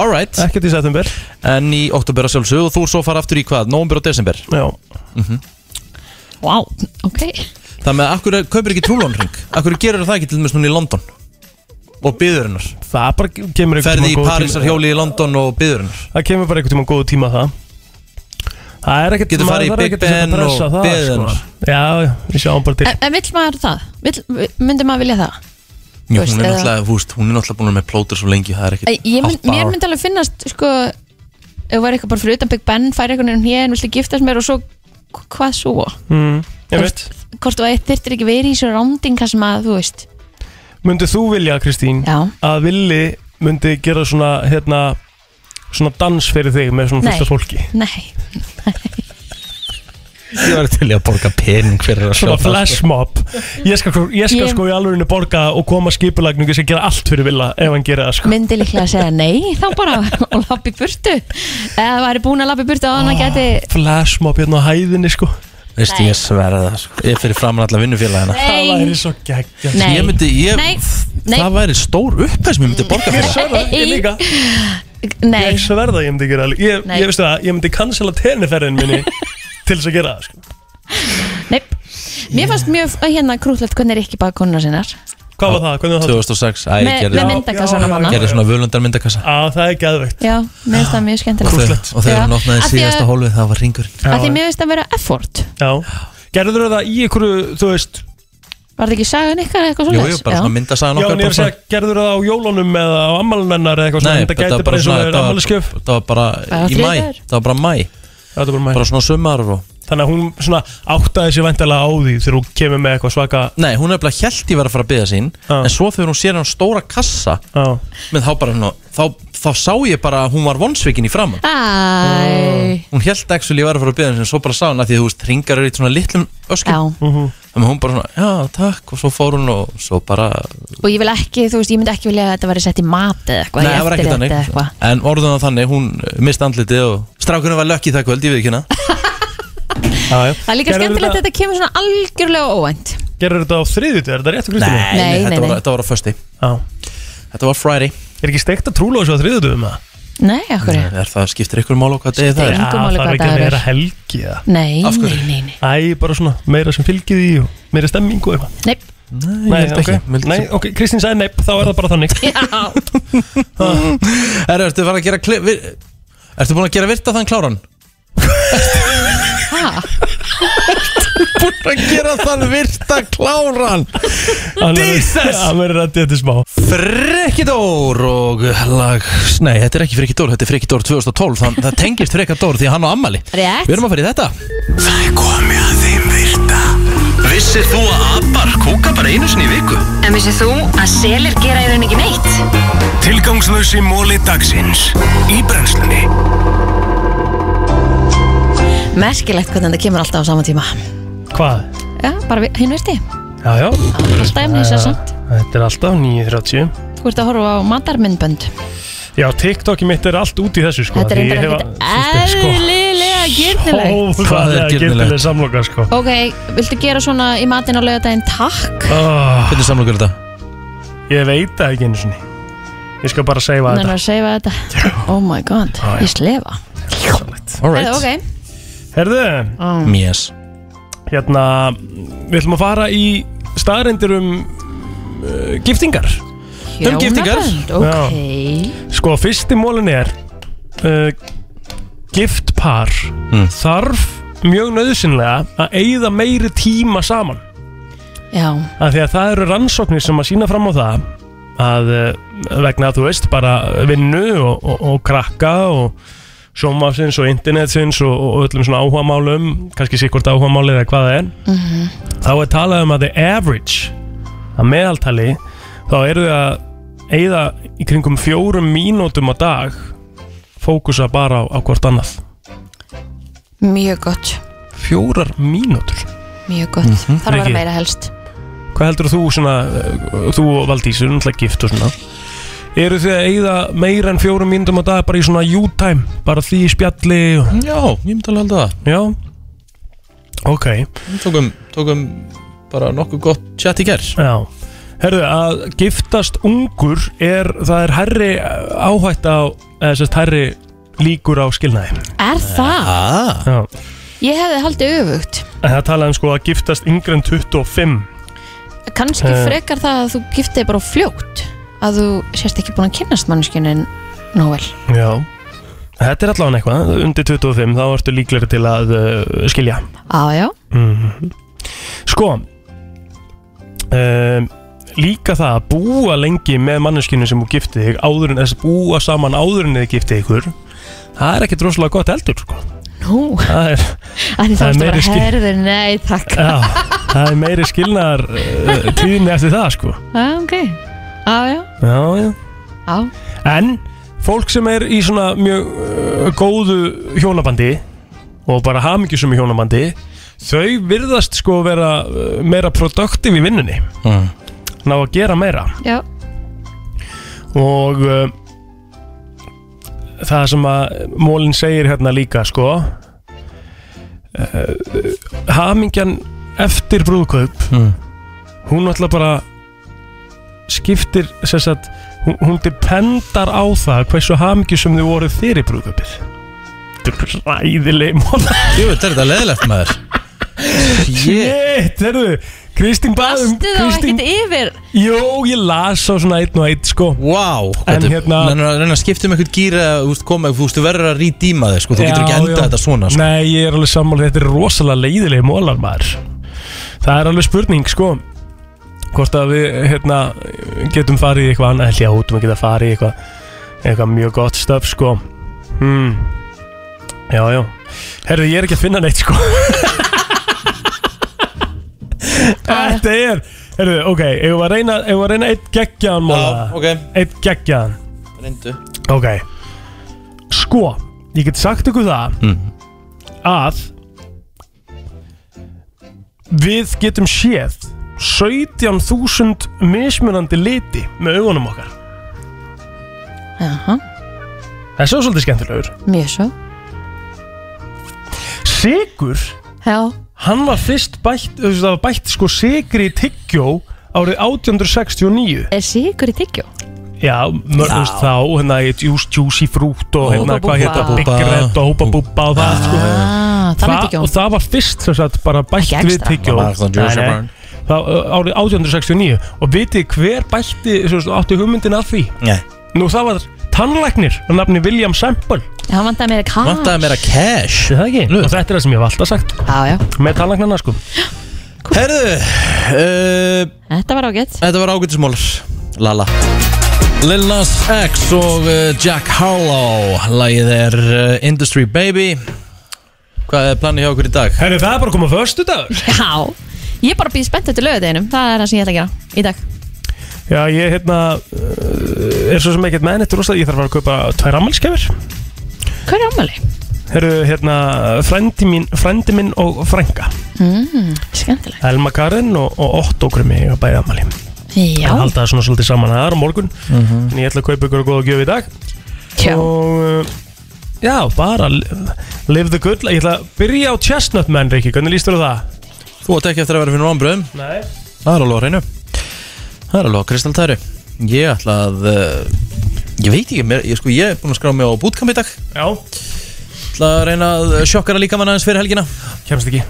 B: Alright
D: Ekkert í september
B: En í oktober að sjálfsög og þú svo fara aftur í hvað, nóvember og desember Mhm.
D: Já
C: Vá, ok
B: Það með, akkur kaupir ekki trúlónring Akkur gerur það ekki til dæmis núna í London Og byður hennar
D: Það bara kemur einhvern
B: Ferði
D: tímann
B: í
D: góður
B: Parísar
D: tími.
B: hjóli í London og byður hennar
D: Það kemur bara einhvern tíma góðu tíma það Það er ekkert
B: Getur farið í
D: maður þarf
B: Big
D: ekkert að setja
B: Ben
D: pressu á
B: og
D: það,
B: beðið
D: sko.
B: hennar.
D: Já, já, við sjáum bara til
C: En, en vill maður það? Vill, myndi maður vilja það?
B: Jú,
C: veist,
B: hún er
C: eða-
B: náttúrulega, þú veist, hún er náttúrulega búin með plótur svo lengi Það er
C: Æ,
B: ekkert
C: Ég mynd,
B: hálft
C: mér
B: ár.
C: myndi alveg finnast sko, ef þú væri eitthvað bara fyrir utan Big Ben færi eitthvað nefnum hér en viltu giftast mér og svo hva- hvað svo?
D: mm, Ég veit
C: Hvort þú eitt þyrtir ekki verið í svo rándinga sem að þú veist
D: Myndið þú vilja, Kristín,
C: Já.
D: að Villi myndi gera svona, hérna, svona dans fyrir þig með svona fullt af fólki?
C: Nei,
B: Ég var til í að borga pening fyrir að sjá
D: Svona
B: það, sko.
D: flashmob. Ég skal, ég skal
C: Ég-
D: sko í alveginu borga og koma skipulagningu sem gera allt fyrir Villa ef hann gera það sko.
C: myndi líklega að segja nei þá bara og lappa í burtu eða væri búin að lappa í burtu á hann að geti
D: Flashmob hérna á hæðinni sko.
B: Veist, ég sverða það, sko Ég er fyrir framan alla vinnufélagina
D: Það væri svo geggjast.
C: Nei.
B: Ég myndi, ég,
C: Nei, nei.
B: það væri stór upphæð sem ég myndi borga fyrir það.
D: sverða, ég líka.
C: Nei,
D: Ég sverða, ég myndi gera alveg. Ég,
C: Nei.
D: ég veistu það, ég myndi cancela tenniferðin minni til þess að gera það sko.
C: mér fannst mjög hérna krúllett hvernig er ekki bara konuna sinnar
D: Hvað var það? Hvernig var það?
B: 2006, æ,
C: Með-
B: ég gerði
C: með myndakassanum hana.
B: Gerði svona völundar myndakassa
D: Á, það er geðvegt.
C: Já, mér finnst það mjög skemmtilegt
B: Og þegar- Og þegar hún
C: Já.
B: opnaði
C: Af því að-
B: síðasta hólfið, það var ringurinn
C: Af því mér finnst það vera effort
D: Já. Gerður það í ykkur, þú veist,
C: Var það ekki sagan ykkar eða eitthvað
B: Jú,
C: svona?
B: jú, bara svona myndasagan
D: Já,
B: okkar
D: en ég er
B: bara
D: að segja, gerður það á jólunum eða á ammalunennar eða eitthvað svona,
B: Nei,
D: þetta
B: þetta
D: gæti bara
B: var bara
D: eins og
B: svona
D: það er
B: þetta var-
D: ammalskjöf
B: Það var bara
C: Það
B: í
C: var
B: mæ
C: þriðjudagur.
B: Það var bara mæ
D: Það er bara mæ
B: Bara svona sumar og
D: Þannig að hún svona áttaði sér væntalega á því þegar hún kemur með eitthvað svaka
B: Nei, hún er bara hjælt ég var að fara að byggja sín En svo þegar hún sér hann stóra kassa
D: Já.
B: Menn þá bara, svona- þá, þá sá ég bara að hún var vonsvikin í framann
C: Æ,
B: Hún hjælt ekki ég var að fara að byggja sín Svo bara sá hann að því að þú veist ringar eru í svona litlum öskum
C: já
B: Þannig að hún bara svona, já takk Og svo fór hún og svo bara
C: Og ég vil ekki, þú veist, ég myndi ekki vilja að þetta væri sett í mat eða eitthvað
B: Nei,
C: í
B: það var ekki
C: eftirrétt
B: þannig
C: eða eitthvað.
B: En orðun að þannig, hún misti andlitið og Strákunum var lökki það kvöld, ég veit ekki hérna
C: Það er líka skemmtilegt að þetta kemur svona algjörlega óvænt
D: Gerður þetta á þriðjutu, er þetta rétt á Kristínu?
B: Nei,
C: Nei, nei,
B: þetta,
C: nei.
B: Var, þetta var á fösti
D: Já.
B: Þetta var Friday
D: Er ekki steikt að trúla þessu á þriðjutu um það?
C: Nei, okkur
B: Nei, er Það skiptir ykkur mál á hvað degi það
C: Skiptir
B: er
C: engu
D: þarf
C: máli hvað
D: ekki að
C: dagur er.
D: vera helgi eða
C: Nei,
B: Af
C: nei,
B: hverju?
C: nei, nei
D: Æ, bara svona, meira sem fylgið í og meira stemming og eitthvað
C: Nei,
D: Nei,
B: held
D: ok,
B: ekki. Mér held
D: nei, ok, Kristín sagði nei, þá er það bara þannig
B: Er, ertu bara að gera kli, vir, Ertu búin að gera virta þann kláran?
C: ha,
B: Búin að gera þann virta kláran Jesus!
D: Það verður að þetta smá
B: Frekkidór og lag Nei, þetta er ekki Frekkidór, þetta er Frekkidór 2012 Þann, Það tengist Frekkidór því að hann á ammali
C: Rétt.
B: Við erum að fara í þetta
A: Það er komið að þeim virta Vissir þú að abar kúka bara einu sinni í viku?
M: En vissið þú að selir gera í raun ekki neitt?
A: Tilgangslösi móli dagsins Í brennslunni
C: merkilegt hvernig þetta kemur alltaf á sama tíma
D: Hvað?
C: Já, bara við- hinn virti
D: Já, já
C: Alltaf efnið sér samt
D: Þetta er alltaf 9.30
C: Þú ert að horfa á matarmyndbönd
D: Já, TikTokið mitt er allt út í þessu sko
C: Þetta er
D: því ég
C: reyndar
D: hef
C: ekkert
D: að-
C: sko.
D: þú veist,
C: eðlilega gyrnilegt
D: sko,
B: Hvað er
D: Óþægilega
B: girnilegt?
D: gildilega samloka sko
C: Ok, viltu gera svona í matinn á laugardaginn takk?
D: oh,
B: Hvernig samlokur þetta?
D: Ég veit það ekki einu sinni Ég skal bara segja
C: Þannig
D: þetta
C: að segja þetta Oh my god,
D: Já, já.
C: ég slefa
B: All
C: Eða,
B: right
C: ok
D: Herðu,
C: um,
B: Yes
D: hérna Við ætlum að fara í staðrendir um uh, giftingar
B: um giftingar.
C: hjónabönd, Ok
D: Sko, fyrsti mólin er uh, Gift par
B: Hmm.
D: þarf mjög nöðsynlega að eigða meiri tíma saman
C: Já,
D: að því að það eru rannsóknir sem að sína fram á það að eh, vegna þú veist bara vinnu og, og, og krakka og sjómafsins og internetsins og, og öllum svona áhugamálum kannski sikkurt áhugamáli eða hvað það er þá er talað um að the average að meðaltali þá eru þau að eigða í kringum fjórum mínútum á dag fókusa bara á, á hvort annað
C: Mjög gott,
D: fjórar mínútur
C: mjög gott
D: Mhm.
C: Þarf að vera
D: Riki.
C: meira helst
D: Hvað heldur þú svona, uh, þú og Valdís, þú er náttúrulega gift og svona Eru þið að eyða meira en fjórum myndum á dag bara í svona you-time, bara því í spjalli og...
B: Já, ég myndi alveg halda það
D: Já, ok
B: Tókum, tókum bara nokkuð gott chat í gerð
D: Já, herðu að giftast ungur er, það er herri áhætt á, eða sérst herri líkur á skilnaði
C: Er það?
B: Ah.
D: Já,
C: Ég hefði haldið öfugt
D: en það talaði um sko að giftast yngri en 25
C: Kannski
D: Eh.
C: frekar það að þú giftið bara of fljótt að þú sérst ekki búin að kynnast mannskinu nóg vel
D: Já Þetta er allavega eitthvað, undir 25 þá ertu líklegri til að uh, skilja
C: Á, já,
D: Mhm. Sko um, Líka það að búa lengi með manneskinu sem þú giftið þig áður en þess að búa saman áður en þið giftið ykkur Það er ekkert rosalega gott eldur sko.
C: nú
D: það, er,
C: Þannig
D: Það
C: þá
D: er
C: ertu bara
D: meiri skil-
C: herður, nei takk
D: já, það er meiri skilnaðar uh, tíðinni eftir það sko.
C: Já, Ah, ok Á, já,
D: já, já.
C: á
D: En fólk sem er í svona mjög uh, góðu hjónabandi og bara hamingjusum í hjónabandi þau virðast sko vera uh, meira produktiv í vinnunni
B: Mm.
D: ná að gera meira
C: Já,
D: og uh, það sem að Mólin segir hérna líka sko uh, hamingjan eftir brúðkaup hún náttúrulega bara skiptir sem sagt, hún, hún dependar á það hversu hamingjusum þið voru fyrir brúðkaupið þetta er ræðileg mól
B: Jú, þetta er þetta leðilegt maður
D: Shit, herðu Um, Kristín baðum
C: Þú þá ekkert yfir
D: Jó, ég las á svona einn og einn sko
B: Vá,
D: En hérna
B: Þannig að reyna að skipta um eitthvað gýra úst, koma, þú veist, þú verður að rýdíma þig sko, Þú getur ekki
D: Já,
B: enda
D: já.
B: þetta svona sko.
D: Nei, ég er alveg sammála, þetta er rosalega leiðilegi mólar maður Það er alveg spurning sko Hvort að við hérna, getum farið í eitthvað annað Ég hljótum að geta farið í eitthvað, eitthvað mjög gott stöf sko hmm. Já, já Herðu, ég er ekki að finna neitt sko Þetta er Herðu, ok, ef við að reyna, eigum við að reyna eitt geggjaðan móla
B: Já, ok.
D: Eitt geggjaðan
B: Reyndu
D: Ok Sko, ég get sagt ykkur það að við getum séð 17.000 mismunandi liti með augunum okkar
C: Jaha,
D: Það er svo svolítið skemmtilegur
C: mjög svo
D: Sigur,
C: Já,
D: hann var fyrst bætt, þú veist, það var bætt sko sigri í tyggjó árið 1869
C: er sigur í tyggjó?
D: Já, mörgust þá, hérna, juice, juicy fruit og hérna,
C: Húpa
D: hvað
C: Búbba.
D: hérna, Big Red og Húpa Búbba og það, sko
C: Ah, það með
D: Þa,
C: tyggjó
D: og það var fyrst sem sagt bara bætt
C: Ekki
D: við
C: extra.
D: tyggjó
B: Það var svona
D: Nei,
B: Jewish
D: nei.
B: Brown.
D: Það, uh, árið 1869 og vitið hver bætti sem sagt, átti hugmyndin að því
B: Nei.
D: nú það var tannlæknir að nafni William Semple
C: Hann vantaði meira kans
B: meira cash
D: það ekki, og þetta er það sem ég hef alltaf sagt
C: Já, já
D: með tannlæknarna sko
B: Herðu uh,
C: Þetta var ágætt
B: Þetta var ágættismólar Lala Lil Nas X og uh, Jack Harlow Lagið er uh, Industry Baby Hvað er planið hjá okkur í dag?
D: Herru, það er bara að koma förstu dag
C: Já, ég er bara býð spennt eftir lögadeginum Það er það sem ég ætla að gera í dag
D: Já, ég hérna uh, er svo sem ekkert með neitt rosa ég þarf að fara að kaupa tvær ammalskefir
C: Hvað er ámæli?
D: Herru, hérna, frendi mín, frendi mín og frænka
C: Mm, skemmtileg
D: Elma Karin og, og Otto Grumi ég bæði ammali
C: Já, Mhm.
D: að halda það svona svolítið saman aðar á morgun en ég ætla að kaupa ykkur að góða gjöf í dag
C: Já.
D: og uh, já, bara li- live the good life ég ætla að byrja á chestnut menn, Riki, hvernig líst þér á það?
B: Ah. Þú átt ekki eftir að vera fyrir vombröðum
D: Nei
B: Það er alveg á hreinu Það er alveg á kristaltæri Ég ætla að uh, Ég veit ekki, mér, ég, sko, ég er búin að skrá mig á bootcamp í dag
D: Já
B: ætla að reyna að sjokkara líka mann aðeins fyrir helgina
D: Kemst ekki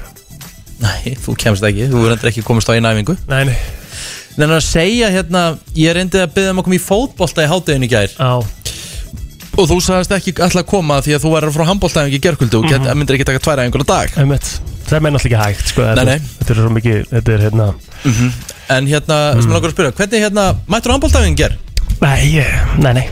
B: Nei, þú kemst ekki, þú reyndir ekki komist á eina æfingu
D: Nei, nei
B: Þannig að segja hérna, ég reyndi að byggja um að koma í fótbolta í hátteginu í gær
D: Já
B: Og þú sagðist ekki alltaf að koma því að þú væri frá handbóltæfingi í gerkvöldu og
D: Mhm.
B: mm -hmm. myndir ekki taka tværa æfingur á dag
D: Einmitt. það er mér náttúrulega ekki hægt sko, þetta-
B: Nei, nei.
D: þetta er svo mikið, þetta er hérna
B: En hérna, sem ég langar að spyrja, hvernig hérna, mættur handbóltæfingi ger?
D: nei, ég, nei, nei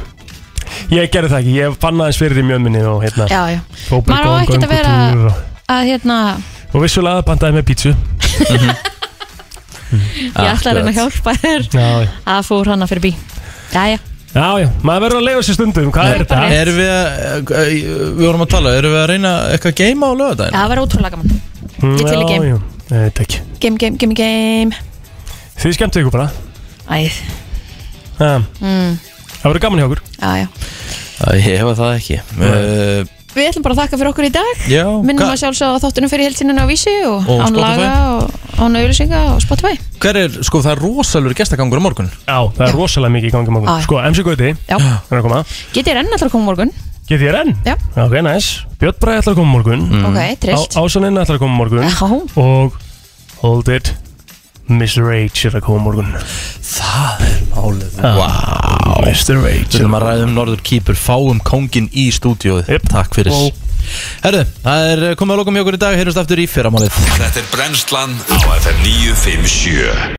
D: ég gerði það ekki, ég fann aðeins fyrir í mjöminni og hérna
C: já, já
D: fór bara
C: Maður á
D: góðan
C: ekkert að vera
D: göngutúr og,
C: að hérna
D: og vissulega aðbandaði með pítsu
C: Ég ætla að reyna að hjálpa þér
D: Ah, Já, já.
C: að fór hana fyrir bí Jæja,
D: Já, já, maður verður að leiða sér stundum, hvað er þetta?
B: Erum við að, eh, við vorum að tala, erum við að reyna eitthvað að geima á
C: Já,
B: lögadaginn?
C: það var ótrúlega gaman ég til í game.
D: Já, já, Nei, þetta ekki
C: Game, game, game, game
D: Þið skemmtu ykkur bara
C: Æð
D: Ha,
C: mm.
D: Það verður gaman hjá okkur
C: Já, já
B: Æ, Ég hefa það ekki uh,
C: Við ætlum bara að þakka fyrir okkur í dag
B: Já,
C: Minnum
B: hva-
C: að sjálfsögða á þáttunum fyrir helsinin á Vísi og,
B: Og
C: án
B: Spotify.
C: laga og án auðlýsinga og Spotify
B: Hver er, sko það er rosalur gestagangur á morgun
D: Já, það er rosalega mikið í gangi
C: Já, já.
D: morgun Sko, MC Gauti
C: Já.
D: Það er að koma
C: Getið er enn alltaf að koma á morgun
D: Get ég enn?
C: Já.
D: Ok, næs Björn Bræði ætlar að koma á morgun
C: Mm. Ok, trillt.
D: Á- Ásaninn ætlar að koma á morgun
C: Já.
D: Og Hold it Mr. H er að koma á morgun
B: Það er málið
D: Já.
B: Wow
D: Mr. Rachel
B: Við erum að ræða um Norður Kýpur Fáum kóngin í stúdíóið yep. Takk fyrir
A: Wow.
B: Herðu, það er komið að lokum hjá okkur í dag Heyrjumst aftur í fyrramálið
A: Þetta er brennslan á FM 957